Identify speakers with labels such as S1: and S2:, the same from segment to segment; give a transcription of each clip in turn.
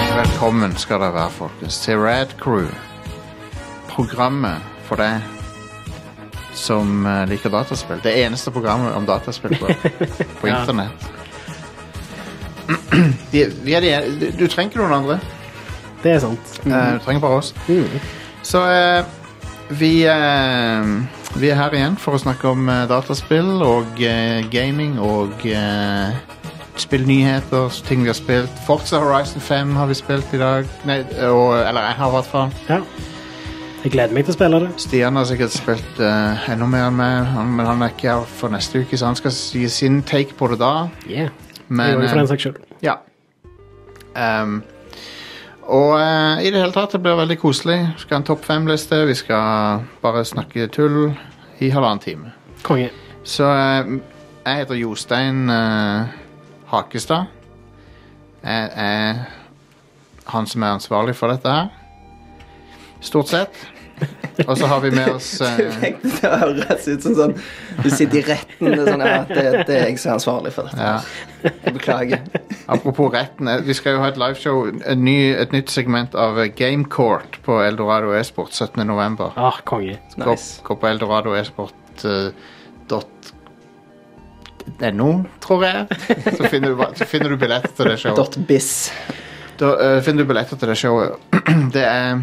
S1: Velkommen skal dere være, folkens, til Rad Crew. Programmet for deg som eh, liker dataspill. Det eneste programmet om dataspill på, på
S2: Ja.
S1: internett. De, vi er de, en- du- du trenger ikke noen andre.
S2: Det er sant.
S1: Eh, Du trenger bare oss.
S2: Mm.
S1: Så eh, vi, eh, vi er her igjen for å snakke om eh, dataspill og eh, gaming og eh, spillnyheter, ting vi har spilt. Forza Horizon 5 har vi spilt i dag. Nei, og, eller jeg har i hvert fall.
S2: Ja. Jeg gleder meg til å spille det.
S1: Stian har sikkert spilt eh, enda mer enn meg, han, men han er ikke her for neste uke, så han skal gi sin take på det da.
S2: Yeah.
S1: Men,
S2: jeg
S1: eh,
S2: for den saks skyld.
S1: Ja. Ehm, og eh, i det hele tatt, det blir veldig koselig. Vi skal ha en topp fem-liste. Vi skal bare snakke tull i halvannen time.
S2: Konge.
S1: Så eh, jeg heter Jostein eh, Hakestad. Jeg er han som er ansvarlig for dette her. Stort sett. Og så har vi med oss
S3: Det
S1: eh,
S3: fikk det til å høres ut som sånn Du sitter i retten. Det er, sånn, ja, det, det er jeg som er ansvarlig for dette.
S1: ja.
S3: Jeg beklager.
S1: Apropos retten, eh, vi skal jo ha et liveshow, en ny, et nytt segment av eh, Game Court på Eldorado Esport 17. november.
S2: Ah, konge.
S1: Gå,
S3: Nice.
S1: gå på eh, eldoradoesport.no, tror jeg. Så finner du, ba- så finner du billetter til det showet.
S3: Dot biz.
S1: Da eh, finner du billetter til det showet. Det er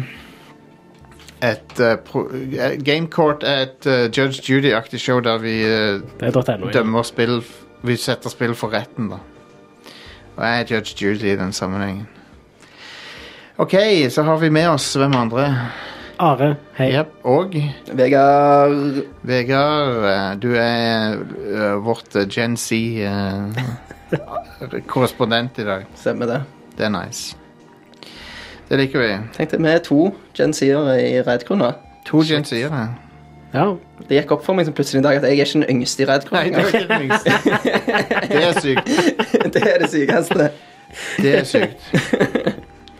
S1: et eh, pro eh, Game Court er et eh, Judge Judy-aktig show der vi eh,
S2: Det er .no. ja.
S1: dømmer spill Vi setter spill for retten, da. Og jeg er Judge Judy i den sammenhengen. OK, så har vi med oss hvem andre.
S2: Are, hei.
S1: Yep, og
S3: Vegard
S1: Vegard, eh, du er eh, vårt eh, Gen Z-korrespondent i dag.
S3: Stemmer det.
S1: Det er nice. Det liker vi.
S3: Tenkte vi er to Gen Z-ere i Redcrew nå.
S1: To Gen Z-ere.
S2: Ja.
S3: Det gikk opp for meg som plutselig en dag at jeg er ikke den yngste i Redcrew.
S1: Nei, det er
S3: engang.
S1: ikke den yngste. Det er sykt.
S3: Det er det sykeste.
S1: Det er sykt.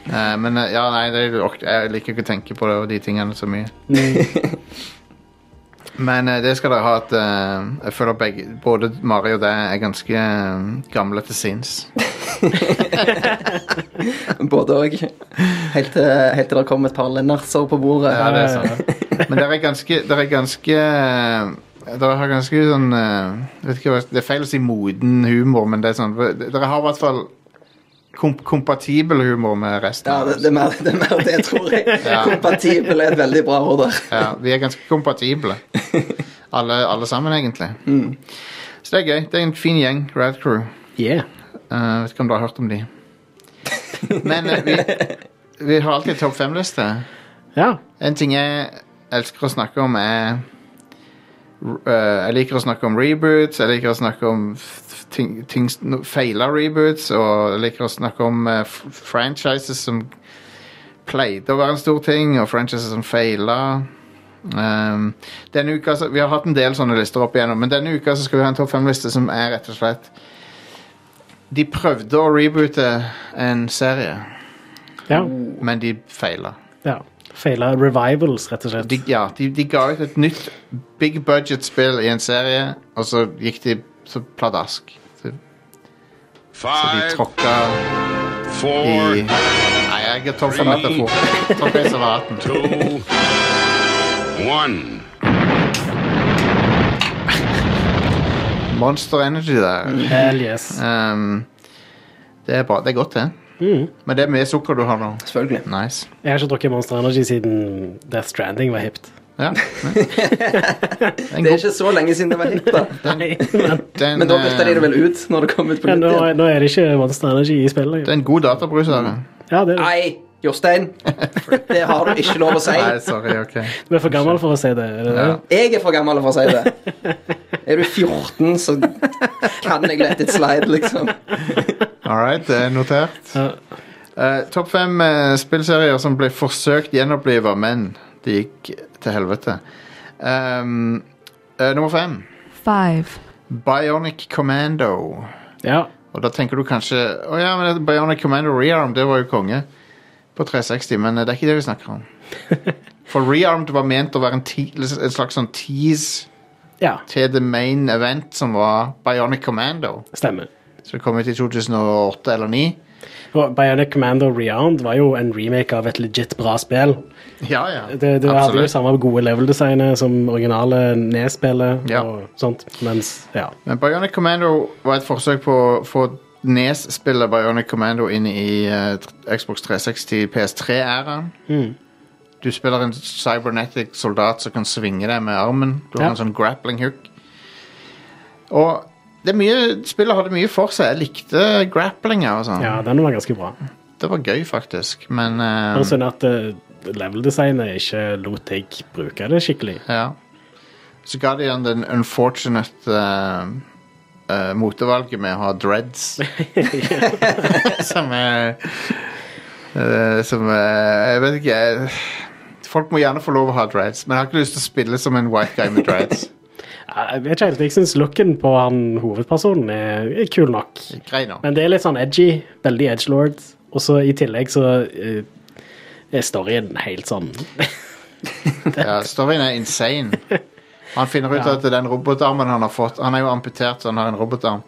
S1: Eh, men eh, ja, nei, det, er ok- jeg liker ikke å tenke på det og de tingene så mye.
S2: Mm.
S1: Men eh, det skal dere ha at eh, jeg føler begge, både Mari og deg er ganske eh, gamle til sinns.
S3: Både òg. Helt til, helt til det kom et par Lennartser på bordet.
S1: Ja, det er sant. Eh, Men dere er ganske Dere er ganske Dere har ganske sånn eh, vet ikke hva, Det er feil å si moden humor, men det er sånn Dere har i hvert fall kom, kompatibel humor med resten.
S3: Ja,
S1: av
S3: det,
S1: oss.
S3: det, er mer, det er mer det, tror jeg.
S1: Ja.
S3: Kompatibel er et veldig bra ord der.
S1: Ja, vi er ganske kompatible. Alle, alle sammen, egentlig.
S3: Mm.
S1: Så det er gøy. Det er en fin gjeng, Rad Crew.
S2: Yeah.
S1: Eh, vet ikke om dere har hørt om de. Men eh, vi, vi har alltid topp fem-liste.
S2: Ja.
S1: En ting jeg elsker å snakke om er eh, Jeg liker å snakke om reboots, jeg liker å snakke om f- ting, ting no, feila reboots, og jeg liker å snakke om eh, f- franchises som pleide å være en stor ting, og franchises som feila. Um, denne uka, så, vi har hatt en del sånne lister opp igjennom, men denne uka så skal vi ha en topp fem-liste som er rett og slett De prøvde å reboote en serie,
S2: Ja.
S1: men de feila.
S2: ja. Feila revivals, rett og slett.
S1: De, ja, de, de ga ut et nytt big budget-spill i en serie, og så gikk de så pladask. Så, så de
S4: Five,
S1: tråkka i
S4: four,
S1: Nei, jeg er tom for dette fort. Tråkka i salaten.
S4: two, one.
S1: Monster Energy der.
S2: Hell yes.
S1: Um, det er bra. Det er godt, det.
S3: Mm.
S1: Men det er mye sukker du har nå.
S3: Selvfølgelig.
S1: Nice.
S2: Jeg har ikke drukket Monster Energy siden Death Stranding var hipt.
S1: Ja. ja. Det er en
S3: Det er
S1: god
S3: ikke så lenge siden det var hipt, da.
S2: Nei, men
S1: den,
S3: Men da bytta de det
S1: eh,
S3: vel ut når det kom ut på
S2: ja,
S3: nytt
S2: nå,
S3: igjen.
S2: nå er det ikke Monster Energy i spillet.
S1: Det er en god databrus. er det?
S2: Ja, det er det.
S3: Nei, Jostein. Det har du ikke lov å si.
S1: Nei, sorry. Ok.
S2: Du er for gammel for å si det. Er det,
S1: Ja.
S2: det?
S3: Jeg er for gammel for å si det. Er du 14, så kan jeg let it slide, liksom.
S1: All right, det er notert.
S2: Ja.
S1: Eh, Topp fem eh, spillserier som ble forsøkt gjenoppliva, men det gikk til helvete. Ehm, eh, nummer fem.
S5: Five.
S1: Bionic Commando.
S2: ja.
S1: Og da tenker du kanskje Å ja, men det- Bionic Commando Rearmed, det var jo konge på 360, men eh, det er ikke det vi snakker om. For Rearmed var ment å være en, ti, en slags sånn tease
S2: ja.
S1: til the main event, som var Bionic Commando.
S2: Stemmer.
S1: Så det kom ut i 2008 eller 2009.
S2: Og Bionic Commando Rearmed var jo en remake av et legit bra spill.
S1: Ja, ja.
S2: Det, det hadde jo samme gode level-designet som originale nedspillet
S1: Ja.
S2: og sånt, mens Ja.
S1: Men Bionic Commando var et forsøk på å få Nes-spillet Bionic Commando inn i eh, tr- Xbox 360 PS3-æraen.
S2: Mm.
S1: Du spiller en cybernetic soldat som kan svinge deg med armen. Du har
S2: Ja.
S1: en sånn grappling hook. Og det er mye, spillet hadde mye for seg. Jeg likte grapplinga og sånn.
S2: ja, den var ganske bra.
S1: Det var gøy, faktisk. Men eh,
S2: Og sånn at eh, level-designet ikke lot deg bruke det skikkelig.
S1: Ja. Så ga de han den unfortunate eh, eh, motevalget med å ha dreads. som er eh, Som er Jeg vet ikke jeg, Folk må gjerne få lov å ha dreads, men jeg har ikke lyst til å spille som en white guy med dreads.
S2: Ja, Jeg vet ikke helt, jeg syns looken på han hovedpersonen er, er kul nok.
S1: Grei nå.
S2: Men det er litt sånn edgy. Veldig edgelord. Og så i tillegg så eh, er storyen helt sånn
S1: Ja, storyen er insane. Han finner ut
S2: Ja.
S1: at den robotarmen han har fått Han er jo amputert, så han har en robotarm.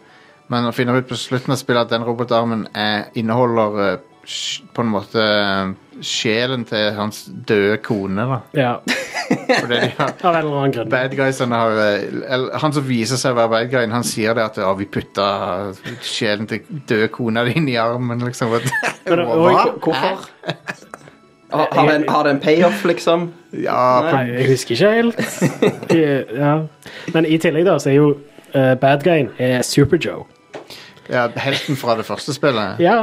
S1: Men han finner ut på slutten av spillet at den robotarmen er, inneholder eh, sj- på en måte eh, sjelen til hans døde kone. da
S2: Ja,
S1: Fordi de har
S2: av en eller annen grunn.
S1: bad guysene har eh, eller, Han som viser seg å være bad guyen, han sier det at ja, vi putta sjelen til døde kona di inn i armen, liksom.
S2: Men det-
S1: Hva?
S2: og-
S3: Hvorfor? Har, har, det en, har det en payoff, liksom?
S1: Ja, på,
S2: Nei, jeg husker ikke helt. I- Ja. Men i tillegg da, så er jo eh, bad guyen er Super-Joe.
S1: ja, helten fra det første spillet.
S2: Ja.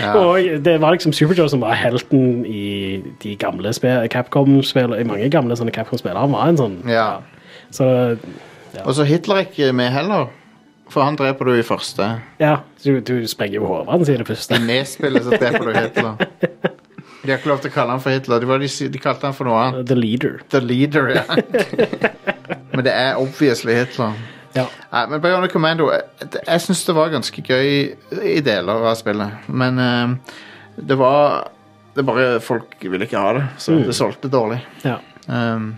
S1: Ja.
S2: Og det var liksom Superjoe som var helten i de gamle spe- Capcom-spillene. I mange gamle sånne Capcom-spillere. Han var en sånn
S1: Ja.
S2: Så
S1: Og så Hitler er ikke med heller. For han dreper du i første.
S2: ja, du, du sprenger jo hodet hans i det første.
S1: I nedspillet så dreper du Hitler. De har ikke lov til å kalle han for Hitler. De, var, de, sy- de kalte han for noe annet.
S2: The leader.
S1: The Leader, ja. Men det er obviously Hitler.
S2: Ja.
S1: Nei, men Bionic Commando Jeg, jeg syns det var ganske gøy i deler av spillet. Men eh, det var Det er bare folk ville ikke ha det, så det solgte dårlig.
S2: ja.
S1: Um,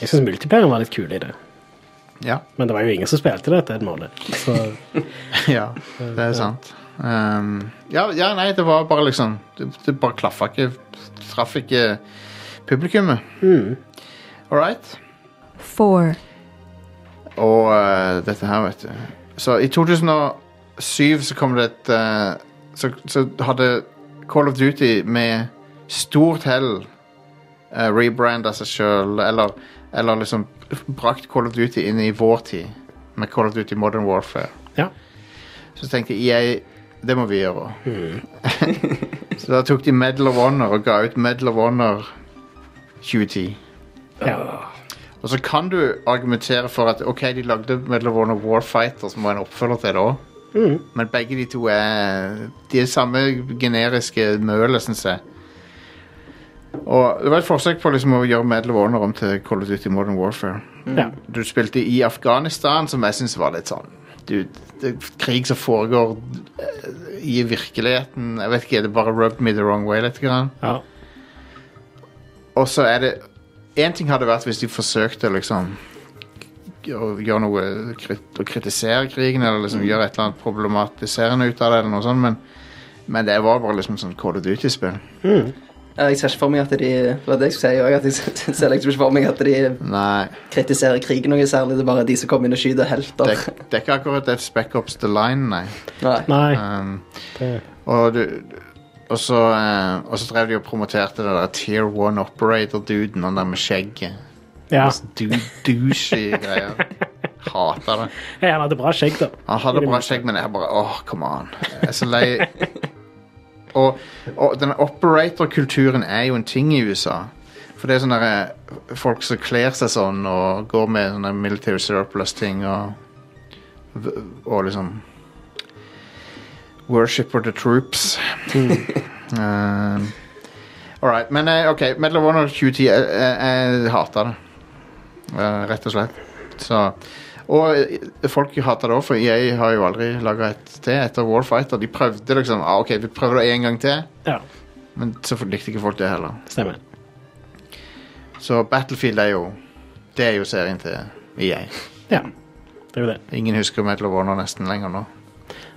S2: Jeg syns multiplayeren var litt kul i det.
S1: ja.
S2: Men det var jo ingen som spilte det etter en måned. Så
S1: Ja, det er sant. Um, ja, ja, nei, det var bare liksom Det, det bare klaffa ikke. Traff ikke publikummet. All right.
S5: four,
S1: Og eh, dette her, vet du. Så i 2007 så kom det et eh, så, så hadde Call of Duty med stort hell uh, rebranda seg sjøl, eller, eller liksom brakt Call of Duty inn i vår tid, med Call of Duty Modern Warfare.
S2: ja.
S1: Så tenkte jeg, det må vi gjøre. så da tok de Medal of Honor og ga ut Medal of Honor 2010.
S2: ja.
S1: Og så kan du argumentere for at ok, de lagde Medal of Honor Warfighter, som var en oppfølger til det òg. Men begge de to er de er samme generiske mølet, syns jeg. Og det var et forsøk på liksom å gjøre Medal of Honor om til Call of Duty Modern Warfare.
S2: ja.
S1: Du spilte i Afghanistan, som jeg syns var litt sånn du, det er Krig som foregår eh, i virkeligheten. Jeg vet ikke, det bare rubbed me the wrong way litt. Grann.
S2: ja.
S1: Og så er det Én ting hadde vært hvis de forsøkte liksom å gjøre noe krit, Å kritisere krigen eller liksom gjøre et eller annet problematiserende ut av det, eller noe sånt, men, men det var bare liksom sånn Call of Duty-spill.
S3: Ja, Eh, Jeg ser ikke for meg at de Det var det jeg skulle si også, at jeg ser- ser liksom ikke for meg at de
S1: Nei.
S3: kritiserer krigen noe særlig. Det er bare de som kommer inn og skyter
S1: Det,
S3: helter.
S1: det er ikke akkurat et Spec Ops The Line, nei.
S3: Nei.
S2: Nei.
S1: Um,
S2: Det,
S1: Og, du, og, så, eh, og så drev de og promoterte det der Tier 1 Operator-duden, han der med skjegget.
S2: ja.
S1: Du, douchey greier. Hater det.
S2: Hei, han hadde bra skjegg, da.
S1: Han hadde bra skjegg, men jeg bare åh, come on. Jeg er så lei. Og, og denne operator-kulturen er jo en ting i USA. For det er sånne der, eh, folk som kler seg sånn og går med sånne military surplus-ting og v- Og liksom Worship of the troops. um, All right. Men eh, OK, Medal of Honor 2010. Jeg, jeg, jeg hater det. Eh, rett og slett. Så og eh, folk hater det òg, for jeg har jo aldri laga et til etter Warfighter. De prøvde liksom ah, OK, vi prøver det én gang til,
S2: Ja,
S1: men så likte ikke folk det heller.
S2: stemmer.
S1: Så Battlefield er jo Det er jo serien til EA.
S2: Ja. Det er jo det.
S1: Ingen husker Medal of Honor nesten lenger nå.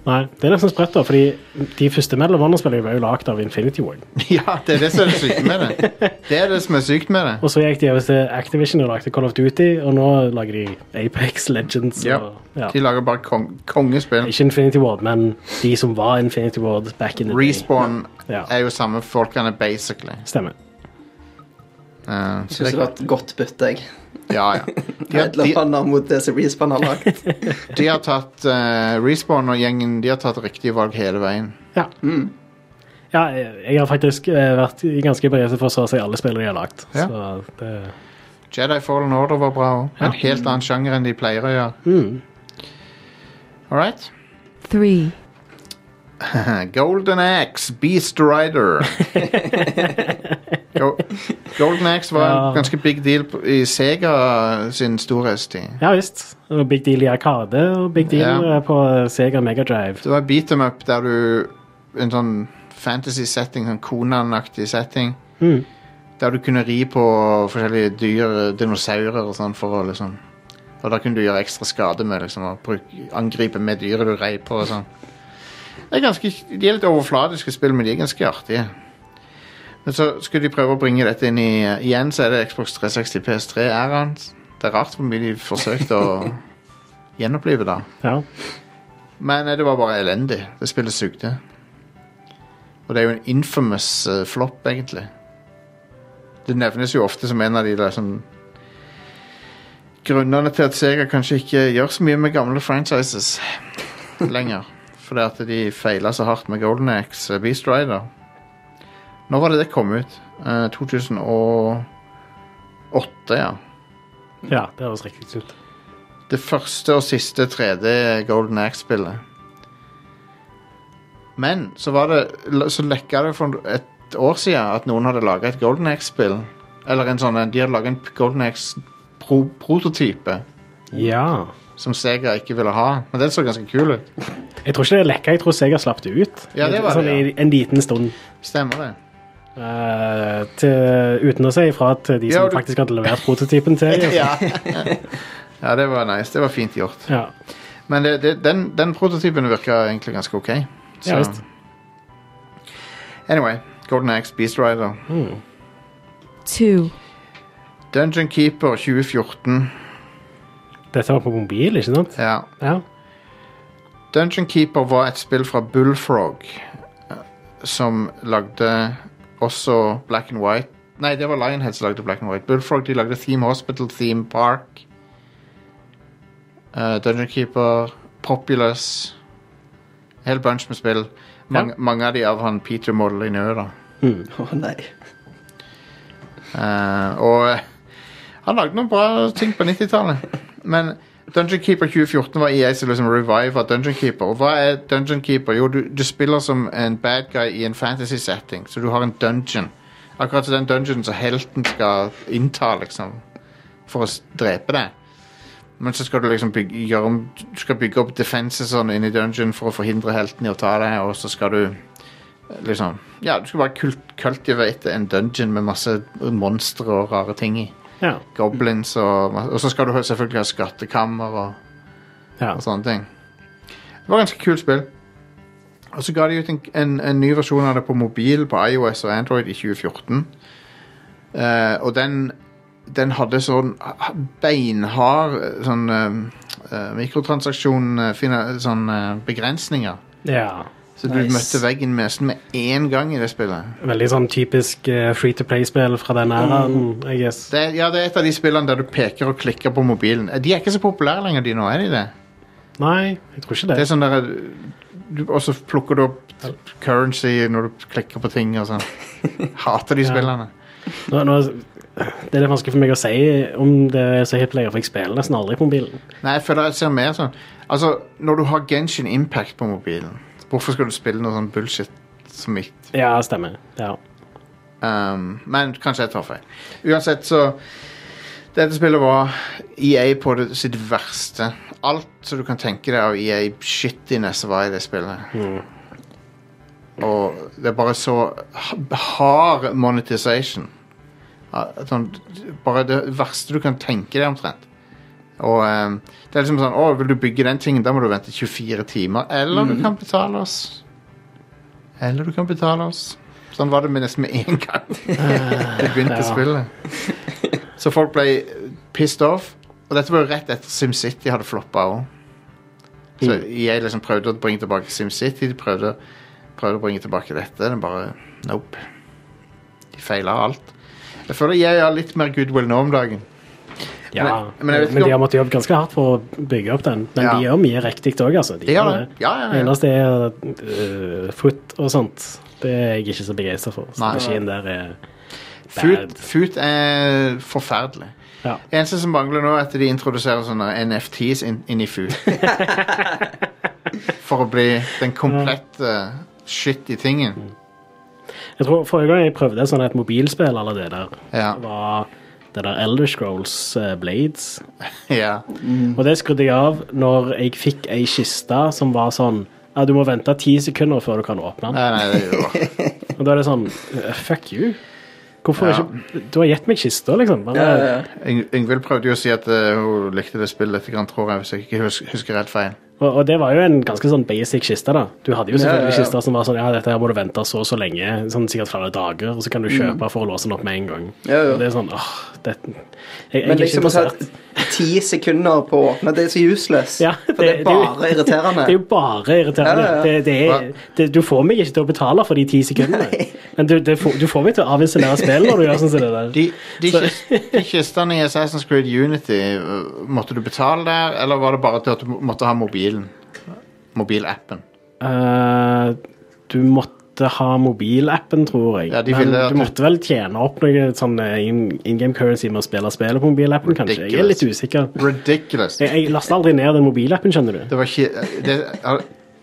S2: Nei, det er nesten sprøtt, da, fordi de første Medal of Honor-spillene var jo lagd av Infinity Ward.
S1: Ja, det er det som er det syke med det. Det er det som er sykt med det.
S2: Og så gikk de over til Activision og lagde Call of Duty, og nå lager de Apex Legends.
S1: Ja.
S2: Og, ja.
S1: De lager bare kong kongespill.
S2: Ikke Infinity Ward, men de som var Infinity Ward back in the
S1: Respawn
S2: Ja.
S1: er jo samme folkene, basically.
S2: day. Stemmer.
S1: Eh, så
S3: Syns
S1: det,
S3: det var et godt bytte, jeg.
S1: ja, ja. De har,
S3: Medal of
S1: de,
S3: Honor mot det som Respan har lagd.
S1: de har tatt eh, Respawn og gjengen De har tatt riktige valg hele veien.
S2: Ja.
S1: Mm.
S2: ja, jeg jeg har faktisk eh, vært ganske beredt for å så å si alle spillene de har lagd.
S1: Ja.
S2: Så det
S1: Jedi Fallen Order var bra òg. En helt annen sjanger enn de pleier å gjøre.
S2: mm.
S1: All right.
S5: three,
S1: Golden Axe, Beast Rider. Go Golden Axe var
S2: Ja.
S1: en ganske big deal på- i Sega sin storhetstid.
S2: Ja visst. Og Big Deal i Arkade og Big Deal
S1: Ja.
S2: eh, på Sega Megadrive.
S1: Det var beat them up der du En sånn fantasy-setting, sånn Conan-aktig setting,
S2: Mm.
S1: der du kunne ri på forskjellige dyr, dinosaurer og sånn, for å liksom Og da kunne du gjøre ekstra skade med liksom å bruke, angripe med dyret du rei på og sånn. Det er ganske, de er litt overfladiske spill, men de er ganske artige. Men så skulle de prøve å bringe dette inn i Igjen så er det Xbox 360 PS3-æraen. Det er rart hvor mye de forsøkte å gjenopplive, da.
S2: Ja.
S1: Men eh, det var bare elendig. Det spillet sugde. Og det er jo en infamous eh, flopp, egentlig. Det nevnes jo ofte som en av de der sånn Grunnene til at Sega kanskje ikke gjør så mye med gamle franchises lenger. Fordi at de feila så hardt med Golden Axe, eh, Beast Rider. Nå var det det kom ut. Eh, 2008, ja.
S2: ja, det høres riktig ut.
S1: Det første og siste 3D Golden Axe-spillet. Men så var det Så lekka det for et år siden at noen hadde laga et Golden Axe-spill. Eller en sånn De hadde laga en Golden Axe-prototype
S2: Ja.
S1: som Sega ikke ville ha. Men den så ganske kul ut.
S2: Jeg tror ikke det er lekka. Jeg tror Sega slapp det ut
S1: Ja, det var det,
S2: sånn i en liten stund.
S1: Stemmer det?
S2: eh, til, uten å si ifra til de som
S1: Ja, du-
S2: faktisk hadde levert prototypen til dem.
S1: Ja. ja, det var nice. Det var fint gjort.
S2: Ja.
S1: Men det, det, den, den prototypen virka egentlig ganske ok.
S2: Ja, visst.
S1: Anyway, Golden Axe, Beast Rider.
S5: two,
S1: Dungeon Keeper 2014.
S2: Dette var på mobil, ikke sant?
S1: Ja.
S2: Ja.
S1: Dungeon Keeper var et spill fra Bullfrog eh, som lagde også Black and White. Nei, det var Lionhead som lagde Black and White. Bullfrog de lagde Theme Hospital, Theme Park. eh, Dungeon Keeper, Populous En hel bunch med spill. Mange, mange av de av han Peter Molyneux, da.
S3: Å nei.
S1: Eh, og eh, han lagde noen bra ting på 90-tallet. Men Dungeon Keeper 2014 var EA som liksom reviva Dungeon Keeper. Og hva er Dungeon Keeper? Jo, du, du spiller som en bad guy i en fantasy-setting, så du har en dungeon. Akkurat som den dungeonen som helten skal innta, liksom, for å s- drepe deg. Men så skal du liksom bygge, gjøre om, du skal bygge opp defenses sånn inni dungeon for å forhindre helten i å ta deg, og så skal du eh, liksom Ja, du skal bare kult- cultivate en dungeon med masse monstre og rare ting i.
S2: Ja.
S1: Goblins og ma- Og så skal du ha- selvfølgelig ha skattekammer og,
S2: ja.
S1: og sånne ting. Det var ganske kult spill. Og så ga de ut en, en, en ny versjon av det på mobil, på iOS og Android i 2014. Eh, og den, den hadde sånn beinhard eh, sånn uh, mikrotransaksjon-begrensninger. Sånn, eh, begrensninger.
S2: ja.
S1: så du
S3: Nice.
S1: møtte veggen nesten med én gang i det spillet.
S2: Veldig sånn typisk eh, free to play-spill fra den æraen,
S1: Mm.
S2: I guess.
S1: Det er, ja, det er et av de spillene der du peker og klikker på mobilen. Eh, De er ikke så populære lenger, de nå, er de det?
S2: Nei, jeg tror ikke det.
S1: Det er sånn der eh, du- Og så plukker du opp currency når du klikker på ting og sånn. Hater de
S2: Ja.
S1: spillene.
S2: Nå, nå, det er litt vanskelig for meg å si om det er så hip lenger, for jeg spiller nesten aldri på mobilen.
S1: Nei, jeg føler jeg ser mer sånn Altså, når du har Genshin Impact på mobilen, hvorfor skal du spille noe sånn bullshit som mitt?
S2: Ja, stemmer. Ja.
S1: Um, men kanskje jeg tar feil. Uansett, så Dette spillet var EA på det, sitt verste. Alt som du kan tenke deg av EA-shittiness var i det spillet. Og det er bare så ha- hard monetization. Ja, Sånn, bare det verste du kan tenke deg, omtrent. Og ehm, det er liksom sånn Å, vil du bygge den tingen? Da må du vente 24 timer. Eller du kan betale oss. Eller du kan betale oss. Sånn var det med nesten med en gang jeg begynte
S2: ja.
S1: spillet. Så folk ble pissed off. Og dette var jo rett etter SimCity hadde floppa òg. Så jeg liksom prøvde å bringe tilbake SimCity. De prøvde, prøvde å bringe tilbake dette. Det bare Nope. De feila alt. Jeg føler jeg har litt mer goodwill nå om dagen.
S2: Ja,
S1: Men- men jeg vet ikke
S2: men de har
S1: om-
S2: måttet jobbe ganske hardt for å bygge opp den. Men
S1: Ja.
S2: de gjør mye riktig òg, altså. De
S1: De gjør
S2: gjør
S1: det. Ja, ja, ja.
S2: eneste altså, er øh, foot og sånt. Det er jeg ikke så begeistra for.
S1: Nei.
S2: Strategien der er bad.
S1: Foot, foot er forferdelig.
S2: Ja.
S1: Eneste som mangler nå, er at de introduserer sånne NFTs inn, inn i Foot. For å bli den komplette shit i tingen.
S2: Jeg tror Forrige gang jeg prøvde sånn et mobilspill eller det der,
S1: Ja.
S2: var det der Elder Scrolls eh, Blades.
S1: Ja. Mm.
S2: Og det skrudde jeg av når jeg fikk ei kiste som var sånn ja, Du må vente ti sekunder før du kan åpne den.
S1: Nei, nei, det er jo
S2: Og da er det sånn eh, Fuck you. Hvorfor
S1: Ja.
S2: ikke Du har gitt meg kista, liksom. Bare,
S3: Ja, ja, ja.
S1: Yng- Yngvild prøvde jo å si at eh, hun likte det spillet litt, grann, tror jeg, hvis jeg ikke hus- husker helt feil.
S2: Og, og det var jo en ganske sånn basic kiste, da. Du hadde jo
S3: Ja, ja,
S2: selvfølgelig
S3: ja.
S2: kister som var sånn Ja, dette her må du vente så og så lenge, sånn sikkert flere dager, og så kan du kjøpe for å låse den opp med en gang.
S3: Mm. Ja, ja.
S2: Og Det er sånn åh, det, jeg, jeg
S3: Men
S2: er ikke
S3: liksom å si
S2: interessert.
S3: at ti sekunder på å åpne, det er så useless.
S2: Ja,
S3: for
S2: det-
S3: det er
S2: det er jo-
S3: bare irriterende.
S2: Det er jo bare irriterende.
S3: Ja, ja, ja.
S2: Det, det er, det, du får meg ikke til å betale for de ti sekundene. Men du, det får, du får meg til å avinstallere spill når du gjør sånn som det der.
S1: De, de,
S2: Så-
S1: kis- de kistene i Assassin's Creed Unity, eh, måtte du betale der, eller var det bare til at du måtte ha mobilen? Mobilappen.
S2: Eh, du måtte ha mobilappen, tror jeg.
S1: Ja, de
S2: Men
S1: ville at
S2: du
S1: du-
S2: måtte vel tjene opp noe sånn eh, in, in game currency med å spille spillet på mobilappen, kanskje. Jeg er
S1: Ridiculous.
S2: litt usikker.
S1: Ridiculous.
S2: Jeg, jeg lasta aldri ned den mobilappen, skjønner du.
S1: Det var ikke eh, det, har,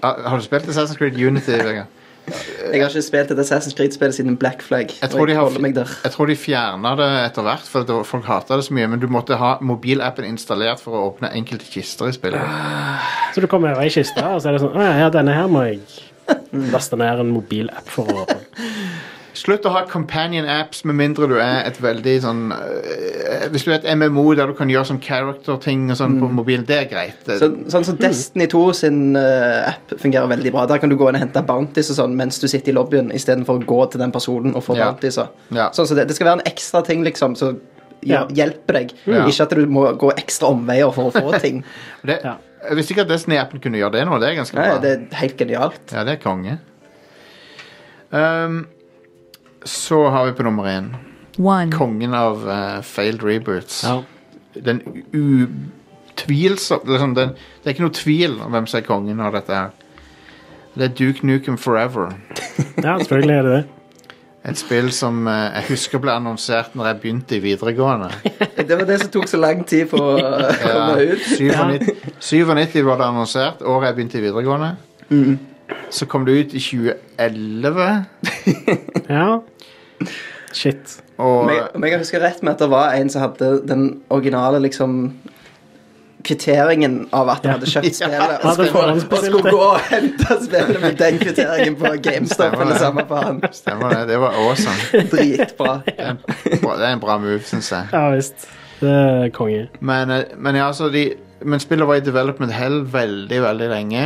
S1: har du spilt Assassin's Creed Unity? Vegard?
S3: Jeg har ikke spilt et Assassin's Creed-spill siden Black Flag.
S1: Jeg tror
S3: og
S1: de, har,
S3: holder meg der.
S1: jeg tror de fjerna det etter hvert, for det var, folk hata det så mye. Men du måtte ha mobilappen installert for å åpne enkelte kister i spillet.
S2: Så du kommer over ei kiste, og så er det sånn Å ja, ja, denne her må jeg laste ned en mobilapp for å
S1: Slutt å ha companion apps med mindre du er et veldig sånn øh, Hvis du er et MMO der du kan gjøre sånn character-ting og sånn på mobilen, det er greit. Det,
S3: Mm. Så, sånn som Destiny 2 sin eh, app fungerer veldig bra. Der kan du gå inn og hente bounties og sånn mens du sitter i lobbyen, istedenfor å gå til den personen og få
S1: Ja.
S3: bounties. og-
S1: Ja.
S3: Sånn som det. det skal være en ekstra ting liksom, som
S2: Ja.
S3: gjør- hjelper deg.
S1: Mm. Ja.
S3: Ikke at du må gå ekstra omveier for å få ting.
S1: det,
S2: Ja.
S1: Jeg visste ikke at Destiny-appen kunne gjøre det nå. Det er ganske
S3: Nei,
S1: bra.
S3: det er helt genialt.
S1: Ja, det er konge. Ehm, så har vi på nummer én
S5: one,
S1: kongen av eh, failed reboots.
S2: ja.
S1: den utvilsomt liksom, den, Det er ikke noe tvil om hvem som er kongen av dette her. Det er Duke Nukem Forever.
S2: ja, selvfølgelig er det det.
S1: Et spill som eh, jeg husker ble annonsert når jeg begynte i videregående.
S3: Det var det som tok så lang tid på å eh, komme ut.
S1: 97, 97 var det annonsert, året jeg begynte i videregående. Så kom det ut i 2011,
S2: Ja. Shit.
S1: og
S3: Om jeg, om jeg husker rett med at det var en som hadde den originale liksom kvitteringen av at han hadde kjøpt spillet,
S2: Ja,
S3: og,
S2: det var
S3: skulle,
S2: han som
S3: og skulle gå og hente spillet med den kvitteringen på GameStop
S1: Stemmer
S3: eller
S1: det.
S3: samme faen.
S1: stemmer det. Det var awesome.
S3: Dritbra.
S1: Bra- Det er en bra move, syns jeg.
S2: Ja visst. Det er konge.
S1: Men, eh, men ja, altså de, Men spillet var i development hell veldig, veldig lenge.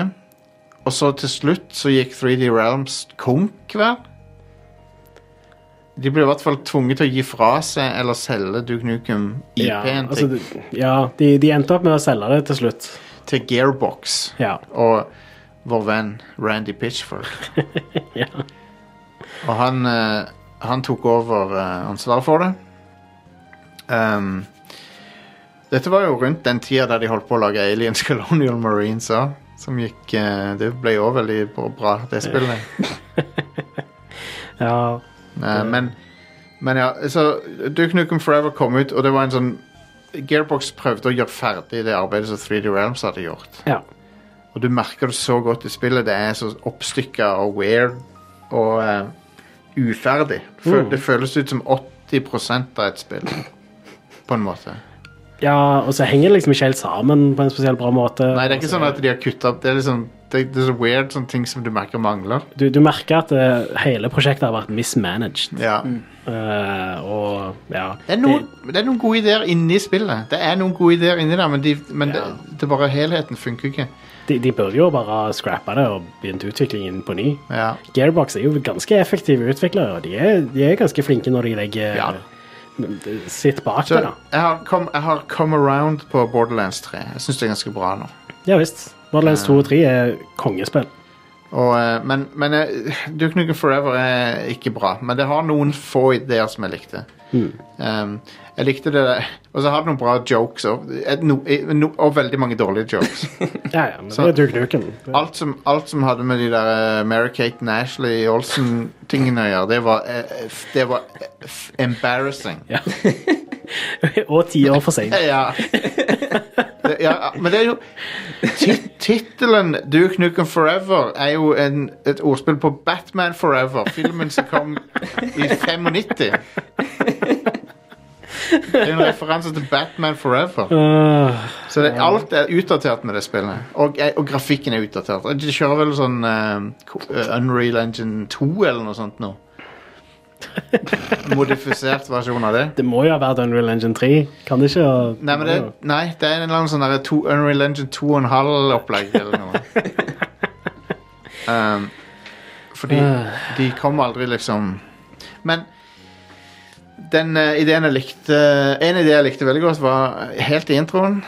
S1: Og så til slutt så gikk 3D Realms konk, vel? De ble i hvert fall tvunget til å gi fra seg eller selge Duke Nukem IP-en
S2: Ja, altså, det- ja de, de endte opp med å selge det til slutt.
S1: til, til Gearbox
S2: Ja.
S1: og vår venn Randy Pitchford.
S2: Ja.
S1: Og han, eh, han tok over eh, ansvaret for det. Ehm, dette var jo rundt den tida der de holdt på å lage Aliens Colonial Marines òg. Som gikk eh, Det ble jo veldig bra- bra, det spillet.
S2: ja.
S1: Eh, men, men ja, så Duke Nukem Forever kom ut, og det var en sånn Gearbox prøvde å gjøre ferdig det arbeidet som 3D Realms hadde gjort.
S2: ja.
S1: Og du merker det så godt i spillet. Det er så oppstykka og weird og eh, uferdig. Det føl- Det føles ut som 80 av et spill, på en måte.
S2: Ja, og så henger det liksom ikke helt sammen på en spesielt bra måte.
S1: Nei, det er ikke sånn at de har kutta opp. Det er liksom Det, det er så weird sånne ting som du merker mangler.
S2: Du, du merker at eh, hele prosjektet har vært mismanaged.
S1: Ja.
S2: Eh, og ja
S1: Det, er noen, det er noen gode ideer inni spillet. Det er noen gode ideer inni der, men, de, men
S2: Ja.
S1: det, det er bare helheten funker ikke.
S2: de, de burde jo bare scrappe det og begynt utviklingen på ny.
S1: Ja.
S2: Gearbox er jo ganske effektive utviklere, og de er, de er ganske flinke når de legger
S1: Ja.
S2: sitt bak
S1: Så
S2: det. da.
S1: jeg har, kom, jeg har come around på Borderlands 3. Jeg syns det er ganske bra nå.
S2: Ja visst. Borderlands 2 og 3 er kongespill.
S1: Og, eh, men men eh, Duke Nukem Forever er ikke bra. Men det har noen få ideer som jeg likte. Um, jeg likte det der. Og så har det noen bra jokes og, et, no, i- no, og veldig mange dårlige jokes.
S2: Ja, ja, men
S1: Så- Ah.
S2: det er Duke Nukem.
S1: alt, som, alt som hadde med de der eh, Mary-Kate Nashley Olsen-tingene å gjøre, det var, eh, f- det var eh, f- embarrassing.
S2: og ti år for seint.
S1: Ja. Det- ja. Men det er jo ti- Tittelen Duke Nukem Forever er jo en, et ordspill på Batman Forever, filmen som kom i 95. Det er en referanse til Batman Forever. Så det, alt er utdatert med det spillet. Og, og grafikken er utdatert. De kjører vel sånn eh, ko- eh, Unreal Engine 2 eller noe sånt nå. Modifisert versjon av det.
S2: det må jo ha vært Unreal Engine 3, kan det ikke? Og-
S1: Nei, men det, nei, det er en eller annen sånn derre to- Unreal Engine 2,5-opplegg eller noe. um, fordi de kom aldri liksom Men den eh, ideen jeg likte En idé jeg likte veldig godt, var helt i introen.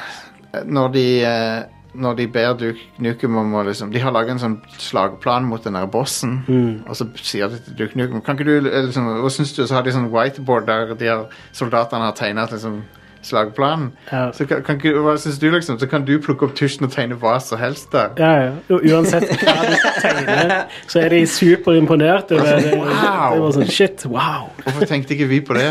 S1: eh, Når de, eh, når de ber Duke Nukem om å liksom De har laga en sånn slagplan mot den der bossen. Og så sier de til Duke Nukem Kan ikke du, eh, liksom, Hva syns du? Så har de sånn whiteboard der de har, soldatene har tegna liksom, slagplanen.
S2: Ja.
S1: Så kan, kan ikke, hva syns du, liksom? Så kan du plukke opp tusjen og tegne hva som helst der.
S2: Ja, ja. U- Uansett hva du tegner, så er de superimponert. over det.
S1: Wow.
S2: Det var sånn, shit, wow.
S1: Hvorfor tenkte ikke vi på det?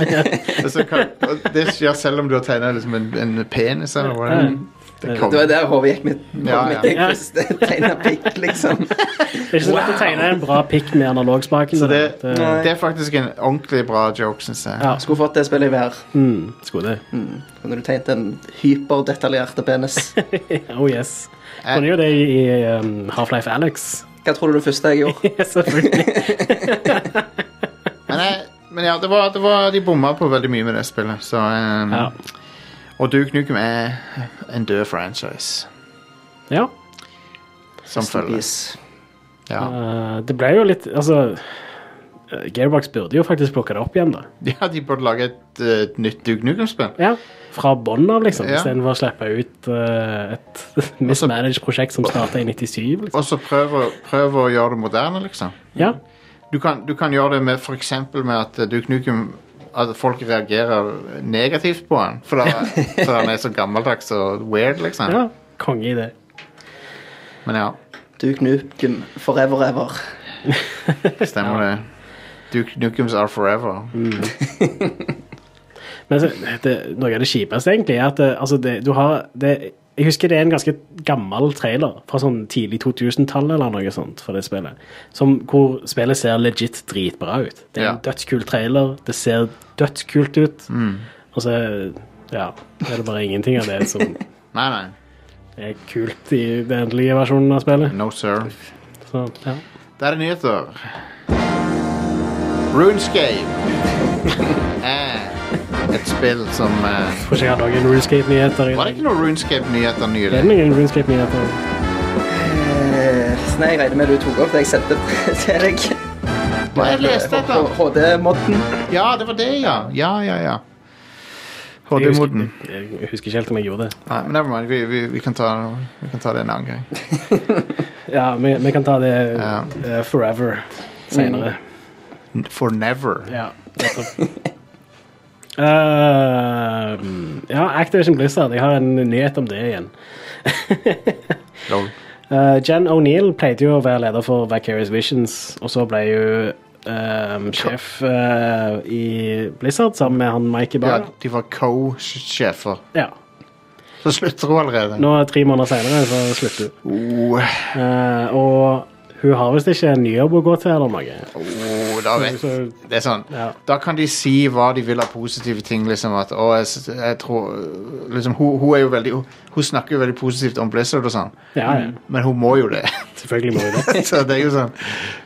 S1: Altså, kan, og det skjer selv om du har tegna liksom en, en penis eller hva det er. Det
S3: Det var
S1: kommer.
S3: der hodet gikk mitt.
S1: Ja,
S3: hodet
S1: ja.
S3: mitt gikk
S2: Ja.
S3: først. Tegnet pikk, liksom.
S2: Det er ikke så lett å tegne en bra pikk med analogspaken.
S1: Så det,
S2: det-
S3: Nei.
S1: det er faktisk en ordentlig bra joke, syns jeg.
S2: Ja.
S3: Skulle fått det spillet i vær.
S2: mm, skulle det.
S3: Når du tegnet en hyperdetaljert penis.
S2: Oh yes.
S1: Eh,
S2: Kunne jo det i i, um, Half-Life Alex.
S3: Hva tror du det første jeg gjorde?
S2: Selvfølgelig.
S1: Men, jeg, men ja, det var, det var, de bomma på veldig mye med det spillet, så eh,
S2: Ja.
S1: Og Duke Nukem er en død franchise
S2: ja.
S1: som følges.
S3: Please.
S1: Ja.
S2: Eh, det ble jo litt Altså, eh, Gearbox burde jo faktisk plukke det opp igjen, da.
S1: ja, de burde lage et, eh, et nytt Duke Nukem-spill.
S2: Ja. Fra bånn av, liksom,
S1: Ja.
S2: istedenfor å slippe ut eh, et mismanaged prosjekt som starta i 97. Liksom.
S1: Og så prøve prøv å gjøre det moderne, liksom.
S2: Ja.
S1: Du kan, du kan gjøre det med for eksempel med at eh, Duke Nukem At folk reagerer negativt på han Fordi fordi han er så gammeldags og weird liksom
S2: ja. Konge i det.
S1: Men ja,
S3: Duke Nukem forever ever.
S1: stemmer det Duke Nukems are forever
S2: Men så, det, noe av det kjipeste egentlig er at eh, altså det, du har det, Jeg husker det er en ganske gammel trailer fra sånn tidlig 2000-tall eller noe sånt for det spillet, som, hvor spillet ser legit dritbra ut. Det er
S1: Ja.
S2: en dødskul trailer, det ser dødskult ut, og så ja, er det bare ingenting av det som
S1: Nei, nei,
S2: er kult i den endelige versjonen av spillet.
S1: no sir
S2: Så, ja.
S1: Der er nyheter. RuneScape er et spill som eh,
S2: Får ikke jeg ha noen RuneScape-nyheter i
S1: Var det
S2: dag.
S1: ikke noen RuneScape-nyheter
S2: Det
S1: nylig?
S2: er noen RuneScape-nyheter.
S3: Eh, nei, jeg regner med du tok opp det jeg sendte til deg.
S1: Hva jeg leste etter?
S3: HD-modden.
S1: Ja, det var det, ja. Ja, ja, ja.
S2: Jeg husker-
S1: HD-moden.
S2: Jeg husker ikke helt om jeg gjorde det.
S1: Nei, men never mind. Vi, vi, vi, kan ta, vi kan ta det en annen gang.
S2: Ja, vi, vi kan ta det
S1: Ja.
S2: eh, forever senere.
S1: For never.
S2: Mm. Ja, nettopp. Eh, ja, Activision Blizzard. Jeg har en nyhet om det igjen.
S1: Lol.
S2: Eh, Jen O'Neill pleide jo å være leder for Vicarious Visions, og så ble hun eh, sjef eh, i Blizzard sammen med han Mikey
S1: Ja,
S2: Barr.
S1: de var co-sjefer.
S2: Ja.
S1: Så slutter hun allerede.
S2: Nå tre måneder senere så slutter hun.
S1: Oh,
S2: Eh, og hun har visst ikke en ny jobb å gå til eller noe.
S1: oh, da vet
S2: Så-
S1: Det er sånn
S2: Ja.
S1: Da kan de si hva de vil av positive ting, liksom at Å, jeg, s- jeg tror Liksom, hun, hun er jo veldig Hun, hun snakker jo veldig positivt om Blizzard og sånn,
S2: Ja, ja.
S1: men hun må jo det.
S2: Selvfølgelig må jo det.
S1: så det er jo sånn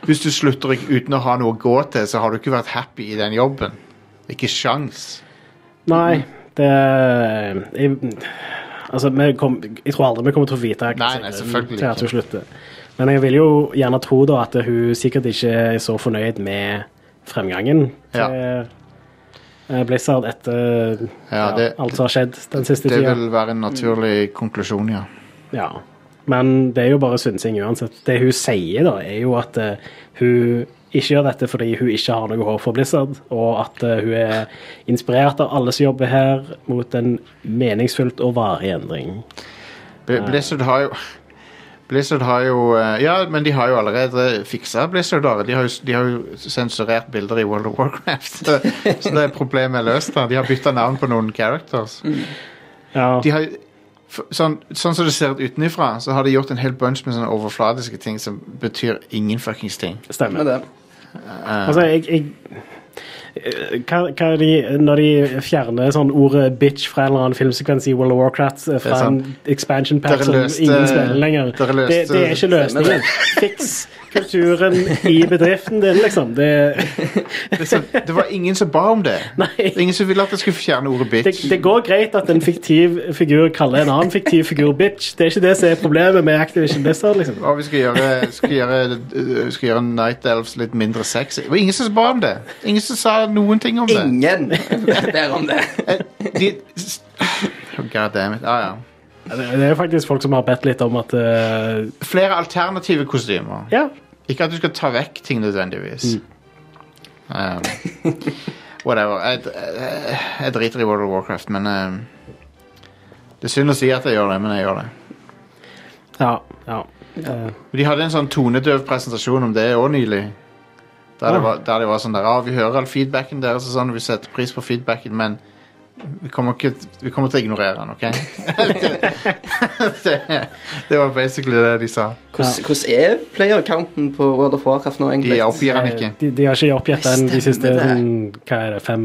S1: Hvis du slutter ikke- uten å ha noe å gå til, så har du ikke vært happy i den jobben. Ikke sjans.
S2: Nei, det jeg, Altså, vi kom, jeg tror aldri vi kommer til å vite
S1: Nei, nei, selvfølgelig
S2: til at hun
S1: ikke.
S2: slutter. Men jeg vil jo gjerne tro da at hun sikkert ikke er så fornøyd med fremgangen til eh, Blizzard etter
S1: Ja,
S2: ja,
S1: det-
S2: alt som har skjedd den siste
S1: Det
S2: tida.
S1: vil være en naturlig konklusjon, ja.
S2: Ja. Men det er jo bare synsing uansett. Det hun sier, da, er jo at eh, hun ikke gjør dette fordi hun ikke har noe håp for Blizzard, og at eh, hun er inspirert av alle som jobber her, mot en meningsfullt og varig endring.
S1: Bl-
S2: Eh.
S1: Blizzard har jo Blizzard har jo eh, Ja, men de har jo allerede fiksa Blizzard. da. De har jo, de har jo sensurert bilder i World of Warcraft. Så, så det problemet er løst. da. De har bytta navn på noen characters.
S2: Mm. Ja,
S1: De har, f- sånn, sånn som det ser ut utenfra, så har de gjort en hel bunch med sånne overfladiske ting som betyr ingen fuckings ting.
S2: stemmer.
S3: Med det.
S2: Altså, jeg, jeg eh, hva, hva er de, Når de fjerner sånn ordet 'bitch' fra en eller annen filmsekvens i World of Warcraft, eh,
S1: Det er
S2: fra en expansion pack
S1: Dere
S2: som
S1: løste-
S2: ingen spiller lenger,
S1: dere løste-
S2: det, det er ikke løsningen. Fiks kulturen i bedriften din, liksom. Det,
S1: Det, er sånn, det var ingen som ba om det.
S2: Nei.
S1: Ingen som ville at jeg skulle fjerne ordet
S2: det,
S1: bitch.
S2: det går greit at en fiktiv figur kaller en annen fiktiv figur 'bitch'. Det er ikke det som er problemet med Activision Blizzard, liksom.
S1: Og vi skal gjøre, skal gjøre, øh, skal gjøre Night Elves litt mindre sexy. Det var ingen som ba om det. Ingen som sa noen ting om det.
S3: Ingen ber om det.
S1: Eh, de, s- oh, God damn it. Ah, ja.
S2: Det det er jo faktisk folk som har bedt litt om at eh,
S1: Flere alternative kostymer.
S2: Ja,
S1: Ikke at du skal ta vekk ting nødvendigvis. Um, whatever. Jeg, jeg, jeg driter i World of Warcraft, men um, Det er synd å si at jeg gjør det, men jeg gjør det.
S2: ja, ja. Eh,
S1: De hadde en sånn tonedøv presentasjon om det òg nylig. Der det,
S2: Ah.
S1: var, der det var sånn der ah, Vi hører all feedbacken deres, og sånn, vi setter pris på feedbacken, men vi kommer, ikke, vi kommer til å ignorere den, OK? det, det var basically det de sa.
S3: Hvordan, hvordan er player-counten på World of Warcraft nå,
S1: De
S3: egentlig?
S1: oppgir han ikke.
S2: Eh, De, de har ikke oppgitt den de siste
S3: Stemmer det.
S2: sånn, hva er det, fem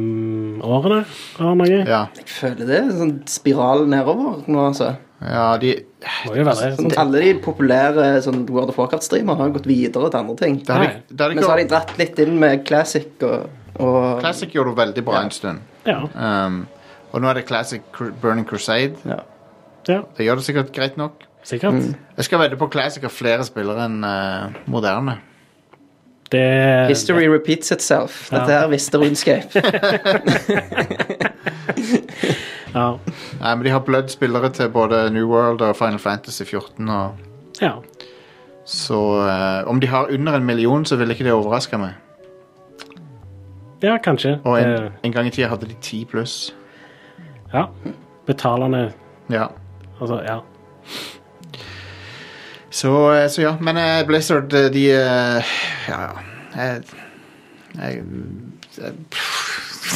S2: årene? Eller noe?
S1: Ja,
S3: Jeg føler det er en sånn spiral nedover nå, altså.
S1: ja de
S2: Må jo være det.
S3: Sånn, alle de populære sånn, World of Warcraft-streamere har gått videre til andre ting.
S1: det hadde, det hadde
S3: Men så har de
S1: ikke,
S3: dratt litt inn med classic og, og
S1: Classic gjorde det veldig bra
S3: Ja.
S1: en stund.
S2: Ja,
S1: Um, og nå er det Classic Cru- Burning Crusade.
S3: Ja.
S2: ja,
S1: Det gjør det sikkert greit nok.
S2: sikkert.
S1: Jeg skal vedde på Classic har flere spillere enn eh, moderne.
S2: Det,
S3: History repeats itself. Dette
S2: Ja.
S3: her visste Runescape.
S2: Ja,
S1: Nei, men de har blødd spillere til både New World og Final Fantasy 14 og
S2: ja.
S1: Så eh, om de har under en million, så vil ikke det overraske meg.
S2: ja kanskje.
S1: Og en,
S2: Det-
S1: en gang i tida hadde de ti pluss.
S2: ja. Betalende
S1: Ja.
S2: Altså, ja.
S1: Så, eh, så ja. Men eh, Blizzard, eh, de eh, Ja, ja. Jeg, jeg,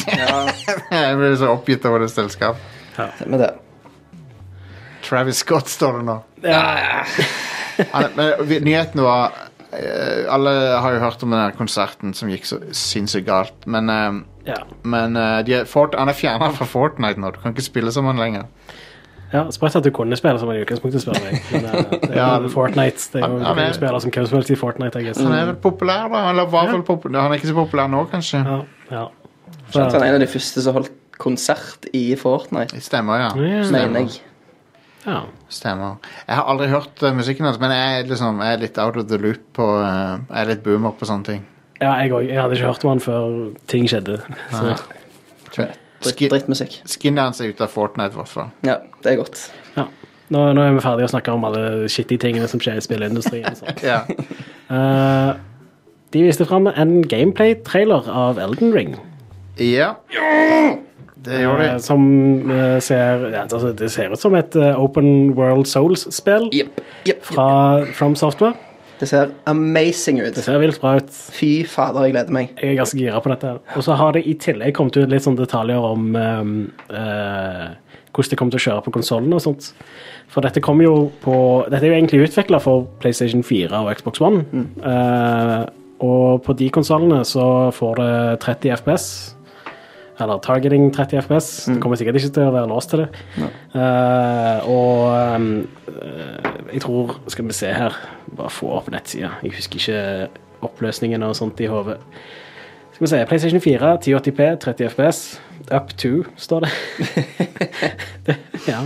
S3: ja,
S1: jeg blir så oppgitt over det selskapet.
S3: med det.
S1: Travis Scott står det nå.
S2: ja.
S1: Han, men vi- nyheten var eh, Alle har jo hørt om den her konserten som gikk så sinnssykt galt, men eh,
S2: ja.
S1: Men eh, de er, Fort, han er fjerna fra Fortnite nå. Du kan ikke spille som han lenger.
S2: Ja, Sprøtt at du kunne spille som en i utgangspunktet, spør du meg. Men, eh, det er
S1: Ja,
S2: jo Fortnite. Det er
S1: han-
S2: jo, du
S1: han
S2: kan
S1: er-
S2: jo spille som hvem som helst i Fortnite. Jeg, guess.
S1: Han er vel populær, da. Eller var
S2: Mm. Ja.
S1: vel populær. Han er ikke så populær nå, kanskje.
S2: ja, ja.
S3: Så han Sånn er
S2: Så,
S3: en av de første som holdt konsert i Fortnite,
S1: Det Stemmer, ja.
S2: Ja.
S3: mener
S1: Stemmer.
S3: jeg.
S2: ja.
S1: Stemmer. Jeg har aldri hørt eh, musikken hans, men jeg er, liksom, jeg er litt out of the loop på eh, Jeg er litt boomer på sånne ting.
S2: ja, jeg òg. Jeg hadde ikke hørt om han før ting skjedde. Så,
S3: Dritt, drittmusikk.
S1: Skinnet hans er ute av Fortnite, i hvert fall.
S3: Ja, det er godt.
S2: ja. nå, nå er vi ferdige å snakke om alle shitty tingene som skjer i spilleindustrien. og sånt.
S1: Ja.
S2: Eh, de viste fram en gameplay-trailer av Elden Ring.
S1: ja. Det gjør
S2: eh,
S1: de.
S2: som eh, ser ja, altså, Det ser ut som et eh, Open World Souls-spill
S3: Jepp. Jepp.
S2: fra From Software.
S3: Det ser amazing ut.
S2: Det ser vilt bra ut.
S3: Fy fader, jeg gleder meg.
S2: Jeg er ganske gira på dette. her. Og så har det i tillegg kommet ut litt sånn detaljer om eh, eh, hvordan det kommer til å kjøre på konsollen og sånt. For dette kommer jo på Dette er jo egentlig utvikla for PlayStation 4 og Xbox One. Eh, Og på de konsollene så får det 30 FPS. Eller targeting 30 FPS. Det kommer sikkert ikke til å være låst til det. Eh, og ehm, eh, jeg tror Skal vi se her. Bare få opp nettsida. Jeg husker ikke oppløsningen og sånt i hodet. Skal vi se. PlayStation 4, 1080P, 30 FPS. Up to, står det. det ja.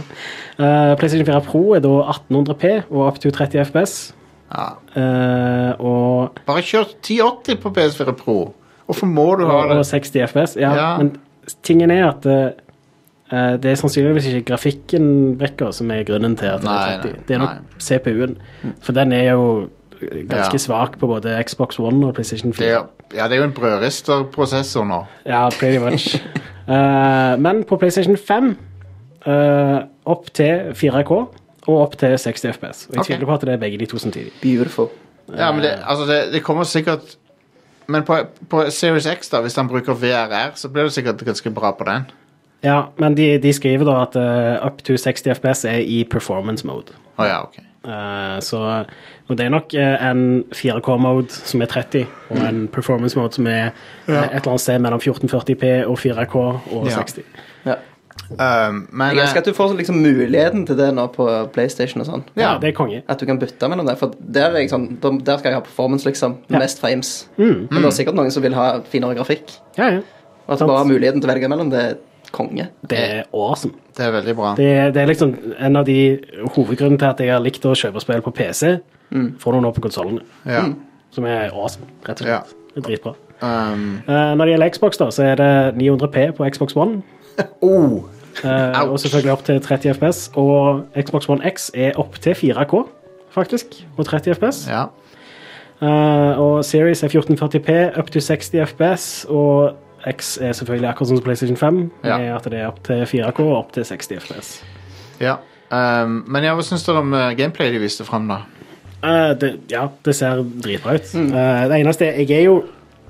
S2: Eh, PlayStation 4 Pro er da 1800P og up to 30 FPS.
S1: Ja.
S2: Eh, og
S1: Bare kjør 1080 på PS4 Pro. Hvorfor må du ha
S2: og
S1: det?
S2: 60 FPS. Ja,
S1: Ja.
S2: Men tingen er at eh, det er sannsynligvis ikke grafikken brekker som er grunnen til at det
S1: Nei,
S2: er 30.
S1: nei,
S2: det er
S1: nei.
S2: nok CPU-en. For den er jo eh, ganske
S1: Ja.
S2: svak på både Xbox One og PlayStation 4.
S1: Det er, ja, det er jo en brødristerprosessor nå.
S2: Ja, pretty much. Eh, men på PlayStation 5 eh, opp til 4K og opp til 60 FPS. Og jeg
S1: Ok.
S2: tviler på at det er begge de to samtidig.
S3: Beautiful.
S1: Ja, men
S3: Eh.
S1: det, altså det, det kommer sikkert Men på, på Series X, da, hvis han bruker VRR, så blir det sikkert ganske bra på den.
S2: Ja, men de, de skriver da at eh, up to 60 FPS er i performance mode.
S1: Å ja, ok.
S2: Eh, så og det er nok eh, en 4K-mode som er 30, og en performance-mode som er eh, et eller annet sted mellom 1440P og 4K og
S1: Ja.
S2: 60.
S3: Ja.
S1: Um, men
S3: Jeg elsker at du får liksom muligheten til det nå på PlayStation og sånn.
S2: Ja,
S1: eh, ja,
S2: det er konge.
S3: At du kan bytte mellom det. For der, er jeg sånn, da- der skal jeg ha performance, liksom.
S2: Ja.
S3: Mest frames. Men det er sikkert noen som vil ha finere grafikk.
S2: Ja, ja.
S3: Og at du
S2: Sant.
S3: bare har muligheten til å velge mellom, det er konge.
S2: Det
S1: Eh,
S2: er awesome.
S1: det er veldig bra.
S2: Det, er- det er liksom en av de hovedgrunnene til at jeg har likt å kjøpe spill på PC.
S1: Mm.
S2: Får du nå på konsollene,
S1: Ja.
S3: Mm.
S2: som er awesome, rett og
S1: Ja.
S2: slett. Det er dritbra.
S1: Um,
S2: Eh, når det gjelder Xbox, da, så er det 900P på Xbox One.
S1: oh,
S2: Eh, og selvfølgelig opp til 30 FPS. Og Xbox One X er opp til 4K, faktisk. Og 30 FPS.
S1: ja.
S2: Eh, og Series er 1440P, up to 60 FPS. Og X er selvfølgelig akkurat som PlayStation 5,
S1: Ja.
S2: med at det er opp til 4K og opp til 60 FPS.
S1: ja. Um, men ja, hva syns dere om eh, gameplay de viste fram, da?
S2: Eh, det, ja, det ser dritbra ut. Eh, det eneste Jeg er jo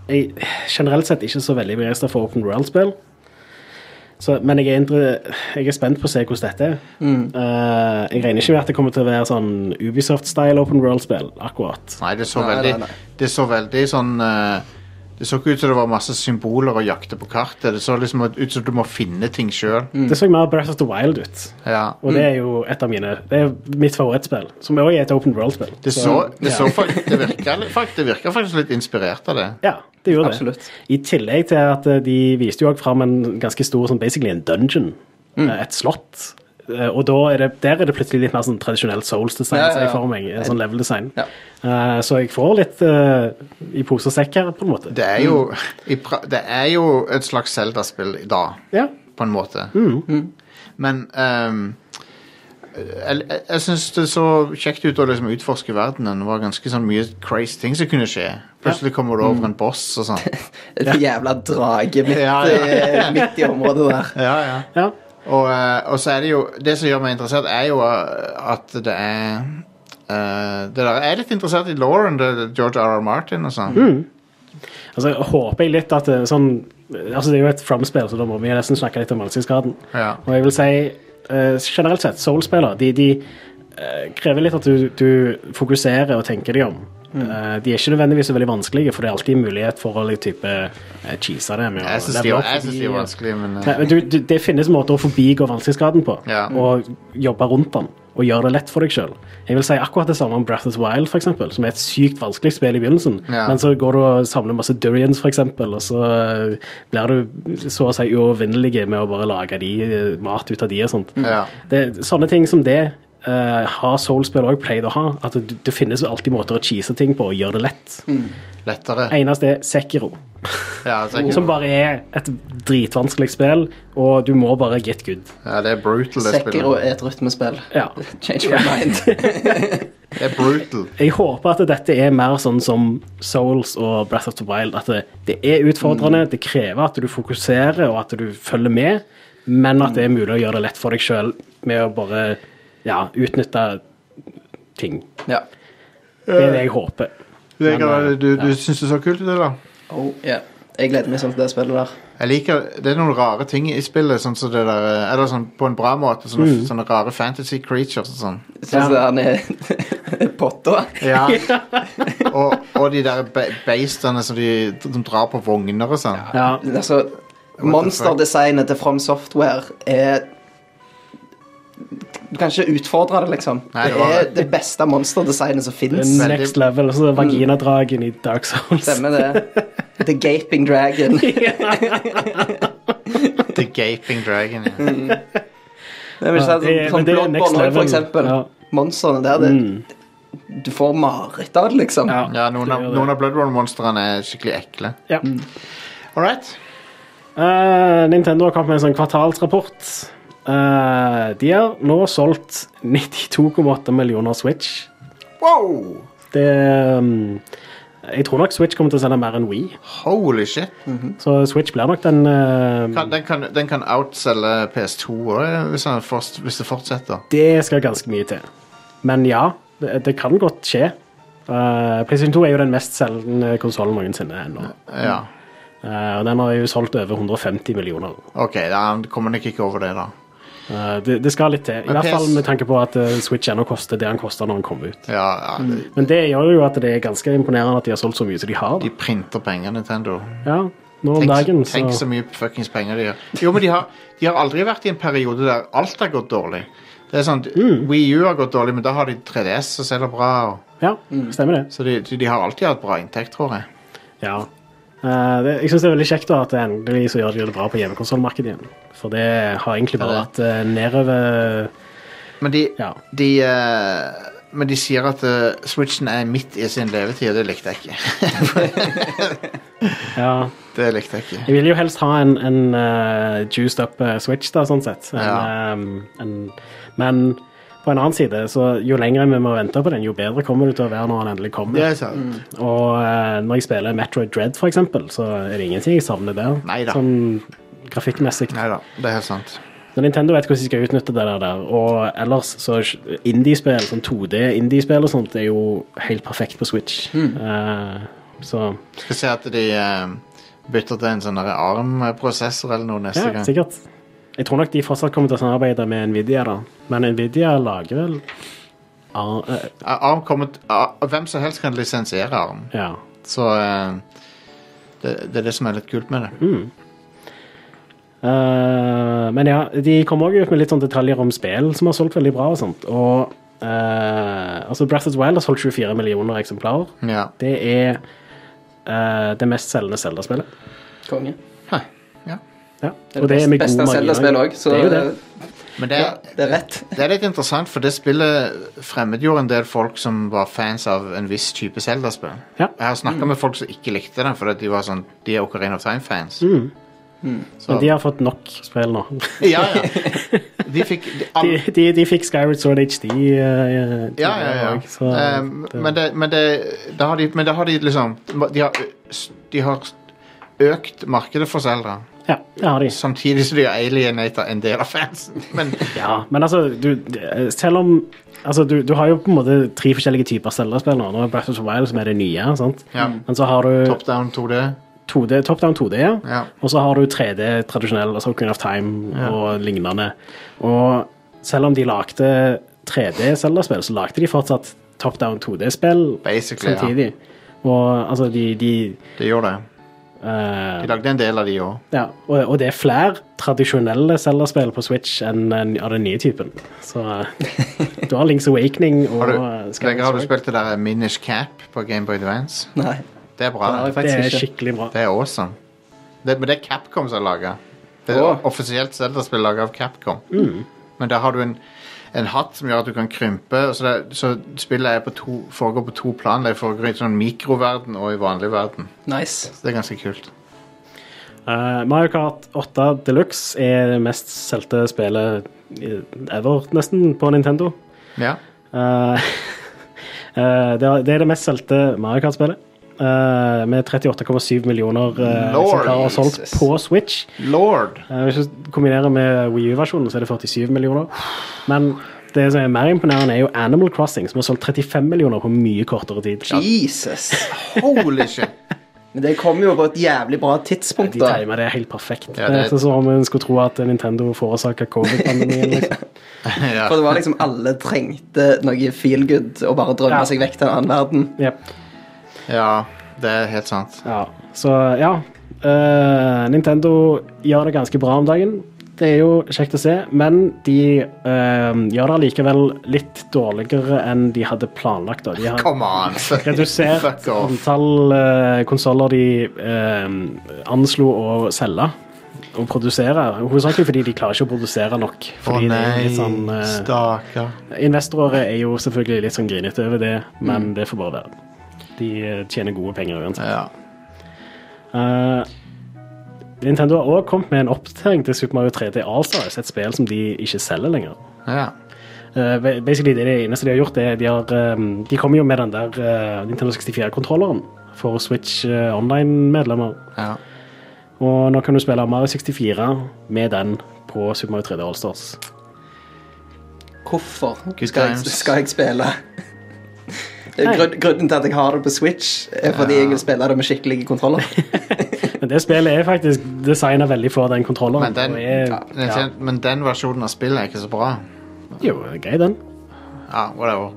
S2: jeg, generelt sett ikke så veldig begeistra for Open World-spill. Så, men jeg er, inter, jeg er spent på å se hvordan dette er. Eh, jeg regner ikke med at det kommer til å være sånn Ubisoft-style Open World-spill. akkurat.
S1: Nei, det så
S3: Nei,
S1: veldig
S3: nei, nei.
S1: Det så veldig sånn eh, Det så ikke ut som det var masse symboler å jakte på kartet. Det så liksom ut som du må finne ting sjøl.
S3: Mm.
S2: Det så mer Breath of the Wild ut.
S1: Ja.
S2: Og det er jo et av mine Det er mitt favorittspill, som også er et Open World-spill.
S1: Det så, det så faktisk Det virka, fakt- det virka faktisk litt inspirert av det.
S2: Ja, det gjorde
S3: Absolutt.
S2: det. I tillegg til at eh, de viste jo også fram en ganske stor sånn basically en dungeon.
S3: Mm.
S2: Eh, Et slott. Eh, Og da er det, der er det plutselig litt mer sånn tradisjonell Souls-design
S3: Ja, ja,
S2: ser jeg
S3: ja.
S2: for meg. eh, Sånn level-design.
S3: Ja.
S2: Eh, Så jeg får litt eh, i pose og sekk her, på en måte.
S1: Det er jo, i pra, det er jo et slags Zelda-spill i dag,
S2: Ja.
S1: på en måte.
S2: Mm.
S1: Men ehm, jeg, jeg, jeg syns det så kjekt ut å liksom utforske verdenen. Det var ganske sånn mye crazy ting som kunne skje. Plutselig kommer du over en boss og sånn.
S3: Et jævla drage midt,
S1: Ja, ja.
S3: eh, midt i området der.
S1: Ja, ja.
S2: ja.
S1: Og, eh, og så er det jo Det som gjør meg interessert, er jo eh, at det er eh, det der, Jeg er litt interessert i Lauren, George R.R. Martin og sånn.
S2: Altså, jeg håper jeg litt at eh, sånn Altså, det er jo et framspill, så da må vi nesten snakke litt om vanskelighetsgraden.
S1: Ja.
S2: Og jeg vil si eh, generelt sett, Soul-spillere de, de eh, krever litt at du, du fokuserer og tenker deg om. Eh, de er ikke nødvendigvis så veldig vanskelige, for det er alltid mulighet for å like, type, eh, cheese det med å
S1: Jeg syns de,
S2: level opp
S1: jeg synes de er
S2: forbi-
S1: vanskelig, men eh,
S2: Nei, men du, du, det finnes måter å forbigå vanskelighetsgraden på,
S1: Ja.
S2: og jobbe rundt den. Og gjøre det lett for deg sjøl. Jeg vil si akkurat det samme om Breath of the Wild, for eksempel, som er et sykt vanskelig spill i begynnelsen.
S1: Ja.
S2: Men så går du og samler masse durians, for eksempel, og så eh, blir du så å si uovervinnelig med å bare lage de, eh, mat ut av de og sånt.
S1: Ja.
S2: Det, sånne ting som det eh, har Soul-spill òg pleid å ha. At det, det finnes alltid måter å cheese ting på og gjøre det lett.
S1: Mm. lettere.
S2: Eneste er Sekiro.
S1: Ja, så jeg-
S2: Som bare er et dritvanskelig spill, og du må bare get good.
S1: ja, det er brutal, det
S3: Sekiro
S1: spillet.
S3: er et rytmespill.
S2: Ja.
S3: Change your mind.
S1: Det er brutal.
S2: Jeg håper at dette er mer sånn som Souls og Breath of the Wild. At det, det er
S3: Mm.
S2: utfordrende, det krever at du fokuserer og at du følger med, men at det er mulig å gjøre det lett for deg sjøl med å bare ja, utnytte ting.
S3: ja.
S2: Det er det jeg håper.
S1: Vegard,
S2: Men, eh,
S1: du, du syns det så kult ut, eller?
S3: Oh, yeah. Jeg gleder meg sånn til det spillet der.
S1: Jeg liker, Det er noen rare ting i spillet, sånn som det der, eh, eller sånn på en bra måte. Sånne,
S2: Mm.
S1: sånne rare fantasy creatures og sånn.
S3: Sånn som han er potta.
S1: Ja. og, og de der be beistene som de, som drar på vogner og sånn.
S2: Ja.
S3: Altså, monsterdesignet til From Software er Du kan ikke utfordre det, liksom.
S1: Nei, det
S3: det,
S1: var-
S3: er det beste monsterdesignet som
S2: Det
S3: fins.
S2: er
S1: Veldig-
S2: next level. Og så er vaginadragen i Dark Souls.
S3: Mm. Stemmer det. The Gaping Dragon.
S1: The Gaping Dragon. Ja.
S3: Det er vel sånn,
S2: det er- men
S3: sånn
S2: det er
S3: Bloodborne
S2: next
S3: også,
S2: level.
S3: for eksempel.
S2: Ja. Mm.
S3: Monstrene der, det, du får mareritt av det, liksom.
S2: Ja.
S1: Ja, noen av,
S2: Det gjør det.
S1: noen av Bloodborne-monstrene er skikkelig ekle.
S2: Ja.
S3: Mm.
S1: All right.
S2: Eh, Nintendo har kommet med en sånn kvartalsrapport. Eh, de har nå solgt 92,8 millioner Switch.
S1: Wow!
S2: Det mm, Jeg tror nok Switch kommer til å selge mer enn Wii.
S1: Holy shit.
S2: Mm. Så Switch blir nok den eh,
S1: Kan, den, kan, den kan outselge PS2 også, eh, hvis, han forst, hvis det fortsetter.
S2: Det skal ganske mye til. Men ja, det, det kan godt skje. Eh, PlayStation 2 er jo den mest selgende konsollen noensinne ennå.
S1: Ja.
S2: Eh, og den har jo solgt over 150 millioner.
S1: OK, da han kommer nok ikke over det, da.
S2: Eh, det, det skal litt til. I
S1: Men
S2: hvert fall
S1: PS
S2: med tanke på at eh, Switch ennå koster det han kosta når han kom ut.
S1: Ja, ja de,
S2: Men det gjør jo at det er ganske imponerende at de har solgt så mye som de har.
S1: de printer penger, Nintendo.
S2: Ja, nå om
S1: Tenk,
S2: dagen,
S1: så, tenk så
S2: så
S1: mye fuckings penger de gjør. Jo, men de har, de har aldri vært i en periode der alt har gått dårlig. Det er sånn, Wii U har gått dårlig, men da har de 3DS som selger bra. Og,
S2: Ja, stemmer det.
S1: så de, de, de har alltid hatt bra inntekt, tror jeg.
S2: Ja. Eh, det, jeg syns det er veldig kjekt da at endelig så gjør de det bra på hjemmekonsollmarkedet igjen. For det har egentlig bare
S1: Ja,
S2: vært eh, nedover
S1: Men de,
S2: Ja.
S1: de, eh, men de sier at eh, Switchen er midt i sin levetid, og det likte jeg ikke.
S2: Ja.
S1: det likte jeg ikke.
S2: Jeg vil jo helst ha en, en eh, juiced up eh, Switch, da, sånn sett. En,
S1: Ja.
S2: ehm, en, men på en annen side, så jo lenger vi må vente på den, jo bedre kommer det til å være når den endelig kommer.
S1: Det er sant.
S2: Og eh, når jeg spiller Metroid Dread, for eksempel, så er det ingenting jeg savner der.
S1: Neida.
S2: Sånn grafikkmessig.
S1: Nei da, det er helt sant.
S2: Så Nintendo vet hvordan de skal utnytte det der, der. Og ellers så er indiespill, sånn 2D-indiespill og sånt, er jo helt perfekt på Switch.
S1: Hmm.
S2: Eh, så
S1: Skal se at de eh, bytter til en sånn der ARM-prosessor eller noe neste
S2: Ja,
S1: gang.
S2: sikkert. Jeg tror nok de fortsatt kommer til å samarbeide med Nvidia, da. Men Nvidia lager vel ah, eh,
S1: Eh, ARM kommer t- ah, Hvem som helst kan lisensiere ARM,
S2: Ja.
S1: så eh, det, det er det som er litt kult med det.
S2: Eh, men ja, de kommer òg ut med litt sånn detaljer om spill som har solgt veldig bra og sånt. Og eh, altså Breath of the Wild har solgt 24 millioner eksemplarer.
S1: Ja.
S2: Det er eh, det mest selgende Zelda-spillet.
S3: Konge.
S1: Hæ, ja.
S2: Ja.
S3: Det er det beste, beste
S2: margin.
S3: Zelda-spillet òg, så
S2: Det er jo det.
S1: Men det,
S3: ja, det er rett.
S1: det er litt interessant, for det spillet fremmedgjorde en del folk som var fans av en viss type Zelda-spill.
S2: Ja.
S1: Jeg har snakka med folk som ikke likte den, fordi de var sånn De er Ocarina of Time-fans. Så
S2: Mm. Men de har fått nok spill nå.
S1: Ja, ja. De fikk de, all,
S2: De, de, de fikk Skyward Sword HD. eh,
S1: Ja, ja, ja.
S2: tidligere også, så
S1: Eh,
S3: Um-
S2: det-
S1: men, det, men, det, da har de, men da har de liksom De har, ø- de har økt markedet for Zelda,
S2: Ja, det har de.
S1: samtidig som de har alienata en del av fansen. Men
S2: Ja, men altså, du, selv om altså, du, du har jo på en måte tre forskjellige typer Zelda-spill nå. Nå er Breath of the Wild som er det nye, sant?
S1: ja,
S2: men så har du
S1: Top Down 2D.
S2: 2D, Top Down 2D, ja.
S1: Ja.
S2: og så har du 3D tradisjonell, altså Queen of Time og lignende. Og selv om de lagde 3D Zelda-spill, så lagde de fortsatt Top Down 2D-spill
S1: Basically, ja.
S2: samtidig. Og altså, de, de
S1: Det gjorde det.
S2: eh,
S1: De lagde en del av de òg.
S2: ja, og, og det er flere tradisjonelle Zelda-spill på Switch enn enn av den nye typen. Så eh, du har Link's Awakening og
S1: Har du,
S2: eh, Skyward
S1: Vegard, har du
S2: Sword.
S1: spilt det der eh, Minish Cap på Gameboy Advance?
S3: Nei,
S1: Det er bra.
S3: det har jeg
S1: Det,
S2: Det
S3: faktisk
S2: er
S3: ikke.
S2: skikkelig bra.
S1: det er awesome. Det, men det er Capcom som har laga. Det er
S3: Åh.
S1: offisielt Zelda-spill laga av Capcom. Men der har du en, en hatt som gjør at du kan krympe. Og så, det, så spillet er på to, foregår på to plan. Det foregår i sånn mikroverden og i vanlig verden.
S3: Nice.
S1: Så det er ganske kult.
S2: Eh, Mario Kart 8 Deluxe er det mest solgte spillet i- ever, nesten, på Nintendo.
S1: Ja.
S2: Eh, eh, det, er, det er det mest solgte Mario Kart-spillet. eh, med 38,7 millioner eh,
S1: Lord
S2: eksemplarer solgt
S3: Jesus.
S2: på Switch.
S1: Lord.
S2: Eh, Hvis du kombinerer med Wii U-versjonen, så er det 47 millioner. Men det som er mer imponerende, er jo Animal Crossing, som har solgt 35 millioner på mye kortere tid.
S3: Jesus.
S1: Holy shit.
S3: Men det kom jo på et jævlig bra tidspunkt,
S2: De
S3: da.
S2: timer det helt perfekt.
S1: Ja,
S2: det...
S1: det-
S2: er sånn som om en skulle tro at Nintendo forårsaka covid-pandemien. Liksom.
S1: ja.
S3: For det var liksom alle trengte noe feel good og bare drømme
S2: Ja.
S3: seg vekk til en annen verden.
S2: Jep.
S1: ja, det er helt sant.
S2: Ja, så ja. Eh, Nintendo gjør det ganske bra om dagen. Det er jo kjekt å se, men de eh, gjør det allikevel litt dårligere enn de hadde planlagt. Da. De har
S1: Come on!
S2: redusert
S1: Fuck off.
S2: antall uh, konsoller de eh, anslo å selge og produsere. Hovedsakelig fordi de klarer ikke å produsere nok.
S1: Å
S2: Fordi det er
S1: nei,
S2: litt sånn, eh,
S1: stakkar.
S2: Investorer er jo selvfølgelig litt sånn grinete over det, men
S1: Mm.
S2: det får bare være. De eh, tjener gode penger uansett.
S1: Ja.
S2: Eh, Nintendo har også kommet med en oppdatering til Super Mario 3D Allstars, et spill som de ikke selger lenger.
S1: ja.
S2: Eh, ba- basically det, er det eneste de har gjort, det er de har eh, De kommer jo med den der eh, Nintendo 64-kontrolleren for Switch eh, Online-medlemmer.
S1: ja.
S2: Og nå kan du spille Mario 64 med den på Super Mario 3D Allstars.
S3: Hvorfor
S1: Good
S3: skal jeg,
S1: times.
S3: skal jeg spille? Grunn, grunnen til at jeg har det på Switch, er fordi jeg vil spille det med skikkelige kontroller.
S2: Men det spillet er faktisk designa veldig for den kontrolleren.
S1: Men, den,
S2: og er,
S1: Nintendo- men den versjonen av spillet er ikke så bra.
S2: Jo, det er grei den.
S1: Ja, whatever.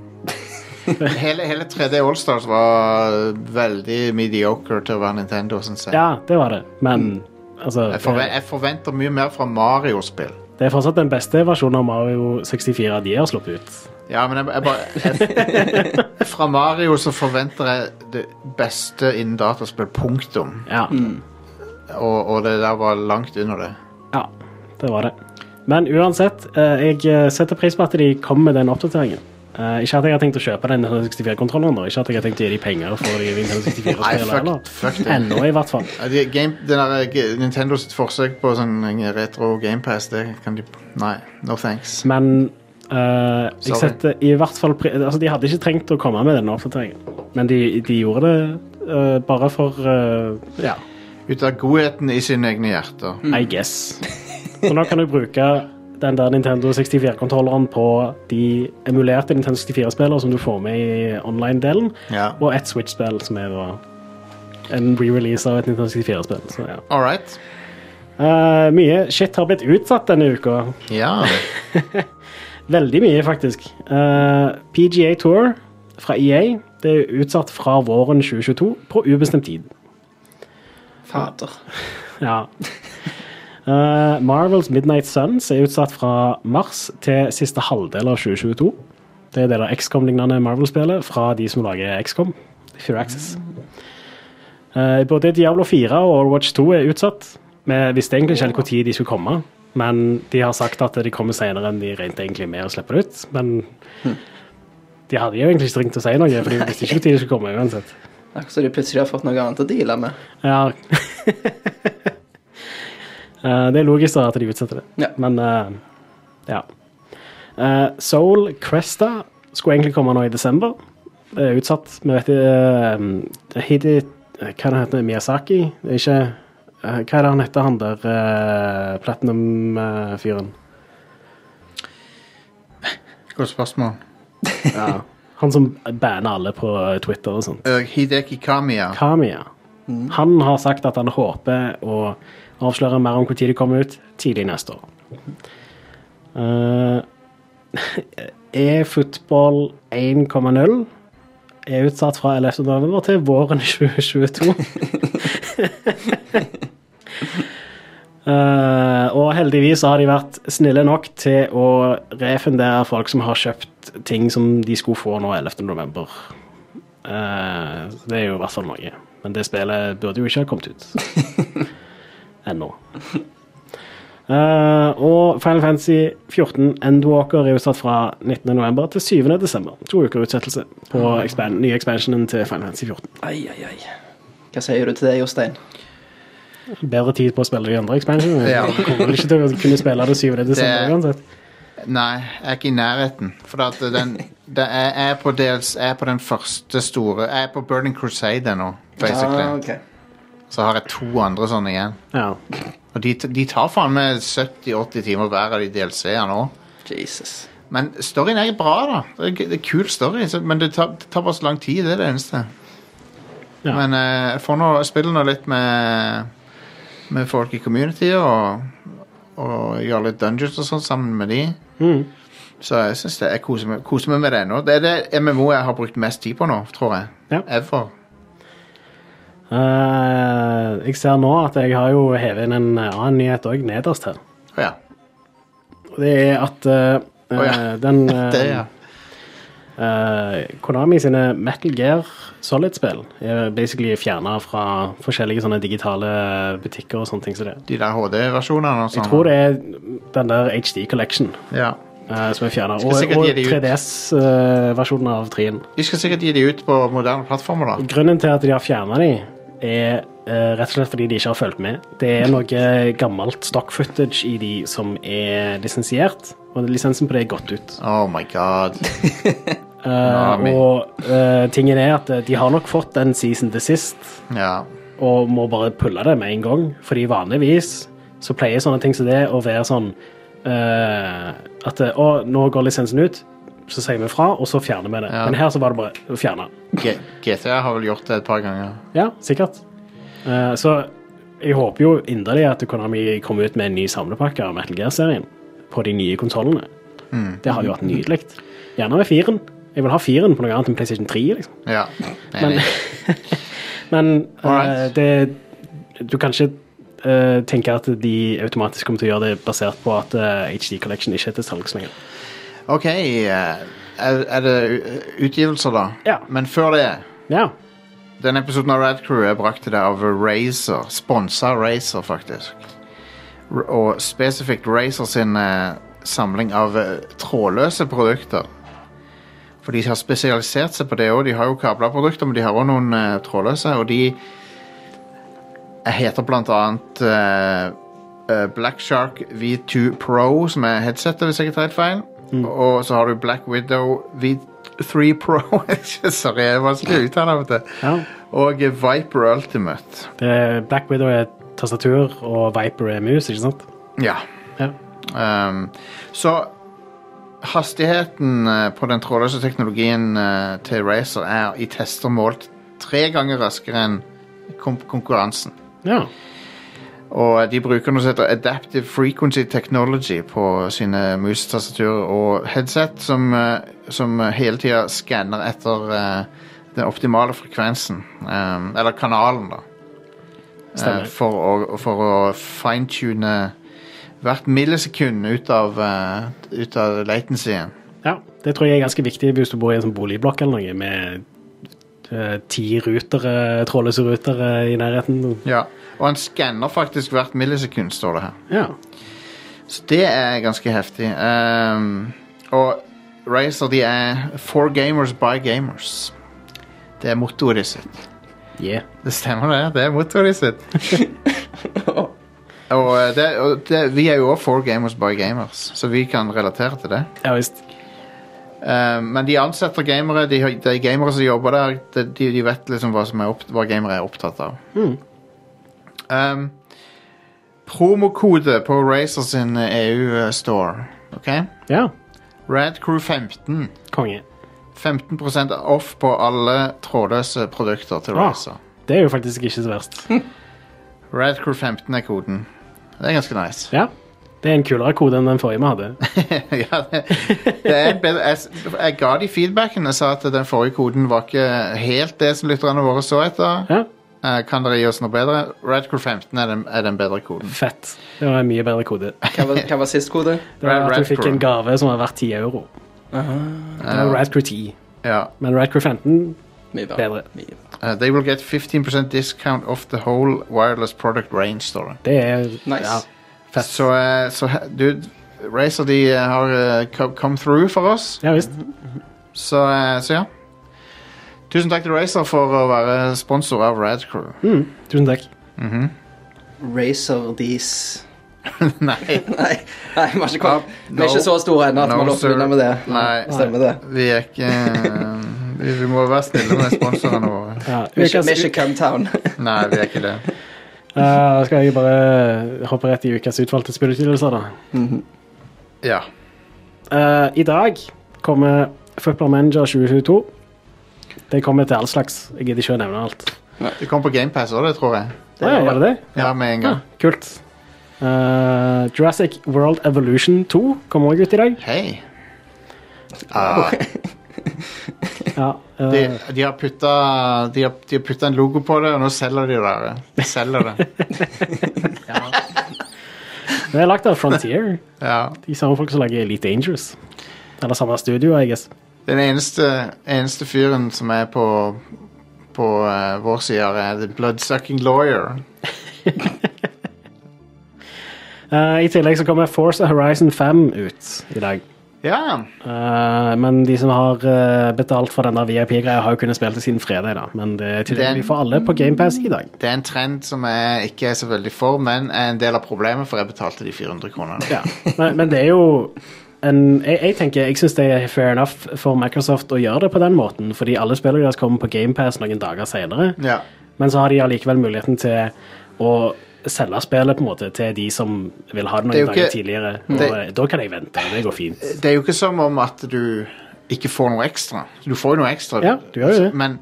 S1: hele, hele 3D Allstars var veldig mediocre til å være Nintendo, syns jeg.
S2: Ja, det var det. Men altså
S1: Mm. Jeg, forve
S2: det,
S1: jeg forventer mye mer fra Mario-spill.
S2: det er fortsatt den beste versjonen av Mario 64 de har sluppet ut.
S1: Ja, men jeg, jeg bare jeg, Fra Mario så forventer jeg det beste innen dataspill, punktum.
S2: Ja,
S1: Mm. Og, og det der var langt under det.
S2: ja det var det. Men uansett, eh, jeg setter pris på at de kom med den oppdateringen. Eh, ikke at jeg har tenkt å kjøpe den 64-kontrolleren, da. ikke at jeg har tenkt å gi dem penger for de Nintendo
S1: Nei,
S2: 64-spillene heller.
S1: fuck, fuck det.
S2: Ennå, i hvert fall.
S1: Ja, de- Game, den der, eh, Nintendo sitt forsøk på sånn retro GamePass, det kan de Nei, no thanks.
S2: Men eh, jeg
S1: Sorry.
S2: setter i hvert fall pri altså, De hadde ikke trengt å komme med denne oppdateringen, men de, de gjorde det eh, bare for eh, Ja,
S1: Ut av godheten i sine egne hjerter.
S2: I guess. Og Mm. nå kan du bruke den der Nintendo 64-kontrolleren på de emulerte Nintendo 64-spillere som du får med i online-delen,
S1: Ja.
S2: og et Switch-spill som er da en re-release av et Nintendo 64-spill. Så ja.
S1: All right.
S2: Eh, mye shit har blitt utsatt denne uka.
S1: Ja.
S2: Veldig mye, faktisk. Eh, PGA Tour fra EA det er utsatt fra våren 2022 på ubestemt tid.
S3: Fader.
S2: Ja. Eh, Marvels Midnight Suns er utsatt fra mars til siste halvdel av 2022. Det er det der XCOM-lignende Marvel-spillet fra de som lager XCOM. Fear Access. Eh, både Diablo 4 og Overwatch 2 er utsatt. Vi visste egentlig ikke helt når de skulle komme, men de har sagt at de kommer senere enn de regnet egentlig med å slippe det ut. Men de hadde jo egentlig ikke trengt å si noe, for de visste ikke når de skulle komme uansett.
S3: Akkurat som de plutselig har fått noe annet å deale med.
S2: Ja. Eh, det er logisk da at de utsetter det,
S3: Ja.
S2: men eh, ja. Eh, Soul Cresta skulle egentlig komme nå i desember. Det er utsatt. Vi vet uh, Hidi Hva er det heter Miyazaki? Det er ikke eh, Hva er det han heter, han der eh, platinum-fyren?
S1: Godt spørsmål.
S2: Ja. Han som banner alle på Twitter og sånn.
S1: Eh, Hideki Kamiya.
S2: Kamiya. Han har sagt at han håper å avsløre mer om når det kommer ut tidlig neste år. Eh, E-football 1,0 er utsatt fra 11. november til våren 2022. Eh, og heldigvis har de vært snille nok til å refundere folk som har kjøpt ting som de skulle få nå 11. november. Eh, så det er jo i hvert fall noe. Men det spillet burde jo ikke ha kommet ut. Ennå. Eh, og Final Fantasy 14 Endwalker er utsatt fra 19.11. til 7.12. To uker utsettelse på expan nye expansionen til Final Fantasy 14.
S3: Ai, ai, ai. Hva sier du til det, Jostein?
S2: Bedre tid på å spille de andre expansionene.
S1: Ja.
S2: Jeg Kommer vel ikke til å kunne spille det 7.12.
S1: Det-
S2: uansett.
S1: Nei, jeg er ikke i nærheten. For at den, det er, jeg, er på dels, jeg er på den første store Jeg er på Burning Crusade nå, basically.
S3: Ah, ok.
S1: Så har jeg to andre sånne igjen.
S2: Ja.
S1: Og de, de tar faen meg 70-80 timer hver av de DLC-ene òg.
S3: Jesus.
S1: Men storyen er bra, da. Det er, det er kul story, så, men det tar, det tar bare så lang tid. Det er det eneste.
S2: Ja.
S1: Men eh, jeg får nå, jeg spiller nå litt med, med folk i community og, og gjør litt dungeons og sånn sammen med de.
S2: Mhm.
S1: Så jeg synes det, jeg koser meg, koser meg med det nå. Det er det MMO jeg har brukt mest tid på nå, tror jeg.
S2: Ja.
S1: Ever.
S2: Eh, jeg ser nå at jeg har jo hevet inn en annen nyhet òg nederst her.
S1: Å ja.
S2: Og det er at eh,
S1: Å ja.
S2: eh, den eh,
S1: Det, ja.
S2: Eh, Konami sine Metal Gear Solid-spill er basically fjerna fra forskjellige sånne digitale butikker og sånne ting som det.
S1: De der HD-versjonene og sånn.
S2: Jeg tror det er den der HD Collection
S1: Ja.
S2: eh, som er fjerna.
S1: Skal
S2: Og,
S1: sikkert
S2: og
S1: gi de ut.
S2: 3DS-versjonen eh, av 3-en.
S1: De skal sikkert gi de ut på moderne plattformer, da.
S2: Grunnen til at de har fjerna de, er eh, rett og slett fordi de ikke har fulgt med. Det er noe gammelt stock footage i de som er lisensiert, og lisensen på det er gått ut.
S1: Oh my god.
S2: Eh,
S1: Konami.
S2: og eh, tingen er at eh, de har nok fått en season til sist.
S1: Ja.
S2: og må bare pulle det med en gang. Fordi vanligvis så pleier sånne ting som det å være sånn eh, At eh, å, nå går lisensen ut, så sier vi fra, og så fjerner vi det.
S1: Ja.
S2: Men her så var det bare å fjerne.
S1: G- GTA har vel gjort det et par ganger.
S2: Ja, sikkert. Eh, så jeg håper jo inderlig at Konami kommer ut med en ny samlepakke av Metal Gear-serien på de nye konsollene. Det hadde jo vært nydelig. Gjerne med firen. Jeg vil ha firen på noe annet enn PlayStation 3. liksom.
S1: Ja.
S2: Men,
S1: Enig.
S2: men eh,
S1: Alright.
S2: det, du kan ikke eh, tenke at de automatisk kommer til å gjøre det basert på at eh, HD Collection ikke er til salgs lenger.
S1: OK. eh, Er, er det u- utgivelser, da?
S2: Ja.
S1: Men før det
S2: Ja.
S1: Denne episoden av Rad Crew er brakt til deg av Razer. Sponsa Razer, faktisk. R og spesifikt Razer sin eh, samling av eh, trådløse produkter. For de har spesialisert seg på det òg. De har jo kabla produkter, men de har òg noen eh, trådløse. Og de eh, heter blant annet eh, eh, Black Shark V2 Pro, som er headsetet, hvis jeg ikke tar helt feil. Og så har du Black Widow V3 Pro. Sorry, det er vanskelig å uttale. vet du.
S2: ja.
S1: Og Viper Ultimate.
S2: Det, Black Widow er tastatur, og Viper er mus, ikke sant?
S1: Ja.
S2: Ja.
S1: Um, så hastigheten eh, på den trådløse teknologien eh, til Razer er i tester målt tre ganger raskere enn kon- konkurransen.
S2: ja.
S1: Og de bruker noe som heter Adaptive Frequency Technology på sine musetastaturer og headset, som, eh, som hele tida skanner etter eh, den optimale frekvensen. Um, eller kanalen, da. Eh,
S2: Stemmer.
S1: for å, for å fintune hvert millisekund ut av, uh, ut av latencyen.
S2: ja. Det tror jeg er ganske viktig hvis du bor i en sånn boligblokk eller noe med eh, ti rutere, trådløse rutere i nærheten.
S1: Ja. Og han skanner faktisk hvert millisekund, står det her.
S2: Ja.
S1: Så det er ganske heftig. Ehm, og Razer de er for gamers by gamers. Det er mottoet de sitt.
S2: Yeah.
S1: Det stemmer, det. Det er mottoet de sitt. og eh, det, og det, vi er jo òg for gamers by gamers, så vi kan relatere til det.
S2: Ja visst.
S1: Ehm, men de ansetter gamere. De, har- de gamere som jobber der, de, de de vet liksom hva, som er opp, hva gamere er opptatt av. Ehm, promokode på Razer sin EU-store. OK?
S2: Ja.
S1: Rad Crew 15.
S2: Konge.
S1: 15 off på alle trådløse produkter til
S2: Ah.
S1: Razer.
S2: Det er jo faktisk ikke så verst.
S1: Rad Crew 15 er koden. Det er ganske nice.
S2: Ja. Det er en kulere kode enn den forrige vi hadde.
S1: ja, det, det er en bedre, jeg, jeg ga de feedbacken. Jeg sa at den forrige koden var ikke helt det som lytterne våre så etter.
S2: Ja.
S1: Eh, Kan dere gi oss noe bedre? Rad Crew 15 er den, er den bedre koden.
S2: Fett. Det var en mye bedre kode.
S3: Hva var, hva var sist kode?
S2: Det var at
S1: Red
S2: du fikk
S1: Crew.
S2: en gave som var verdt 10 euro. Det var Radcrew 10,
S1: Ja.
S2: men Radcrew 15
S3: Mye bra.
S2: Bedre.
S3: Mye bra.
S1: Eh, they will get 15 discount off the whole wireless product range, står det.
S2: det er
S3: Nice.
S2: ja, fett.
S1: Så, eh, så he- dude, Razer de eh, har eh, co- come through for oss.
S2: Ja visst.
S1: Så, eh, så ja. Tusen takk til Razer for å være sponsor av Rad Crew. Mhm.
S2: Tusen takk.
S3: Razer Dees.
S1: Nei,
S3: Nei, nei, vi har ikke kommet.
S1: Ah,
S3: Vi er
S1: No.
S3: ikke så store ennå at vi må
S1: sir.
S3: begynne med det.
S1: Nei,
S3: Stemmer det.
S1: vi er ikke eh, vi, vi må være snille med sponsorene våre.
S2: Ja,
S3: Vi er ikke, vi er
S2: ukas,
S3: ikke Cumtown.
S1: Nei, vi er ikke det.
S2: Ja, skal jeg bare hoppe rett i ukas utvalgte spillutgivelser, da?
S1: Ja.
S2: Eh, I dag kommer Football Manager 2022. Det kommer til all slags. Jeg gidder ikke å nevne alt.
S1: Det kom på GamePass òg, det tror jeg.
S2: Å ja, var det det?
S1: Ja, med en gang.
S2: Ja, kult. Eh, Jurassic World Evolution 2 kommer også ut i dag.
S1: Hei. Ah,
S2: Ja, eh,
S1: de, de har putta de har, de har puttet en logo på det, og nå selger de det. De selger det.
S2: det er lagt av Frontier.
S1: Ja.
S2: De samme folk som lager Elite Dangerous. Eller samme studio, I guess.
S1: Den eneste, eneste fyren som er på på eh, vår side, er The Bloodsucking Lawyer.
S2: Eh, I tillegg så kommer Force Horizon 5 ut i dag.
S1: Ja.
S2: Eh, men de som har eh, betalt for den der VIP-greia, har jo kunnet spille det siden fredag, da. Men det er tilgjengelig for alle på GamePass i dag.
S1: Det er en trend som jeg ikke er så veldig for, men er en del av problemet, for jeg betalte de 400 kronene.
S2: Ja. Men, men det er jo en, jeg, jeg tenker, jeg syns det er fair enough for Microsoft å gjøre det på den måten, fordi alle spillene deres kommer på GamePass noen dager senere.
S1: Ja.
S2: Men så har de allikevel muligheten til å selge spillet på en måte til de som vil ha det noen
S1: Det er jo
S2: dager
S1: ikke- Mm.
S2: tidligere. Og
S1: det-
S2: eh, da kan jeg vente, det går fint.
S1: Det er jo ikke som om at du ikke får noe ekstra. Du får jo noe ekstra,
S2: Ja, du gjør jo det.
S1: men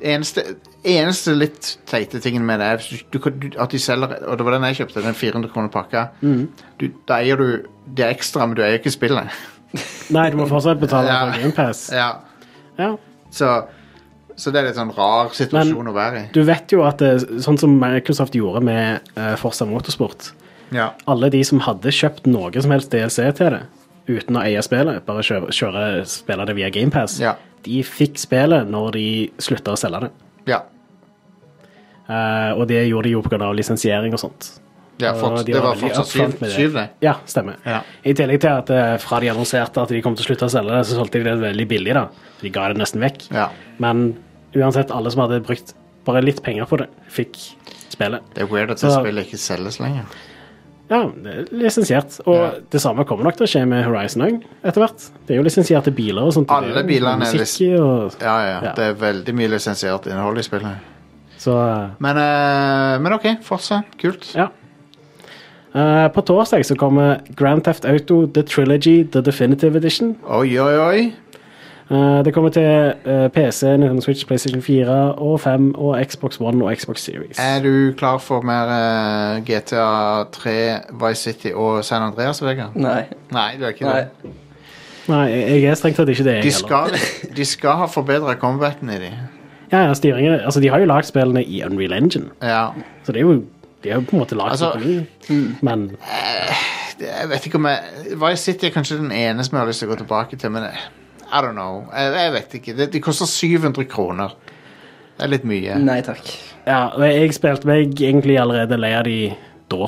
S1: eneste, eneste litt teite tingen med det er hvis du, du, kan- du, at de selger Og det var den jeg kjøpte, den 400 kroner pakka.
S2: Mm.
S1: Du, da eier du det ekstra, men du eier ikke spillet.
S2: Nei, du må fortsatt betale
S1: Ja.
S2: for GamePass.
S1: Ja.
S2: Ja.
S1: Så, så det er litt sånn rar situasjon å være i.
S2: Du vet jo at eh, sånn som Microsoft gjorde med eh, Forza Motorsport
S1: Ja.
S2: Alle de som hadde kjøpt noe som helst DLC til det, uten å eie spillet, bare kjøre, kjøre spille det via GamePass,
S1: Ja.
S2: de fikk spillet når de slutta å selge det.
S1: Ja.
S2: Eh, og det gjorde de jo pga. lisensiering og sånt.
S1: ja
S2: Og
S1: forts-
S2: de
S1: det var
S2: veldig
S1: fortsatt
S2: upfront
S1: syv,
S2: med det.
S1: syv, det.
S2: Ja, stemmer.
S1: Ja.
S2: I tillegg til at eh, fra de annonserte at de kom til å slutte å selge det, så solgte de det veldig billig. da. De ga det nesten vekk.
S1: Ja.
S2: Men uansett, alle som hadde brukt bare litt penger på det, fikk spillet.
S1: Det er weird at det
S2: Så-
S1: spillet ikke selges lenger.
S2: Ja, det er lisensiert. Og
S1: Ja.
S2: det samme kommer nok til å skje med Horizon òg, etter hvert. Det er jo lisensierte biler og sånt. og
S1: Alle
S2: det er jo
S1: bilene er
S2: Musikk i og
S1: Ja, ja,
S2: Ja.
S1: Det er veldig mye lisensiert innhold i spillet.
S2: Så eh,
S1: Men, eh, men OK, Forza. Kult.
S2: ja. Eh, på torsdag så kommer Grand Theft Auto The Trilogy The Definitive Edition.
S1: Oi, oi, oi.
S2: Eh, det kommer til eh, PC, Nintendo Switch, PlayStation 4 og 5 og Xbox One og Xbox Series.
S1: Er du klar for mer eh, GTA 3, Vice City og San Andreas, Vegard?
S3: Nei.
S1: Nei, du er ikke
S3: Nei.
S1: det.
S2: Nei, jeg jeg er strengt tatt ikke det. jeg
S1: De
S2: heller.
S1: skal, de skal ha forbedra combaten i de.
S2: Ja, ja, styringen, altså De har jo lagd spillene i Unreal Engine,
S1: Ja.
S2: så det er jo, de har jo på en måte lagd
S1: Altså-
S2: altså, Men
S1: Det- Jeg vet ikke om jeg Vice City er kanskje den ene som jeg har lyst til å gå tilbake til, men jeg- I don't know. Jeg, jeg vet ikke. Det, de koster 700 kroner. Det er litt mye.
S3: Nei takk.
S2: ja, og jeg spilte meg egentlig allerede lei av de da.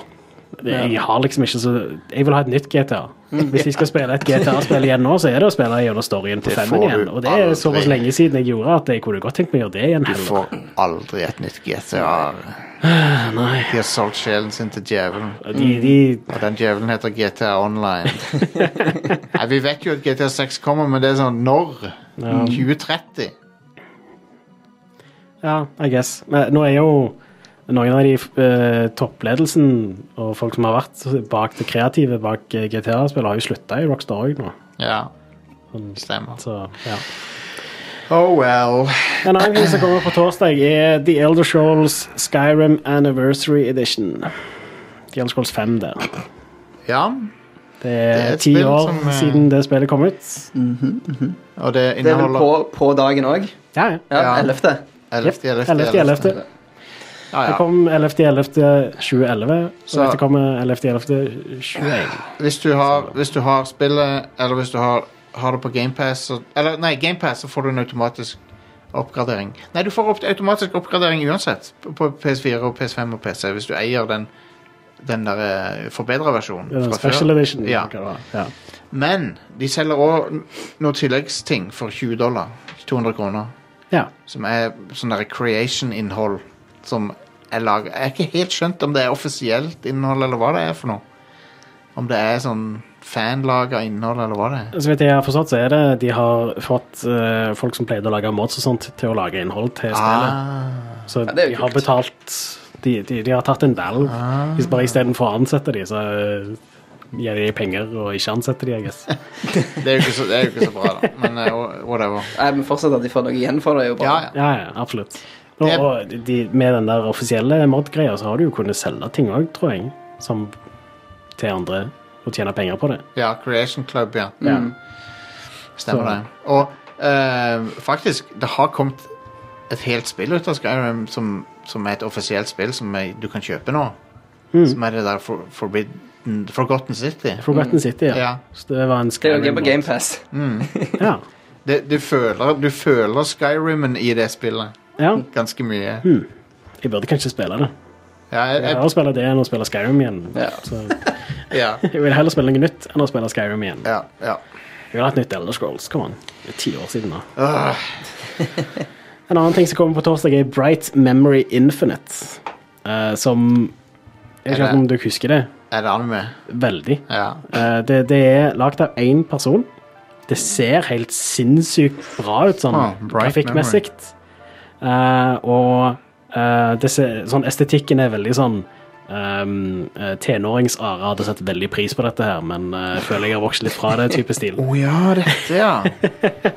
S2: Jeg har liksom ikke så Jeg vil ha et nytt GTA.
S1: Hmm.
S2: Hvis jeg skal spille et GTA-spill igjen nå, så er det å spille gjennom storyen på
S1: Det
S2: femmen
S1: får
S2: igjen.
S1: du
S2: Og det er
S1: aldri.
S2: såpass lenge siden jeg gjorde at jeg kunne godt tenkt meg å gjøre det igjen.
S1: Du
S2: heller.
S1: får aldri et nytt GTA.
S2: Nei.
S1: De har solgt sjelen sin til djevelen.
S2: De, de
S1: Og den djevelen heter GTA Online. Nei, vi vet jo at GTA 6 kommer, men det er sånn når? 2030?
S2: Ja, I guess. Men nå er jo noen av de eh, toppledelsen og folk som har vært bak det kreative bak eh, GTA-spillet, har jo slutta i Rockstar òg nå.
S1: Ja. Stemmer.
S2: Så, ja.
S1: Oh well.
S2: En annen ting som kommer på torsdag, er The Elder Shoals Skyrim Anniversary Edition. The Elder Shoals 5 der.
S1: Ja.
S2: Det
S1: er
S2: er
S1: et
S2: ti
S1: spill
S2: år
S1: som, eh,
S2: siden det spillet kom ut.
S1: Og det
S3: Det er vel på,
S1: inneholder
S3: på dagen òg?
S2: Ja, ja.
S3: Ja,
S1: Ja.
S3: 11.
S1: 11. 11.
S2: 11. 11.
S1: Ja,
S2: Det
S1: ja.
S2: kom 11.11.2011, og
S1: Så-
S2: dette kommer 11.11.21.
S1: Hvis du har, hvis du har spillet, eller hvis du har, har det på GamePass, så Eller nei, GamePass, så får du en automatisk oppgradering. Nei, du får opp, automatisk oppgradering uansett. På PS4 og PS5 og PC, hvis du eier den, den der forbedra versjonen.
S2: Den
S1: fra før.
S2: special edition.
S1: Ja.
S2: hva det var. ja.
S1: Men de selger òg noen tilleggsting for 20 dollar. 200 kroner.
S2: ja.
S1: Som er sånn der creation-innhold som er laget Jeg har ikke helt skjønt om det er offisielt innhold, eller hva det er for noe. Om det er sånn fanlaga innhold, eller hva det er.
S2: Så vidt jeg har forstått, så er det de har fått eh, folk som pleide å lage mods og sånt, til å lage innhold til spillet.
S1: Ah,
S2: Så
S3: det er jo
S2: de har
S3: kult. Ah.
S2: betalt De, de, de har tatt en valg. Hvis bare istedenfor å ansette de, så eh, gir de penger og ikke ansetter de, jeg guess.
S1: det, er jo ikke så, det er jo ikke så bra, da. Men eh, whatever.
S3: Nei, men fortsatt at de får noe igjen for det, er jo bra.
S1: Ja, ja.
S2: Ja, ja, absolutt. Men Og,
S1: Det-
S2: og de, med den der offisielle mod-greia så har du jo kunnet selge ting òg, tror jeg, som til andre, og tjene penger på det.
S1: Ja, Creation Club, ja.
S3: Mm.
S2: Ja.
S1: Stemmer
S2: Så-
S1: det. Og eh, faktisk, det har kommet et helt spill ut av Skyrim som, som er et offisielt spill som er, du kan kjøpe nå.
S2: Mm.
S1: Som er det der for, Forbidden Forgotten City.
S2: Forgotten City, ja.
S1: Ja.
S2: Så det var en
S3: Mm. Det er jo på
S2: Skyrim-
S3: GamePass.
S2: Ja.
S1: Det, du, føler, du føler Skyrimen i det spillet
S2: ja.
S1: ganske mye.
S2: Hmm. Jeg burde kanskje spille det.
S1: Ja, jeg,
S2: Det er
S1: jeg,
S2: bedre å spille det enn å spille Skyrim igjen.
S3: Ja.
S2: Så
S1: ja,
S2: jeg vil heller spille noe nytt enn å spille Skyrim igjen.
S1: ja, ja.
S2: Jeg vil ha et nytt Elder Scrolls. Come on. Det er ti år siden nå.
S1: Øh,
S2: En annen ting som kommer på torsdag, er Bright Memory Infinite. eh, som Jeg vet
S1: Er
S2: ikke
S1: det-
S2: om dere husker det.
S1: er det anime?
S2: Veldig.
S1: Ja.
S2: Eh, det, det er lagd av én person. Det ser helt sinnssykt bra ut, sånn
S1: Ah, bright
S2: grafikkmessig. Eh, og eh, det ser, sånn, estetikken er veldig sånn um, eh, Tenårings-Are hadde sett veldig pris på dette her, men eh, føler jeg har vokst litt fra det type stil.
S1: Å ja, dette, ja.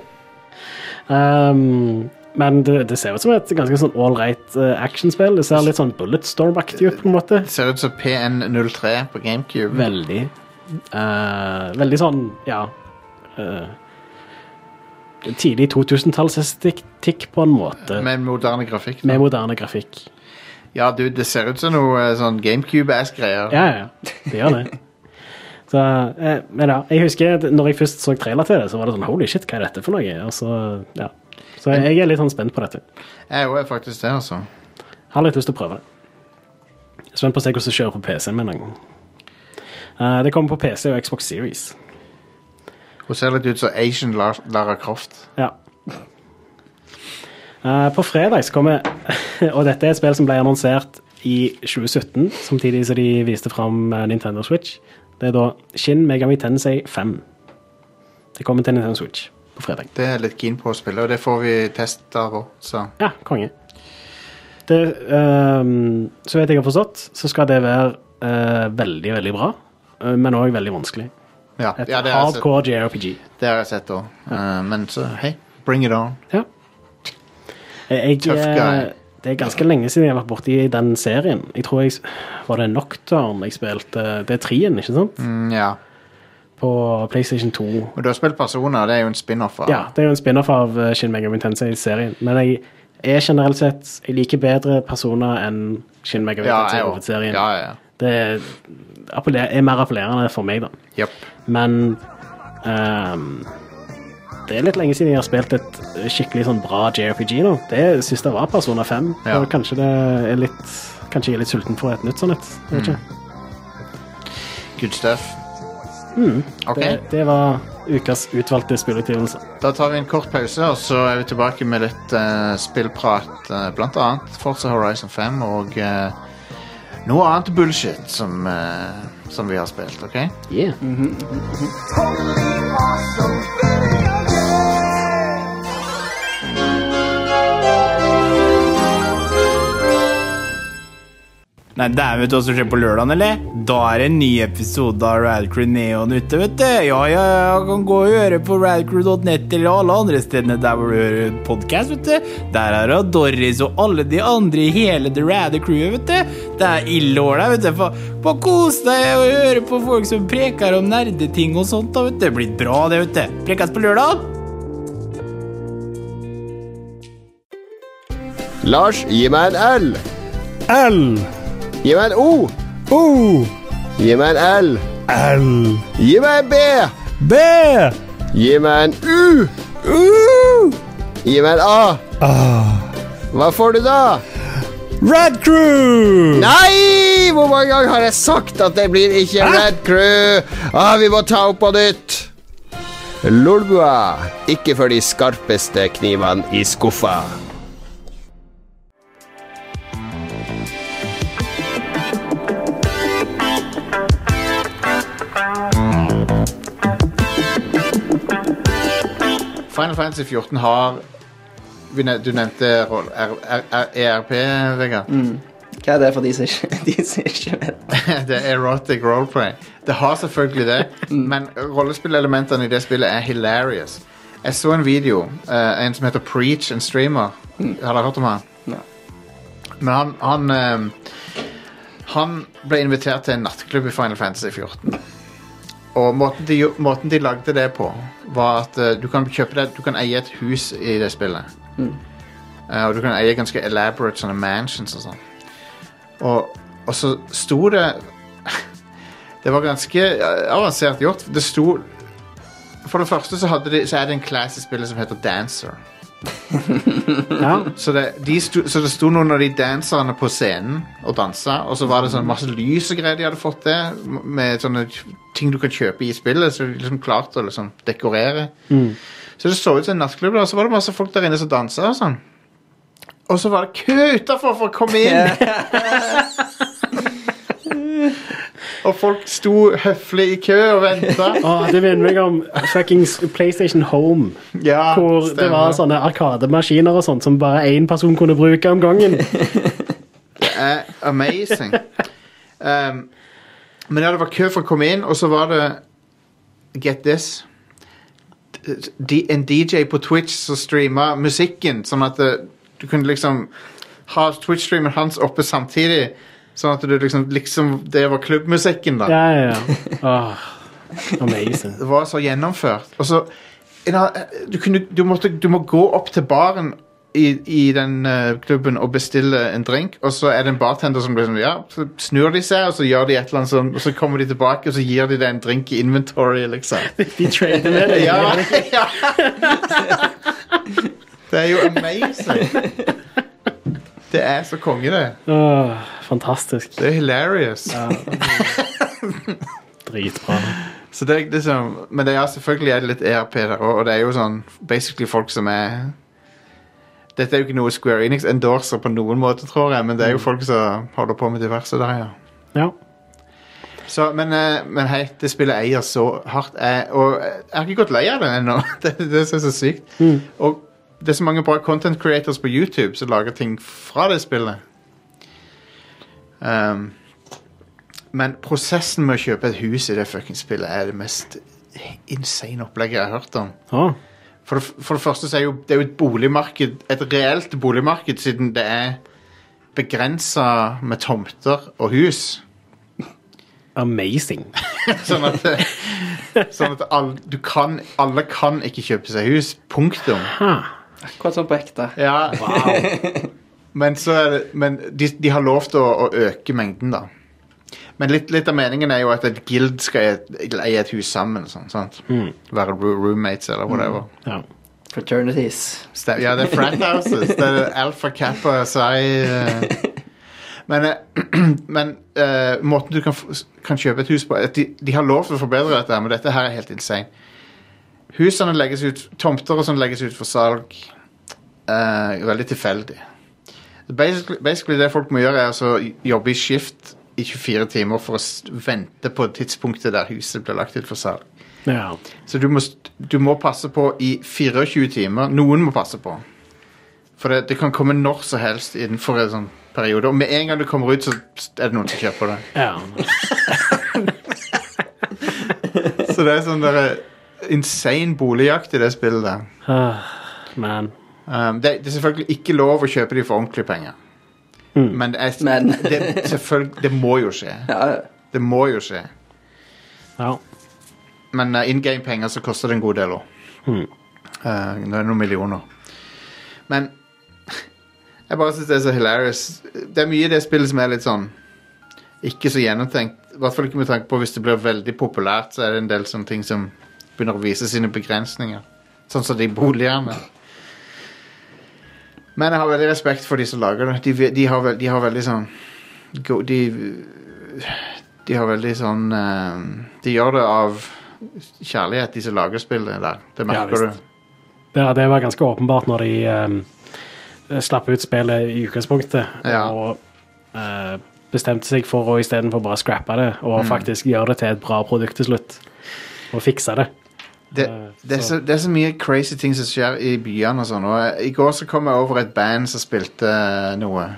S2: Um, men det, det ser ut som et ganske sånn ålreit uh, actionspill. Det ser litt sånn bulletstorm-aktig ut, på en måte.
S1: Det ser ut som PN03 på GameCube.
S2: Veldig. eh, veldig sånn, ja eh, Tidlig 2000-tallsestetikk, på en måte. Med,
S1: Med moderne grafikk. da.
S2: moderne grafikk.
S1: Ja, du, det ser ut som noe eh, sånn GameCube-ass-greier.
S2: Ja, ja, ja. Det gjør det. Så, eh, men ja, jeg husker at når jeg først så trailer til det, så var det sånn Holy shit, hva er dette for noe? Og så, ja. så jeg er litt sånn spent på dette.
S1: Jeg òg er faktisk det, altså.
S2: Har litt lyst til å prøve det. Spent på å se hvordan det kjører på PC-en min en gang. Eh, det kommer på PC og Xbox Series.
S1: Hun ser litt ut som Asian Lar Lara Croft.
S2: Ja. Eh, på fredag så kommer Og dette er et spill som ble annonsert i 2017, samtidig som de viste fram eh, Nintendo Switch. Det er da Shin Megami Tensei 5. Det kommer til Nintendo Switch på fredag.
S1: Det er jeg litt keen på å spille, og det får vi test av òg, så
S2: Ja, konge. Det, ehm, så vet jeg har forstått, så skal det være eh, veldig, veldig bra, eh, men òg veldig vanskelig.
S1: Ja,
S2: Et
S1: ja det altså har jeg sett-
S2: hardcore JRPG.
S1: det har jeg sett òg. men så hei, bring it on.
S2: Ja. Jeg,
S1: Tough guy.
S2: eh, det er ganske lenge siden jeg har vært borti den serien. Jeg tror jeg s- Var det Nocturne jeg spilte? Det er trien, ikke sant?
S1: Mm, ja.
S2: På PlayStation 2.
S1: Og du har spilt Personer, det er jo en spin-off av
S2: Ja, det er jo en spin-off av eh, Shin Megami Tensei-serien. Men jeg er generelt sett Jeg liker bedre personer enn Shin Megami
S1: ja, jeg òg.
S2: Tensei-hovedserien.
S1: Ja, ja, ja.
S2: Det er, appelle- er mer appellerende for meg, da.
S1: Jepp.
S2: Men ehm, det er litt lenge siden jeg har spilt et skikkelig sånn bra JRPG nå. Det syns jeg var Persona 5.
S1: Ja.
S2: Og kanskje det er litt Kanskje jeg er litt sulten for et nytt sånn et. Jeg vet
S1: Mm.
S2: ikke.
S1: Good stuff. OK,
S2: Mm, Det, det var ukas utvalgte spillutgivelse.
S1: da tar vi en kort pause, og så er vi tilbake med litt eh, spillprat. eh, blant annet Forza Horizon 5 og eh, noe annet bullshit som, eh, som vi har spilt, OK?
S2: Yeah.
S6: Nei, dæven, vet du hva som skjer på lørdagen, eller? Da er det en ny episode av Radcrew Neon ute, vet du. Ja, ja, ja, kan gå og høre på radcrew.net eller alle andre stedene der hvor du hører podkast, vet du. Der er det Doris og alle de andre i hele The Rad Crewet, vet du. Det er ille åla, vet du. Få- Få kose deg og høre på folk som preker om nerdeting og sånt, da, vet du. Det blir bra, det, vet du. Prekes på lørdag.
S7: Lars, gi meg en L.
S8: L.
S7: Gi meg en O.
S8: O.
S7: Gi meg en L.
S8: L.
S7: Gi meg en B.
S8: B.
S7: Gi meg en U.
S8: U.
S7: Gi meg en A.
S8: Ah.
S7: Hva får du da?
S8: Red Crew!
S7: Nei! Hvor mange ganger har jeg sagt at det blir ikke Red Crew? Ah, vi må ta opp på nytt. Lolbua. Ikke for de skarpeste knivene i skuffa.
S1: Final Fantasy 14 har vi nev- Du nevnte roll- R- R- E R- ERP, Vegard.
S3: Hva er det for de som ikke, de som ikke vet?
S1: det er erotic roleplay. Det har selvfølgelig det, men rollespillelementene i det spillet er hilarious. Jeg så en video, eh, en som heter Preach, en streamer. Har dere hørt om han?
S3: Nei.
S1: Men han han, ehm, han ble invitert til en nattklubb i Final Fantasy 14. Og måten de, gjo- måten de lagde det på, var at eh, du kan kjøpe det, du kan eie et hus i det spillet. Eh, og du kan eie ganske elaborate sånne mansions og sånn. Og, og så sto det Det var ganske eh, avansert gjort. Det sto For det første så, hadde de, så er det en class i spillet som heter Dancer.
S2: Ja.
S1: Så det, de sto, så det sto noen av de danserne på scenen og dansa, og så var det sånn masse lys og greier de hadde fått til, med sånne ting du kan kjøpe i spillet, så de liksom klarte å liksom dekorere. Så det så ut som en nattklubb, da, og så var det masse folk der inne som dansa og sånn. Og så var det kø utafor for å komme inn! og folk sto høflig i kø og venta.
S2: Å, det minner meg om fuckings PlayStation Home.
S1: Ja,
S2: Hvor det
S1: Ah,
S2: var
S1: stemmer.
S2: sånne arkademaskiner og sånt som bare én person kunne bruke om gangen.
S1: er Eh, amazing. Um, men ja, det var kø for å komme inn, og så var det Get this. D en DJ på Twitch som streama musikken, sånn at det, du kunne liksom ha Twitch-streamen hans oppe samtidig. Sånn at du liksom, liksom Det var klubbmusikken, da.
S2: Ja, ja, ja. Åh, amazing.
S1: Det var så gjennomført. Og så en annen- du, kunne, du, måtte, du må gå opp til baren i, i den eh, klubben og bestille en drink, og så er det en bartender som blir sånn, ja, så snur de seg, og så gjør de et eller annet sånn, og så kommer de tilbake, og så gir de deg en drink i inventory, liksom.
S2: De trader med det.
S1: Ja, ja. Det er jo amazing. Det er så konge, det.
S2: Åh, fantastisk.
S1: Det er hilarious.
S2: Dritbra.
S1: Så det er liksom, men det er selvfølgelig er det litt ERP der òg, og det er jo sånn basically folk som er Dette er jo ikke noe Square Enix endorser på noen måte, tror jeg, men det er jo folk som holder på med diverse der, ja.
S2: Ja.
S1: Så, men, eh, men hei, det spillet eier så hardt. Jeg, og eh, jeg har ikke gått lei av det ennå. Det, det synes jeg er så sykt. Og det er så mange bra content creators på YouTube som lager ting fra det spillet. Um, men prosessen med å kjøpe et hus i det fucking spillet er det mest insane opplegget jeg har hørt om.
S2: Åh,
S1: For det, for det første så er jo, det er jo et boligmarked, et reelt boligmarked, siden det er begrensa med tomter og hus.
S2: amazing.
S1: Sånn at, sånn at alle, du kan, alle kan ikke kjøpe seg hus. Punktum.
S3: Akkurat sånn på ekte.
S1: Ja. Men, så er det, men de, de har lov til å, å øke mengden, da. Men litt, litt av meningen er jo at et guild skal eie- eie et hus sammen. Sånn, sant? Være ro- roommates eller whatever.
S2: Ja.
S3: Fraternities.
S1: Stem- Ja, det er frat houses. Det er alfa, kappa, psi eh. Men, eh, men eh, måten du kan, f- kan kjøpe et hus på at de, de har lov til å forbedre dette, her, men dette her er helt insane. Husene legges ut, Tomter og sånn legges ut for salg eh, veldig tilfeldig. Basically, basically det folk må gjøre, er altså jobbe i skift i 24 timer for å s- vente på tidspunktet der huset blir lagt ut for salg.
S2: ja.
S1: Så du må, st- du må passe på i 24 timer. Noen må passe på. For det, det kan komme når som helst innenfor en sånn periode. Og med en gang du kommer ut, så er det noen som kjøper det.
S2: ja.
S1: Så det er sånn der eh, insane boligjakt i det spillet der.
S2: Man.
S1: Um, det, det er selvfølgelig ikke lov å kjøpe de for ordentlige penger. Men, det, er,
S3: Mm. Men-
S1: det, selvfølgelig, det må jo skje.
S3: Ja,
S1: Det må jo skje.
S2: Ja.
S1: Men in game-penger så koster det en god del òg. Eh, det er noen millioner. Men jeg bare syns det er så hilarious. Det er mye i det spillet som er litt sånn ikke så gjennomtenkt. I hvert fall ikke med tanke på hvis det blir veldig populært, så er det en del sånne ting som begynner å vise sine begrensninger. Sånn som de boligene. Men jeg har veldig respekt for de som lager det. De, ve- de, har, vel- de har veldig sånn go- De, de har veldig sånn eh, De gjør det av kjærlighet, de som lager spillet der. Det
S2: Ja,
S1: merker
S2: visst.
S1: du.
S2: Ja, det var ganske åpenbart når de eh, slapp ut spillet i utgangspunktet.
S1: Ja.
S2: Og eh, bestemte seg for å istedenfor bare scrappe det, og faktisk gjøre det til et bra produkt til slutt. Og fikse det.
S1: det,
S2: Eh,
S1: det, er
S2: så-
S1: så, det er så mye crazy ting som skjer i byene og sånn. Og eh, I går så kom jeg over et band som spilte eh, noe.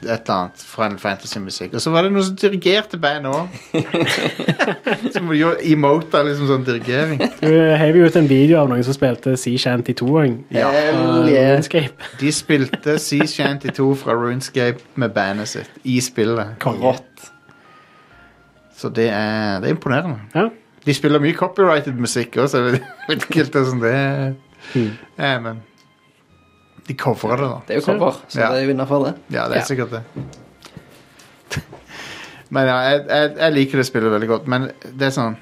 S1: et eller annet Final Fantasy-musikk. Og så var det noen som dirigerte bandet òg. som gjorde emota liksom sånn dirigering.
S2: Du heiv jo ut en video av noen som spilte Sea Shanty 2 en eh,
S1: Ja. Eh,
S3: Hell yeah.
S2: Runescape.
S1: De spilte Sea Shanty 2 fra Runescape med bandet sitt i spillet.
S3: Rått.
S1: Så det er, det er imponerende.
S2: Ja.
S1: De spiller mye copyrighted musikk òg, så jeg vet- jeg vet ikke helt hvordan det er. Ja, men de covrer det, da.
S3: Det er jo cover, så
S1: Ja.
S3: det er jo innafor, det.
S1: Ja, det er sikkert det. Men ja, jeg, jeg, jeg liker det spillet veldig godt, men det er sånn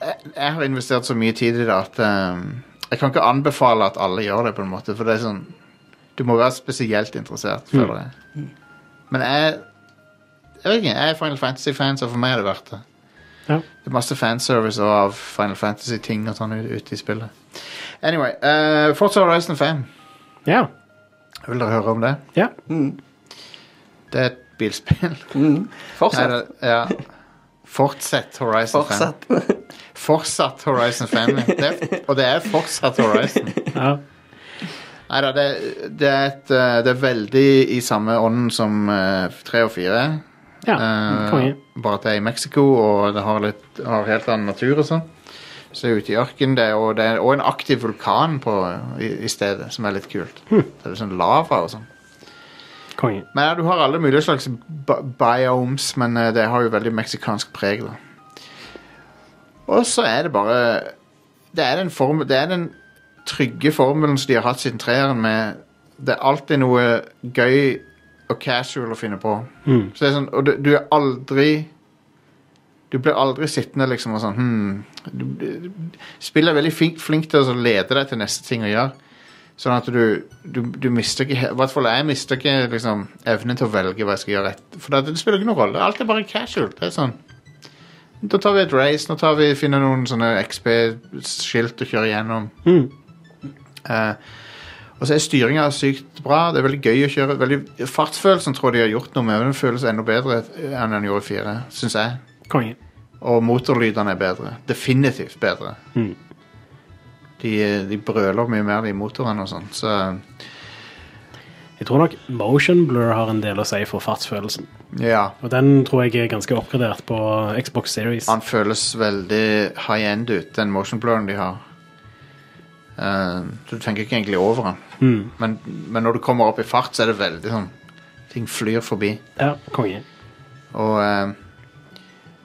S1: Jeg, jeg har investert så mye tid i det at ehm, jeg kan ikke anbefale at alle gjør det, på en måte, for det er sånn Du må være spesielt interessert, føler jeg. Men jeg Jeg vet ikke, jeg er Final Fantasy-fan, så for meg er det verdt det.
S2: Ja.
S1: Det er masse fanservice og av Final Fantasy-ting og sånn ut- ute i spillet. Anyway, uh, Forza Horizon 5.
S2: ja.
S1: Vil dere høre om det? Mm.
S2: ja.
S1: Det er et bilspill.
S3: Mm.
S1: Nei,
S3: Fortsatt.
S1: det, ja. Fortsett Horizon
S3: Fortsatt.
S1: 5. Fortsatt Horizon 5. Det er, og det er fortsatt Horizon.
S2: ja.
S1: Nei da, det, det, er et, eh, det er veldig i samme ånden som eh, 3 og 4.
S2: ja.
S1: Eh,
S2: Konge.
S1: bare at det er i Mexico, og det har, litt, har helt annen natur og sånn. Så det er ute i ørkenen, det er- og det er og en aktiv vulkan på, i, i stedet, som er litt kult. Så det er sånn lava og sånn.
S2: Konge.
S1: Men ja, Du har alle mulige slags bi- biomes, men eh, det har jo veldig meksikansk preg. da. Og så er det bare Det er den, form, det er den trygge formelen som de har hatt siden treeren. med Det er alltid noe gøy og casual å finne på. Så det er sånn, Og du, du er aldri Du blir aldri sittende liksom og sånn hmm, du, du, du- Spillet er veldig flink, flink til å lede deg til neste ting å gjøre. Sånn at du, du, du mister ikke I hvert fall jeg mister ikke liksom, evnen til å velge hva jeg skal gjøre rett. For det, det spiller ikke noen rolle. Alt er bare casual. Det er sånn Da tar vi et race, nå tar vi, finner noen sånne XB-skilt og kjører gjennom. Eh, og så er styringa sykt bra. Det er veldig gøy å kjøre. Veldig, fartsfølelsen tror jeg de har gjort noe med. Den føles enda bedre enn den gjorde i fire, syns jeg.
S2: Konge.
S1: Og motorlydene er bedre. Definitivt bedre. De, de brøler mye mer, de motorene og sånn. Så
S2: Jeg tror nok motion blur har en del å si for fartsfølelsen.
S1: ja.
S2: Og den tror jeg er ganske oppgradert på Xbox Series.
S1: Han føles veldig high-end ut, den motion blurren de har. Eh, du tenker ikke egentlig over den. Men, men når du kommer opp i fart, så er det veldig sånn Ting flyr forbi.
S2: Ja, konge.
S1: Og eh,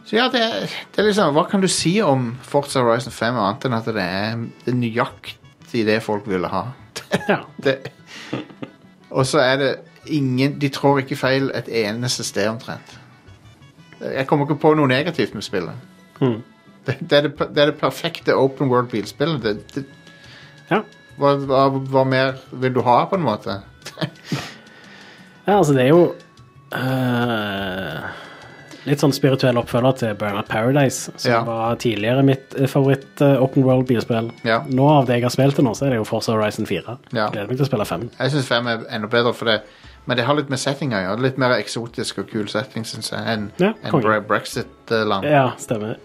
S1: Så ja, det, er- det er liksom Hva kan du si om Forza Horizon 5 og annet enn at det er, det er nøyaktig det folk ville ha?
S2: Ja.
S1: Det, og så er det ingen De trår ikke feil et eneste sted omtrent. Jeg kommer ikke på noe negativt med spillet.
S2: Mhm.
S1: Det, det, er det, per- det er det perfekte open world bilspillet. Det, det,
S2: ja.
S1: hva, hva, hva mer vil du ha, på en måte?
S2: Ja, altså det er jo eh, Litt sånn spirituell oppfølger til Burnout Paradise, som
S1: Ja.
S2: var tidligere mitt eh, favoritt eh, open world-bilspill.
S1: Ja.
S2: Nå av det jeg har spilt til nå, så er det jo Forza Horizon 4.
S1: Ja.
S2: Gleder meg til å spille 5.
S1: Jeg syns 5 er enda bedre, for det, men det har litt med settinga å gjøre. Litt mer eksotisk og kul setting, syns jeg, enn
S2: Ja,
S1: enn
S2: konge.
S1: bre brexit-land.
S2: Ja, stemmer.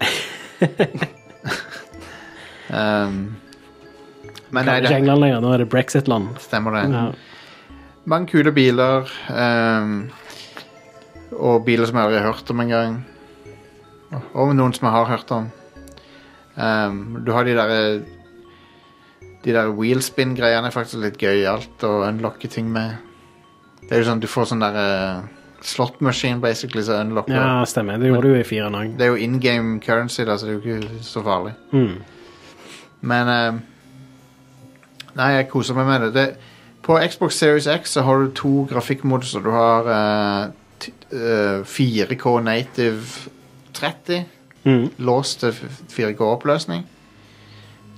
S1: Um, men nei,
S2: Nei, ikke
S1: det
S2: England lenger, nå er det Brexit-land.
S1: stemmer det.
S2: Ja.
S1: Mange kule biler. ehm, og biler som jeg aldri har hørt om engang. Og noen som jeg har hørt om. Ehm, du har de derre De der wheelspin-greiene er faktisk litt gøyalt å unlocke ting med. Det er jo sånn Du får sånn derre slot machine, basically, som unlocker.
S2: ja, stemmer. Det gjorde du i 4 nå.
S1: Det er jo in game currency, da, så det er jo ikke så farlig.
S2: Mm.
S1: Men eh, Nei, jeg koser meg med det. det. På Xbox Series X så har du to grafikkmoduser. Du har eh, t eh, 4K Native 30,
S2: Mm.
S1: låst til f- 4K-oppløsning.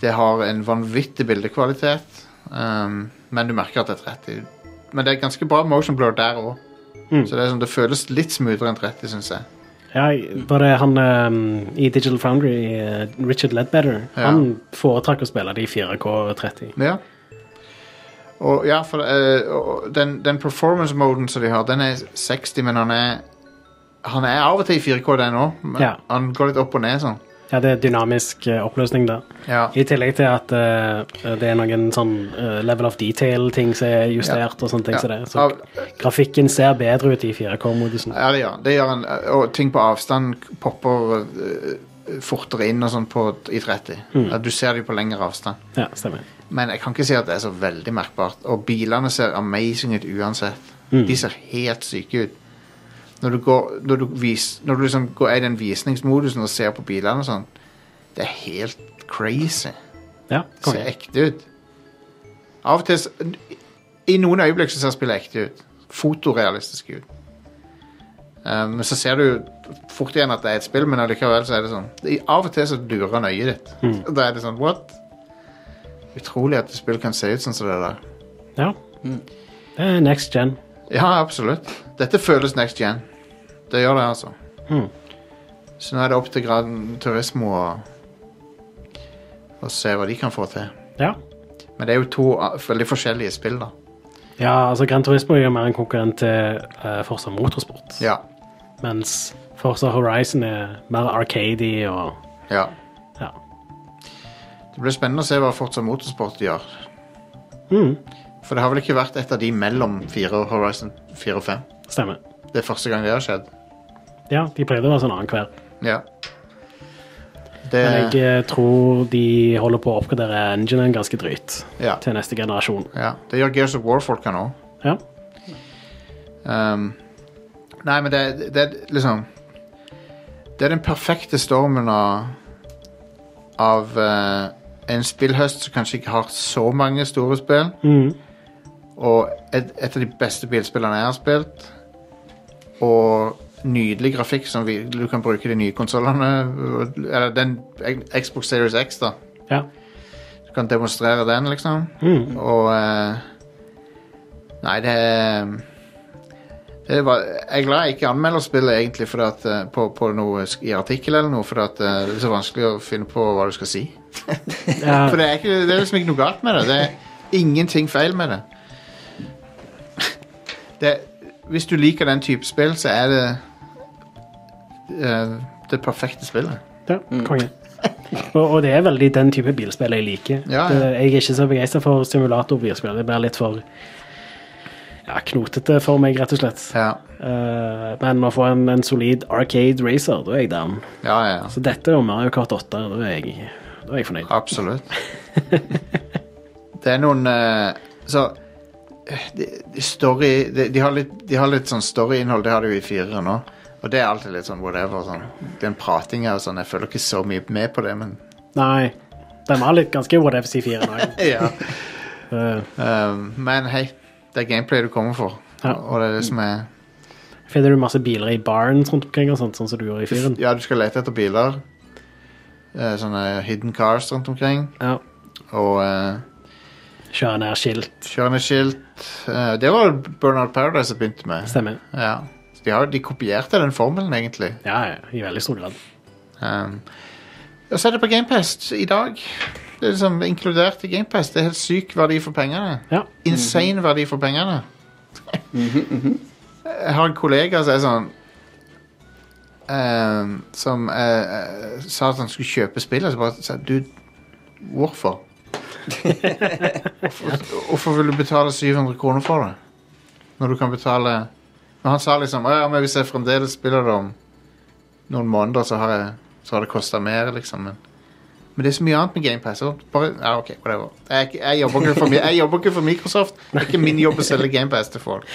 S1: Det har en vanvittig bildekvalitet, ehm, men du merker at det er 30. Men det er ganske bra motion blur der òg.
S2: Mm.
S1: Så det, er sånn, det føles litt smoothere enn 30, syns jeg.
S2: Ja,
S1: Mm.
S2: var det han eh, i Digital Foundry, eh, Richard Ledbetter,
S1: Ja.
S2: han foretrakk å spille de i 4K30.
S1: Ja. Og ja, for eh, og den, den performance-moden som de har, den er 60, men han er Han er av og til i 4K, den òg.
S2: Ja.
S1: Han går litt opp og ned sånn.
S2: Ja, det er dynamisk eh, oppløsning der.
S1: Ja.
S2: I tillegg til at eh, det er noen sånn eh, level of detail-ting som er justert og sånne ting
S1: Ja.
S2: som det. Så
S1: Av-
S2: grafikken ser bedre ut i 4K-modusen.
S1: Ja, det gjør han. Det gjør han. Og ting på avstand popper eh, fortere inn og sånn på- i 30.
S2: Mm.
S1: Ja, du ser dem på lengre avstand.
S2: Ja, stemmer.
S1: Men jeg kan ikke si at det er så veldig merkbart. Og bilene ser amazing ut uansett. De ser helt syke ut. Når du, går, når du, vis, når du liksom går i den visningsmodusen og ser på bilene og sånn, det er helt crazy.
S2: Ja,
S1: Det ser
S2: konge.
S1: ekte ut. Av og til s- I noen øyeblikk så ser spillet ekte ut. Fotorealistisk ut. Eh, Men så ser du jo fort igjen at det er et spill, men allikevel så er det sånn i- Av og til så durer nøyet ditt. Da er det sånn What? Utrolig at et spill kan se ut sånn som det der.
S2: Ja.
S1: Mm.
S2: Det er next gen.
S1: Ja, absolutt. Dette føles next gen. Det gjør det, altså.
S2: Mhm.
S1: Så nå er det opp til Gran Turismo å, å se hva de kan få til.
S2: Ja.
S1: Men det er jo to ah, veldig forskjellige spill, da.
S2: ja, altså Gran Turismo er jo mer en konkurrent til eh, Forza Motorsport.
S1: Ja.
S2: Mens Forza Horizon er mer arcady og
S1: ja.
S2: ja.
S1: Det blir spennende å se hva Forza Motorsport gjør.
S2: Mhm.
S1: For det har vel ikke vært et av de mellom 4 og Horizon 4 og 5.
S2: Stemmer.
S1: Det er første gang det har skjedd.
S2: Ja, de pleide å være sånn annenhver.
S1: Ja. Det,
S2: Men jeg eh, tror de holder på å oppgradere enginen ganske drøyt
S1: ja,
S2: til neste generasjon.
S1: ja. det gjør Gears of War-folka nå.
S2: Ja.
S1: Um, nei, men det, det er liksom Det er den perfekte stormen av Av eh, en spillhøst som kanskje ikke har så mange store spill,
S2: Mhm.
S1: og et, et av de beste bilspillene jeg har spilt, og nydelig grafikk som vi, du kan bruke i de nye konsollene Eller den Xbox Series X, da.
S2: ja.
S1: Du kan demonstrere den, liksom.
S2: Mhm.
S1: Og eh, Nei, det det var, Jeg er glad jeg ikke anmelder spillet egentlig fordi at, eh, på, på noe sk- i artikkel eller noe, for at, eh, det er så vanskelig å finne på hva du skal si.
S2: Ja,
S1: For det er, ikke, det er liksom ikke noe galt med det. Det er ingenting feil med det. det hvis du liker den type spill, så er det eh, det perfekte spillet.
S2: ja,
S1: Mm.
S2: konge. Og, og det er veldig den type bilspill jeg liker.
S1: Ja, ja.
S2: Det, jeg er ikke så begeistra for simulatorbilspill. Det blir litt for ja, knotete for meg, rett og slett.
S1: Ja,
S2: Eh, men å få en, en solid arcade racer, da er jeg down.
S1: ja, ja.
S2: Så dette er jo Mario Kart 8. Da er jeg, da er jeg fornøyd.
S1: Absolutt. det er noen eh, Så eh, de, de story de, de, har litt, de har litt sånn storyinnhold, det har de jo i firere nå. Og det er alltid litt sånn whatever. Sånn. Den pratinga og sånn, jeg følger ikke så mye med på det, men
S2: Nei. Den var litt ganske whatever C4 nå.
S1: ja.
S2: Eh,
S1: um, Men hei, det er gameplay du kommer for.
S2: Ja.
S1: Og det er det som er
S2: Finner du masse biler i barns rundt omkring, og sånt, sånn som du gjorde i fyren?
S1: Ja, du skal lete etter biler. eh, Sånne hidden cars rundt omkring.
S2: Ja.
S1: Og eh,
S2: Kjøre ned skilt.
S1: kjøre ned skilt. Eh, det var Bernard Paradise jeg begynte med.
S2: Stemmer.
S1: Ja. Så De, har, de kopierte den formelen, egentlig.
S2: Ja, ja, i veldig stor grad.
S1: Um, og så er det på GamePest i dag. Det er liksom inkludert i GamePest. Det er helt syk verdi for pengene.
S2: Ja.
S1: Insane verdi for pengene. Jeg har en kollega som er sånn um, Som eh, eh, sa at han skulle kjøpe spillet. Så bare sa jeg, du, hvorfor? hvorfor? Hvorfor vil du betale 700 kroner for det? Når du kan betale Men han sa liksom ja, men hvis jeg fremdeles spiller det om noen måneder, så har, jeg, så har det kosta mer, liksom. Men, men det er så mye annet med GamePass. Bare, ja, ok, whatever. Jeg, er ikke- jeg, jobber ikke for, mi- jeg jobber ikke for Microsoft. Det er ikke min jobb å selge GamePass til folk.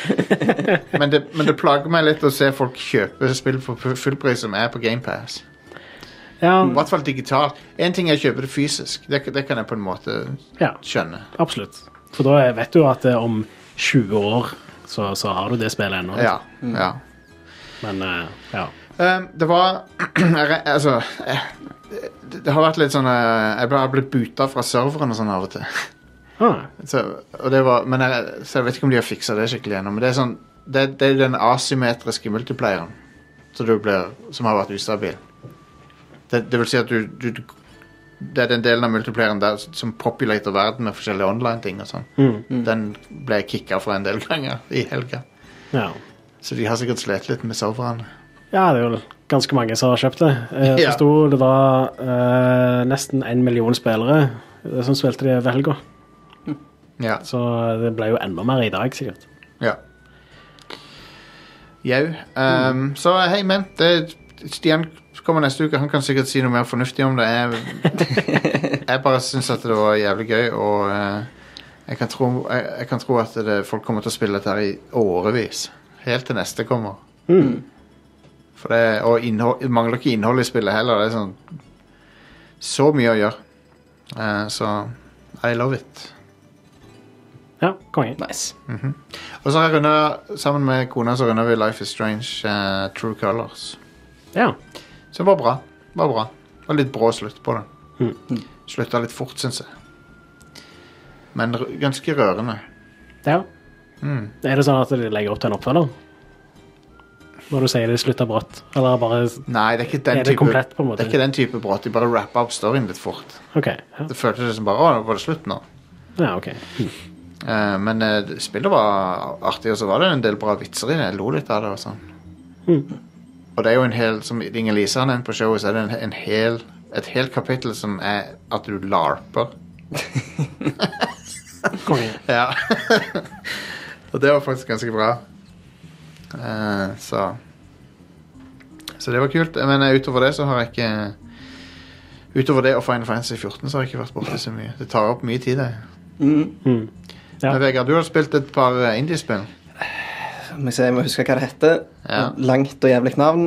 S1: Men det, men det plager meg litt å se folk kjøpe spill for fu- full pris som er på GamePass. I
S2: Ja,
S1: hvert fall digitalt. Én ting er å kjøpe det fysisk. Det, det kan jeg på en måte
S2: ja
S1: skjønne.
S2: absolutt. For da er- vet du at eh, om 20 år så, så har du det spillet ennå.
S1: Ja, ja.
S2: Men eh, ja.
S1: Um, det var jeg re- Altså eh, det, det har vært litt sånn eh, Jeg har blitt buta fra serveren og sånn av og til.
S2: Ah,
S1: Så, og det var, men jeg, så jeg vet ikke om de har fiksa det skikkelig ennå. Men det er, sånn, det, det er den asymmetriske multiplayeren som, du blir, som har vært ustabil. Det, det vil si at du, du du- Det er den delen av multiplayeren der som populater verden med forskjellige online-ting og sånn.
S2: mm,
S1: Den ble jeg kicka fra en del ganger i helga.
S2: ja.
S1: Så de har sikkert slitt litt med serverne.
S2: ja, det er jo ganske mange som har kjøpt det. Eh,
S1: Ja.
S2: Det sto det var eh, nesten en million spillere eh, som spilte det ved helga.
S1: Ja.
S2: Så det ble jo enda mer i dag, sikkert.
S1: ja. Jau. ehm, Så hei, men det, Stian kommer neste uke. Han kan sikkert si noe mer fornuftig om det. Jeg, jeg bare syns at det var jævlig gøy, og eh, jeg, kan tro, jeg, jeg kan tro at det, folk kommer til å spille dette her i årevis. Helt til neste kommer. For det, og innhold, det mangler ikke innhold i spillet heller. Det er sånn så mye å gjøre. Eh, så I love it.
S2: Ja, konge.
S3: Nice.
S1: Og så har jeg rundet, sammen med kona så runder vi Life is Strange eh, True Colors.
S2: Ja.
S1: Så det var bra. Det var bra. Det var litt brå slutt på det.
S2: Mm.
S1: Slutta litt fort, syns jeg. Men r ganske rørende.
S2: ja.
S3: Mm.
S2: Er det sånn at de legger opp til en oppfølger? Når du sier det slutter brått? Eller bare
S1: Nei, det er ikke
S2: Er
S1: den
S2: det
S1: type
S2: komplett, på en måte?
S1: Det er ikke den type brått. De bare rappa opp storyen litt fort.
S2: OK. Ja,
S1: Det føltes som bare Å, nå var det slutt nå.
S2: ja OK.
S1: Eh, men eh, det- spillet var artig, og så var det en del bra vitser i det. Jeg lo litt av det. Og sånn. Og det er jo en hel, som Inger-Lise har nevnt på showet, så er det en, en hel, et helt kapittel som er at du larper.
S2: Konge.
S1: Ja. og det var faktisk ganske bra. Eh, så Så det var kult. Men eh, utover det så har jeg ikke Utover det og Final Fantasy 14 så har jeg ikke vært borti så mye. Det tar opp mye tid, det.
S2: Ja.
S1: Men Vegard, du har spilt et par eh, indiespill.
S3: Må jeg se, jeg må huske hva det heter.
S1: Ja.
S3: Langt og jævlig navn.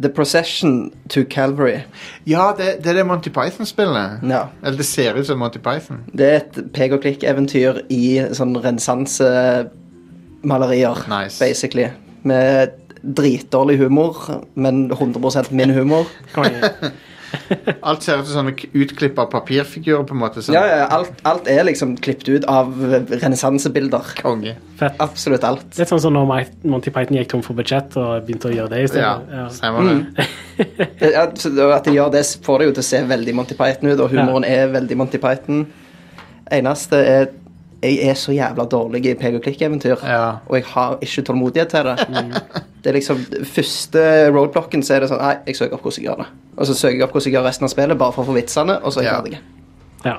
S3: The Procession to Calvary.
S1: Ja, det, det er det Monty Python-spillet.
S3: Ja.
S1: Eller det ser ut som Monty Python.
S3: Det er et pek-og-klikk-eventyr i sånn renessansemalerier,
S1: Nice.
S3: basically. Med dritdårlig humor, men 100 min humor.
S2: Konge.
S1: Alt ser ut som sånne k- utklippa papirfigurer, på en måte. Sånn.
S3: Ja, ja, alt, alt er liksom klippet ut av renessansebilder.
S1: Konge.
S2: Fett.
S3: Absolutt alt.
S2: Litt sånn som når Mi- Monty Python gikk tom for budsjett og begynte å gjøre det i
S1: Ja,
S2: stedet. Ja.
S1: stemmer det.
S3: Ja, så det- At de gjør det, får det jo til å se veldig Monty Python ut, og humoren er veldig Monty Python. Eneste er jeg er så jævla dårlig i pek-og-klikk-eventyr,
S1: Ja. Mm.
S3: og jeg har ikke tålmodighet til det. Det er liksom Første roadblocken så er det sånn Nei, jeg søker opp hvordan jeg gjør det. Og så søker jeg opp hvordan jeg gjør resten av spillet, bare for å få vitsene, og så er jeg
S1: Ja.
S3: ferdig.
S2: Ja.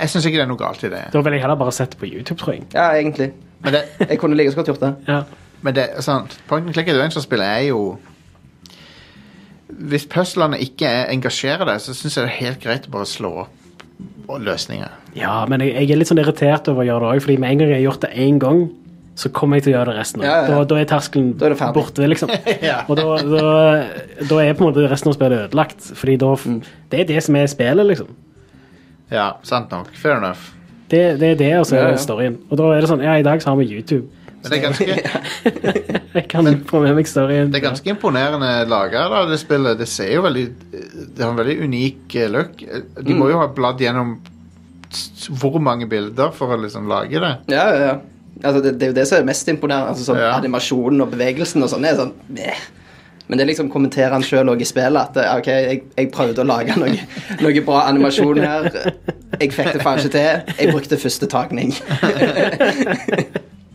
S1: Jeg syns ikke det er noe galt i det.
S2: Da ville jeg heller bare sett det på YouTube, tror jeg.
S3: Ja, egentlig.
S1: Men det,
S3: Jeg kunne like så godt gjort det.
S2: Ja.
S1: Men det, sånn, Point and click adventure-spill er jo Hvis puzzlene ikke er- engasjerer deg, så syns jeg det er helt greit å bare slå opp og løsninger.
S2: ja, men jeg, jeg er litt sånn irritert over å gjøre det òg, fordi med en gang jeg har gjort det én gang, så kommer jeg til å gjøre det resten av
S3: Ja, ja, ja.
S2: da, da er terskelen
S3: Da er det ferdig.
S2: borte, liksom. Og da, da, da er på en måte resten av spillet ødelagt, fordi da f-
S3: Mm.
S2: Det er det som er spillet, liksom.
S1: Ja, sant nok. Fair enough.
S2: Det, det er det, og så
S3: Ja,
S2: er
S3: ja.
S2: det storyen. Og da er det sånn Ja, i dag så har vi YouTube.
S1: Men det er ganske,
S2: Jeg kan få med meg storyen.
S1: det er ganske imponerende laga, da, det spillet. Det ser jo veldig Det har en veldig unik eh, look. De
S3: Mm.
S1: må jo ha bladd gjennom s- hvor mange bilder for å liksom lage det.
S3: Ja, ja, ja. Altså, det, det er jo det som er mest imponerende. Altså, sånn,
S1: Ja.
S3: Animasjonen og bevegelsen og sånn er sånn meh. Men det er liksom kommenterer han sjøl òg i spillet at eh, OK, jeg, jeg prøvde å lage noe, noe bra animasjon her. Jeg fikk det faen ikke til. Jeg brukte første tagning.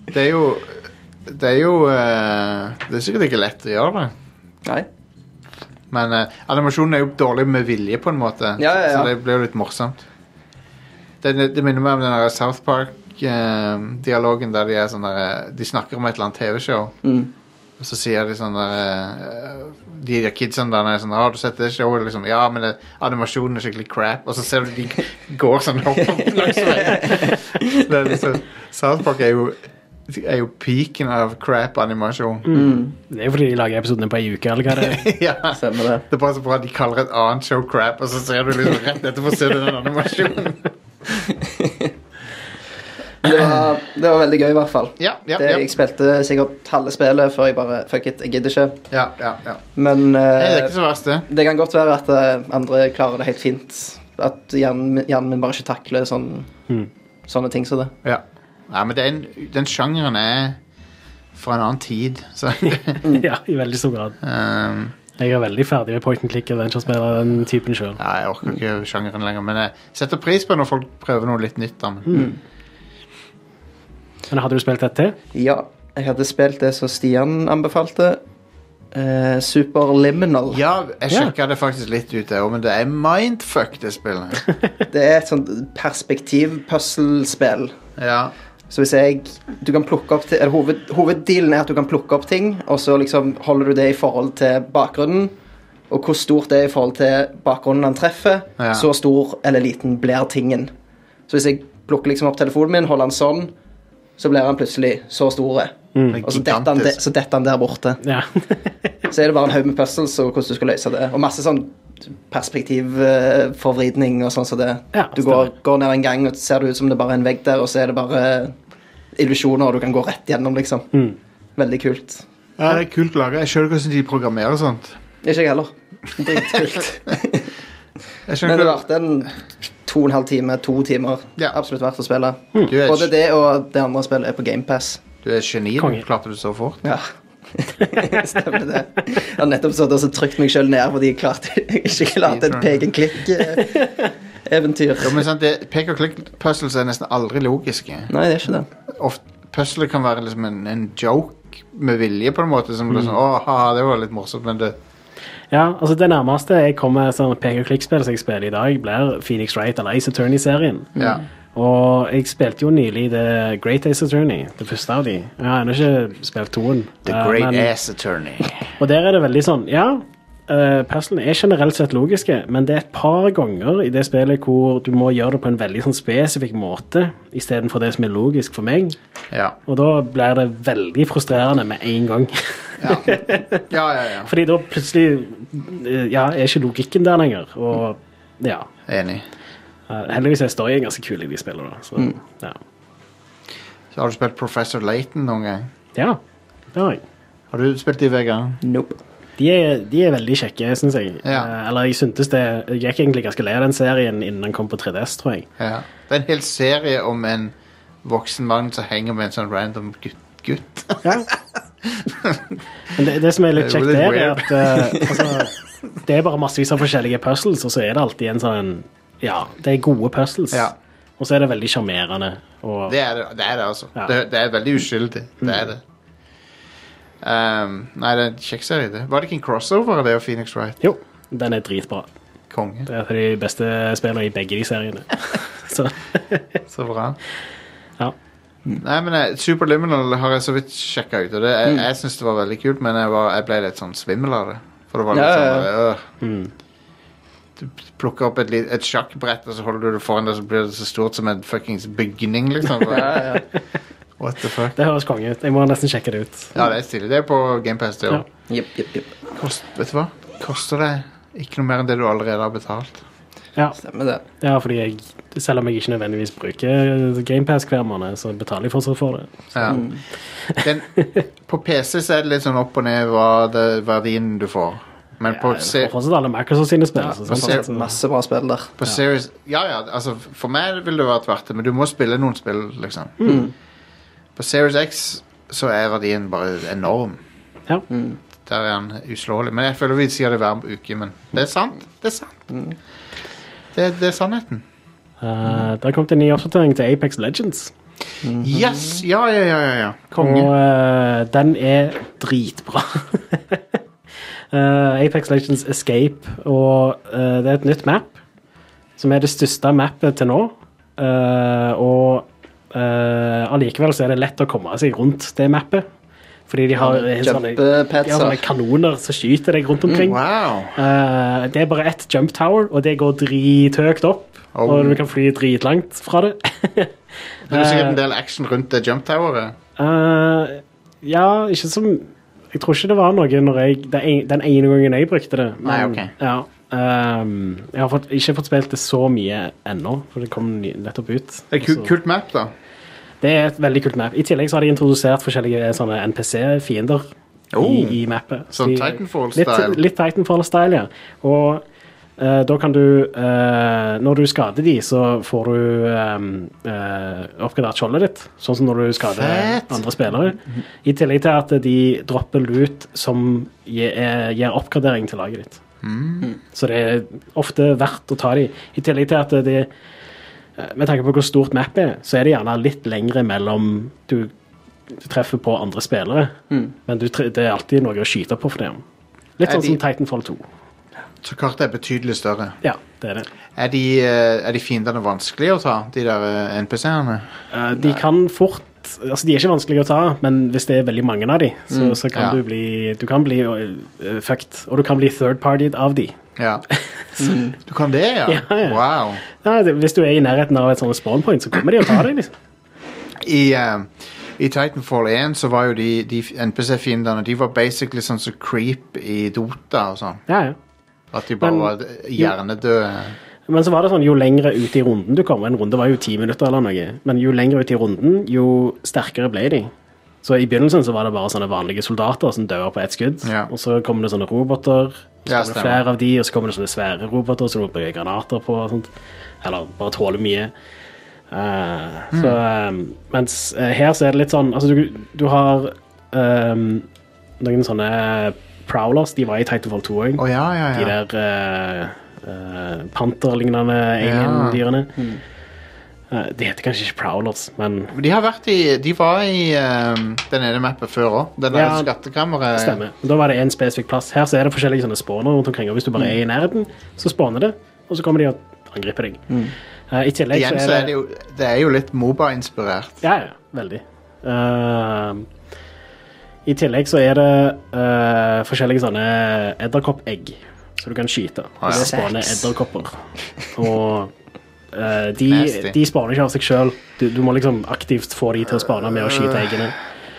S1: Det er jo Det er jo eh, Det er sikkert ikke lett å gjøre det.
S3: Nei.
S1: Men eh, animasjonen er jo dårlig med vilje, på en måte.
S3: Ja, ja, ja.
S1: Så det blir jo litt morsomt. Det, det minner meg om den der South Park-dialogen der de er sånn der eh, De snakker om et eller annet TV-show,
S3: Mm.
S1: og så sier de sånn der eh, De der kidsene der er sånn 'Har du sett det showet?' liksom 'Ja, men det, animasjonen er skikkelig crap', og så ser du de går sånn opp langs veien. Det er liksom- South Park er jo er jo peaken av crap-animasjon.
S3: Mm.
S2: Det er jo fordi de lager episodene på ei uke, eller hva det er.
S1: ja.
S3: Stemmer det.
S1: Det er bare så bra at de kaller et annet show crap, og så ser du liksom rett etterpå ser du den animasjonen.
S3: Men Det var, det var veldig gøy, i hvert fall.
S1: Ja, ja,
S3: det,
S1: ja.
S3: Jeg spilte sikkert halve spillet før jeg bare Fuck it, jeg gidder ikke.
S1: Ja, ja, ja.
S3: Men
S1: Nei, det er
S3: eh,
S1: ikke så verst, det.
S3: det kan godt være at eh, andre klarer det helt fint. At hjernen min- hjernen min bare ikke takler sånn, sånne ting som det.
S1: Ja. Nei, men den, den sjangeren er fra en annen tid, så
S2: Ja, i veldig stor grad.
S1: um,
S2: Jeg er veldig ferdig med point and click adventure-spill av den typen sjøl.
S1: Nei, jeg orker ikke sjangeren lenger, men jeg setter pris på når folk prøver noe litt nytt. da. men-
S2: Men hadde du spilt et til?
S3: Ja, jeg hadde spilt det som Stian anbefalte. eh, Superliminal.
S1: Ja, jeg sjekka det faktisk litt ut, jeg òg, men det er mindfuck, det spillet.
S3: Det er et sånt perspektiv-puzzle-spill.
S1: Ja.
S3: Så hvis jeg du kan plukke opp til, eller hoved, Hoveddealen er at du kan plukke opp ting, og så liksom holder du det i forhold til bakgrunnen. Og hvor stort det er i forhold til bakgrunnen han treffer,
S1: Ja.
S3: så stor eller liten blir tingen. Så hvis jeg plukker liksom opp telefonen min, holder han sånn, så blir han plutselig så stor.
S1: Det er
S3: Og så detter han, de,
S1: gigantisk.
S3: så detter han der borte.
S2: Ja.
S3: Så er det bare en haug med puzzles og hvordan du skal løse det. Og masse sånn perspektivforvridning og sånn som det.
S2: Ja,
S3: du går, går ned en gang, og så ser det ut som det bare er en vegg der, og så er det bare illusjoner, og du kan gå rett gjennom, liksom.
S1: Mm.
S3: Veldig kult.
S1: Ja, det er kult laga. Jeg skjønner ikke hvordan de programmerer sånt.
S3: Ikke jeg heller. Dritkult.
S1: Jeg
S3: Men det
S1: skjønner
S3: varte en to og en halv time, to timer.
S1: Ja.
S3: Absolutt verdt å spille.
S1: ikke Du er,
S3: Både det og det andre spillet er på GamePass.
S1: du er et geni.
S2: Konge.
S1: Klarte du så fort?
S3: Ja. Stemmer det. Jeg har nettopp stått og så trykt meg sjøl ned fordi jeg klarte, ikke klarte et eh, pek-and-klikk-eventyr.
S1: Ja, men sant, det, Pek og klikk-puzzles er nesten aldri logiske.
S3: Nei, det er ikke det.
S1: Ofte, puzzlet kan være liksom en, en joke med vilje, på en måte. Som blir sånn, Å, haha, det var litt morsomt, men det
S2: ja, altså Det nærmeste jeg kommer sånn pek-og-klikk-spill som jeg spiller i dag, blir Phoenix Wright eller Ace Attorney-serien.
S1: Ja.
S2: Og jeg spilte jo nylig The Great Ace Attorney, det første av de. Jeg har ennå ikke spilt toen.
S1: The
S2: Eh,
S1: Great
S2: men-
S1: Ass Attorney.
S2: Og der er det veldig sånn, ja, uh, puzzlene er generelt sett logiske, men det er et par ganger i det spillet hvor du må gjøre det på en veldig sånn spesifikk måte, istedenfor det som er logisk for meg.
S1: Ja.
S2: Og da blir det veldig frustrerende med en gang.
S1: ja, ja, ja.
S2: Fordi da plutselig eh, ja, er ikke logikken der lenger. Og ja.
S1: Enig.
S2: eh, Heldigvis er storyen ganske kul i de spillene. da, Så, ja.
S1: Så har du spilt Professor Layton noen gang?
S2: ja. Det har jeg.
S1: Har du spilt de, Vegard?
S3: Nope.
S2: De er, de er veldig kjekke, syns jeg.
S1: Ja.
S2: Eh, Eller jeg syntes det Jeg gikk egentlig ganske lei av den serien innen den kom på 3DS, tror jeg.
S1: Ja. Det er en hel serie om en voksen mann som henger med en sånn random gutt. gutt.
S2: Men det, det som er litt
S1: Det er jo litt
S2: kjekt der, er
S1: weird.
S2: at eh, altså, det er bare massevis av forskjellige puzzles, og så er det alltid en sånn Ja, det er gode puzzles.
S1: Ja.
S2: Og så er det veldig sjarmerende. og-
S1: Det er det, det, er det altså.
S2: Ja.
S1: Det, det er veldig uskyldig. Det er det. Um, nei, det er en kjekk serie, det. Var det ikke en crossover av det og Phoenix Wright?
S2: Jo, den er dritbra.
S1: Konge.
S2: Det er et av de beste spillene i begge de seriene. Så
S1: Så bra.
S2: Ja.
S1: Nei, men eh, Superliminal har jeg så vidt sjekka ut, og det, jeg,
S3: Mm.
S1: jeg syns det var veldig kult, men jeg, var, jeg ble litt sånn svimmel av det. For det var litt
S3: Ja, ja, Mm.
S1: sånn øh. Du plukker opp et, li- et sjakkbrett, og så holder du det foran deg, så blir det så stort som en fuckings bygning, liksom. What the fuck?
S2: det høres konge ut. Jeg må nesten sjekke det ut.
S1: Ja, det er stilig. Det er på GamePass, det
S2: Ja.
S1: òg.
S3: Jepp, jepp, jepp.
S1: Vet du hva? Koster det ikke noe mer enn det du allerede har betalt?
S2: Ja,
S3: Stemmer det.
S2: ja fordi jeg, selv om jeg ikke nødvendigvis bruker GamePass hver måned, så betaler jeg fortsatt for det.
S1: Ja.
S3: Mm.
S1: Den, på PC så er det litt sånn opp og ned hva det, verdien du får. Men på, se,
S2: Jeg får fortsatt alle Microsoft sine spill. så
S1: på
S2: sånn
S1: se-
S2: sett så-
S3: Altså, Masse bra spill der.
S1: på Series Ja ja, altså for meg ville det vært verdt det, men du må spille noen spill, liksom. På Series X så er verdien bare enorm.
S2: Ja.
S1: Der er han uslåelig. Men jeg føler vi sier det hver uke, men det er sant. Det er sant. Det, det er sannheten.
S2: Eh, det har kommet en ny oppdatering til Apex Legends.
S1: Yes! Ja, ja, ja, ja. ja.
S2: Og
S1: Konge.
S2: eh, den er dritbra. Eh, Apex Legends Escape, og eh, det er et nytt map, som er det største mappet til nå. Eh, og eh, allikevel så er det lett å komme seg rundt det mappet. Fordi de har, eh, sånne, de har
S3: Jumpepetser.
S2: sånne kanoner som skyter deg rundt omkring.
S1: Wow.
S2: Eh, det er bare ett jump tower, og det går drithøyt opp.
S1: Oh.
S2: Og du kan fly dritlangt fra det.
S1: Men det er sikkert en del action rundt det jump toweret.
S2: Eh, ja, ikke som Jeg tror ikke det var noe når jeg den en- den ene gangen jeg brukte det.
S1: Nei, ok.
S2: ja, ehm, jeg har fått, ikke fått spilt det så mye ennå, for det kom ny- nettopp ut.
S1: Det er ku
S2: Så-
S1: kult map, da.
S2: det er et veldig kult map. I tillegg så har de introdusert forskjellige sånne NPC-fiender
S1: Oh.
S2: i, i mappet. Så
S1: Sånn
S2: de-
S1: Titanfall-style.
S2: Litt, litt Titanfall-style, ja. Og eh, da kan du eh, Når du skader de, så får du eh, eh, oppgradert skjoldet ditt. Sånn som når du skader
S1: Fett.
S2: andre spillere. I tillegg til at de dropper loot som gir, eh, gir oppgradering til laget ditt.
S1: Mm.
S2: Så det er ofte verdt å ta de. I tillegg til at det eh, med tanke på hvor stort mappet er, så er det gjerne litt lengre mellom du du treffer på andre spillere, men du, tre- det er alltid noe å skyte på for dem.
S1: Mm.
S2: Litt
S1: Er
S2: sånn
S1: de-
S2: som Titanfall 2.
S1: Så kartet er betydelig større.
S2: Ja, det er det.
S1: Er de, eh, er de fiendene vanskelige å ta, de der eh, NPC-ene?
S2: Eh, de kan fort Altså, de er ikke vanskelige å ta, men hvis det er veldig mange av de, så, så kan
S1: ja.
S2: du bli Du kan bli eh, fucked, og du kan bli third-partied av de.
S1: Ja. Du kan det, ja?
S2: Ja, ja.
S1: Wow.
S2: Ja, det, hvis du er i nærheten av et sånt spawn point, så kommer de og tar deg, liksom.
S1: I, eh, I Titanfall 1 så var jo de, de NPC-fiendene De var basically sånn som creep i Dota og sånn.
S2: Ja, ja.
S1: At de bare
S2: Men-
S1: var hjernedøde.
S2: Men så var det sånn, jo lengre ut i runden du kom, en runde var jo ti minutter eller noe, men jo lengre ut i runden, jo sterkere ble de. Så i begynnelsen så var det bare sånne vanlige soldater som dør på ett skudd,
S1: Ja.
S2: og så kommer det sånne roboter, og så
S1: Ja,
S2: kommer det
S1: stemmer.
S2: flere av de, og så kommer det sånne svære roboter som du må bruke granater på, og sånt. eller bare tåler mye. Eh, Så,
S1: Hmm.
S2: eh, mens eh, her så er det litt sånn, altså du, du har eh, noen sånne prowlers, de var i Titanfall 2 også,
S1: Å ja, ja,
S2: de
S1: ja.
S2: der eh, eh, panterlignende alien-dyrene.
S1: Mm.
S2: Eh, de heter kanskje ikke prowlers, men
S1: Men De har vært i De var i um, den ene mappen før òg. Den der
S2: Ja,
S1: skattkammeret.
S2: det stemmer. Da var det en spesifikk plass. Her så er det forskjellige sånne spawner rundt omkring, og hvis du
S1: Mm.
S2: bare er i nærheten, så spawner det, og så kommer de og angriper deg. Eh, I tillegg
S1: Mm. Igjen så er det jo Det er jo litt Moba-inspirert.
S2: Ja, ja, veldig. Ehm, I tillegg så er det eh, forskjellige sånne edderkoppegg som du kan skyte.
S1: Ah,
S2: Og det spawner
S3: Sex.
S2: edderkopper. Og eh, de,
S1: Nasty.
S2: de spawner ikke av seg sjøl. Du, du må liksom aktivt få de til å spane med å skyte eggene.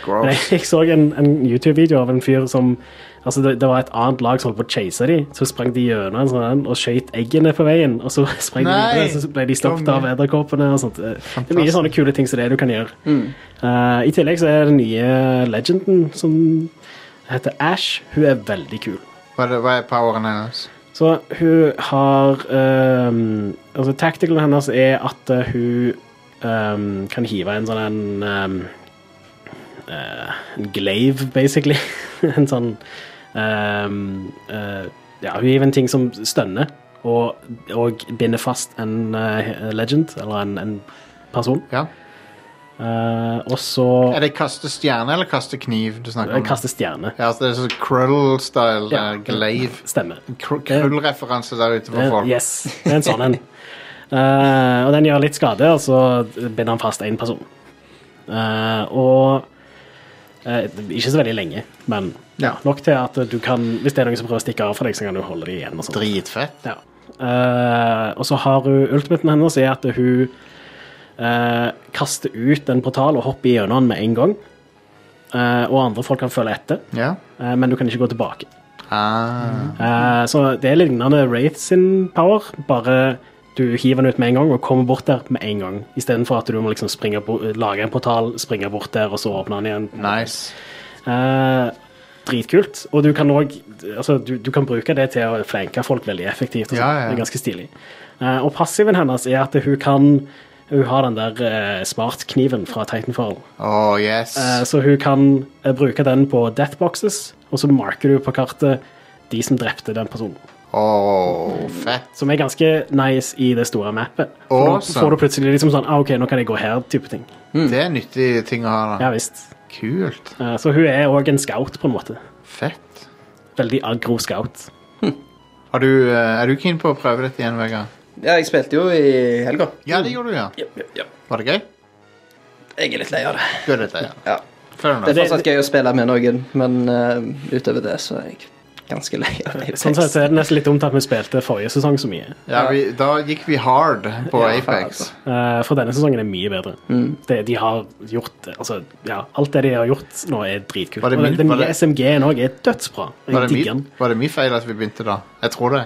S2: Men jeg, jeg så en, en YouTube-video av en fyr som Altså det, det var et annet lag som holdt på å chase dem. Så sprang de gjennom en sånn en og skjøt eggene på veien. Og så sprang de
S1: Nei!
S2: videre, så ble de stoppet
S1: Konge.
S2: av edderkoppene. og sånt. Det er mye sånne kule ting som det er du kan gjøre. Eh, I tillegg så er den nye legenden som heter Ash. Hun er veldig kul.
S1: Hva er, det- hva er poweren hennes?
S2: Så hun har ehm, Altså, tacticalen hennes er at eh, hun ehm, kan hive en sånn en ehm, eh, En glaive, basically. en sånn ehm, eh, Ja, hun hiver en ting som stønner, og, og binder fast en eh, legend, eller en, en person.
S1: Ja.
S2: Eh, og så
S1: Er det kaste stjerne eller kaste kniv du snakker om?
S2: kaster stjerne.
S1: Ja, altså det er sånn Krull-style.
S2: Ja.
S1: eh, Glaive.
S2: Stemmer.
S1: Kr- Krull-referanse der ute for
S2: Eh,
S1: folk.
S2: Yes, det er en sånn en. Eh, og den gjør litt skade, og så binder han fast én person. Eh, og eh, ikke så veldig lenge, men
S1: Ja.
S2: nok til at du kan Hvis det er noen som prøver å stikke av fra deg, så kan du holde dem igjen. Og sånt.
S1: Dritfett.
S2: Ja. Eh, og så har hun ultimaten hennes er at hun eh, kaster ut en portal og hopper gjennom den med en gang. Eh, og andre folk kan følge etter,
S1: Ja.
S2: eh, men du kan ikke gå tilbake.
S1: Ah.
S2: Eh, så det er lignende Wraith sin power, bare du hiver den ut med en gang og kommer bort der med en gang, istedenfor at du må liksom springe bo lage en portal, springe bort der, og så åpne den igjen.
S1: Nice.
S2: Eh, dritkult. Og du kan òg altså, du, du kan bruke det til å flanke folk veldig effektivt. Og sånt.
S1: Ja, ja, ja.
S2: Det er ganske stilig. Eh, og passiven hennes er at hun kan hun har den der eh, smartkniven fra Titanfall.
S1: Oh, yes.
S2: Eh, Så hun kan eh, bruke den på deathboxes, og så marker du på kartet de som drepte den personen.
S1: Oh, fett.
S2: Som er ganske nice i det store mappet. For
S1: Awesome.
S2: Da får du plutselig liksom sånn ah, OK, nå kan jeg gå her, type ting.
S1: Det er nyttige ting å ha, da.
S2: Mm. Ja visst.
S1: Kult.
S2: Eh, Så hun er òg en scout, på en måte.
S1: Fett.
S2: Veldig aggro scout.
S1: Har du, eh, er du keen på å prøve dette igjen, Vegard?
S3: Ja, jeg spilte jo i helga.
S1: Ja, det gjorde du, ja.
S3: Ja, ja, ja.
S1: Var det gøy?
S3: Jeg er litt lei av det.
S1: Du er litt lei, ja.
S3: Ja.
S1: Fair
S3: Det er
S1: enough.
S3: fortsatt gøy å spille med noen, men eh, utover det så er jeg ganske lei av Apex.
S2: Sånn sett så er det nesten litt dumt at vi spilte forrige sesong så mye.
S1: Ja, vi, da gikk vi hard på Apex.
S3: altså.
S2: Eh, For denne sesongen er mye bedre. Det de har gjort Altså, ja, alt det de har gjort nå, er dritkult.
S1: Var det
S2: Og
S1: min-
S2: Den
S1: var
S2: nye
S1: det-
S2: SMG-en òg er dødsbra.
S1: Var
S2: Jeg
S1: det,
S2: digger den.
S1: mi, var det min feil at vi begynte da? Jeg tror det.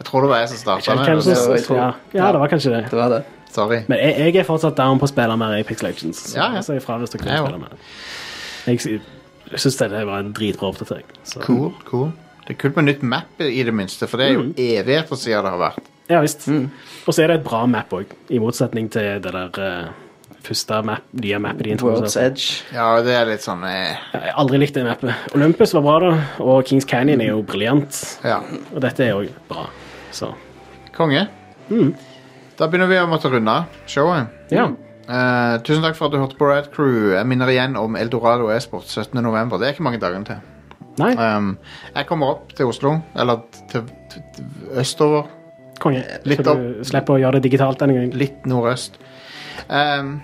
S1: Jeg tror det var jeg som starta
S2: Kjell
S1: det.
S3: det var-
S2: Kemsen- Ja, ja, det var kanskje det.
S3: Det var det.
S1: Sorry.
S2: Men jeg, jeg er fortsatt down på å spille mer Apex Legends. Så
S1: Ja, ja.
S2: jeg sier ifra hvis dere vil
S1: Jeg også.
S2: spille mer. Jeg, sy- jeg syns det var en dritbra oppdatering. Så.
S1: Cool, cool. Det er kult med nytt map i det minste, for det er jo
S2: Mm.
S1: evigheter siden det har vært.
S2: Ja visst.
S1: Mm.
S2: Og så er det et bra map òg, i motsetning til det der eh, første map, nye mappet de
S3: World's
S2: introduserte.
S3: Edge.
S1: Ja, det er litt sånn eh,
S2: Ja, Jeg har aldri likt det mappet. Olympus var bra, da, og Kings Canyon er jo briljant.
S1: Ja.
S2: Og dette er òg bra, så
S1: Konge. Da begynner vi å måtte runde av showet.
S2: ja.
S1: Eh, Eh, tusen takk for at du hørte på Rad Crew. Jeg minner igjen om Eldorado e-sport 17.11. Det er ikke mange dagene til.
S2: Nei,
S1: Um, jeg kommer opp til Oslo, eller til, til, til østover.
S2: konge.
S1: eh, litt
S2: Så du slipper å gjøre det digitalt denne gangen.
S1: Litt nordøst. Um,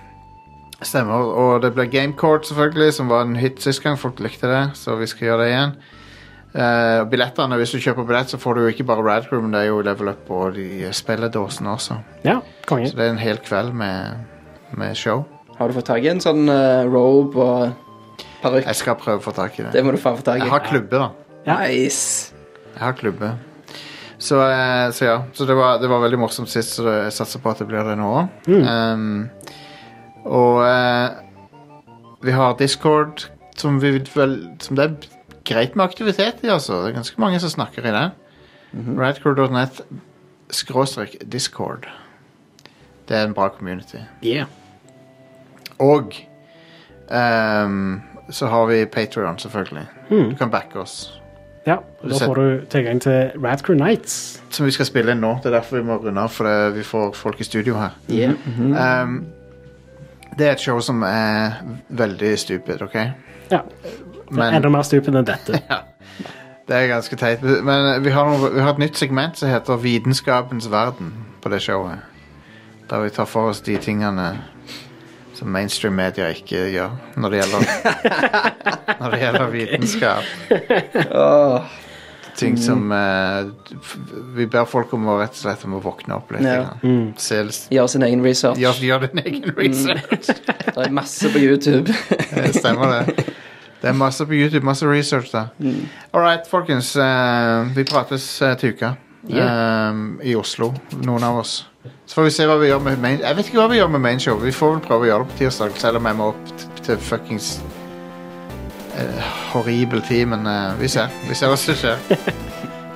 S1: stemmer. Og det ble Gamecourt, selvfølgelig, som var en hit sist gang. Folk likte det, så vi skal gjøre det igjen. Eh, og billettene, Hvis du kjøper billett, så får du jo ikke bare Rad Crew, men det er jo Level Up og de spilledåsene også.
S2: Ja, konge.
S1: Mm. Så det er en hel kveld med, med show.
S3: Har du fått tak i en sånn eh, robe og parykk?
S1: Jeg skal prøve å få tak i det.
S3: Det må du faen få tak
S1: Jeg
S3: i.
S1: har klubbe, da.
S3: Nice.
S1: Jeg har klubbe. Så, eh, så ja, så det var, det var veldig morsomt sist, så det- jeg satser på at det blir det nå òg. og eh, vi har Discord, som, vi vel, som det er greit med aktivitet i, altså. Det er ganske mange som snakker i den. Radcrew.net skråstrek discord. Det er en bra community.
S2: Yeah.
S1: Og ehm, så har vi Patrion, selvfølgelig. Du kan backe oss.
S2: Ja, da får du tilgang til Radcrew Nights.
S1: som vi skal spille inn nå. Det er derfor vi må runde av, for det, vi får folk i studio her. Um, det er et show som er veldig stupid, OK?
S2: Ja,
S1: Men
S2: Enda mer stupid enn dette.
S1: det er ganske teit. Men vi har, noe, vi har et nytt segment som heter Vitenskapens verden på det showet. Der vi tar for oss de tingene som mainstream media ikke gjør når det gjelder, når det gjelder vitenskap.
S3: Åh,
S1: ting som eh, f- Vi ber folk om å rett og slett om å våkne opp litt.
S3: Ja.
S1: grann. Se,
S3: gjør sin egen research.
S1: gjør, gjør din egen research.
S3: Det er masse på YouTube.
S1: Eh, Det stemmer, det. Det er masse på YouTube, masse research der.
S2: Mm.
S1: All right, folkens. eh, vi prates eh, til uka. Eh, I Oslo, noen av oss. Så får vi se hva vi gjør med main Jeg vet ikke hva vi gjør med mainshow. Vi får vel prøve å gjøre det på tirsdag, selv om jeg må opp t- til fuckings eh, horribel tid, men eh, vi ser. Vi ser hva som skjer.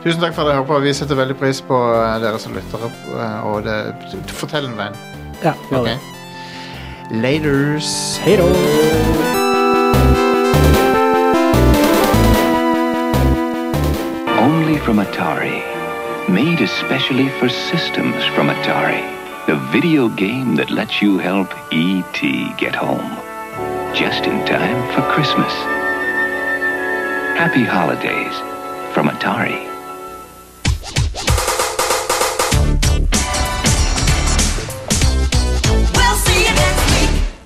S1: Tusen takk for at dere hører på. Vi setter veldig pris på eh, dere som lytter. opp, eh, og det, fortell en venn.
S2: Ja, gjør det.
S1: ok? Laters.
S2: Hei da.
S9: Only from Atari. Made especially for systems from Atari. The video game that lets you help E.T. get home. Just in time for Christmas. Happy holidays from Atari.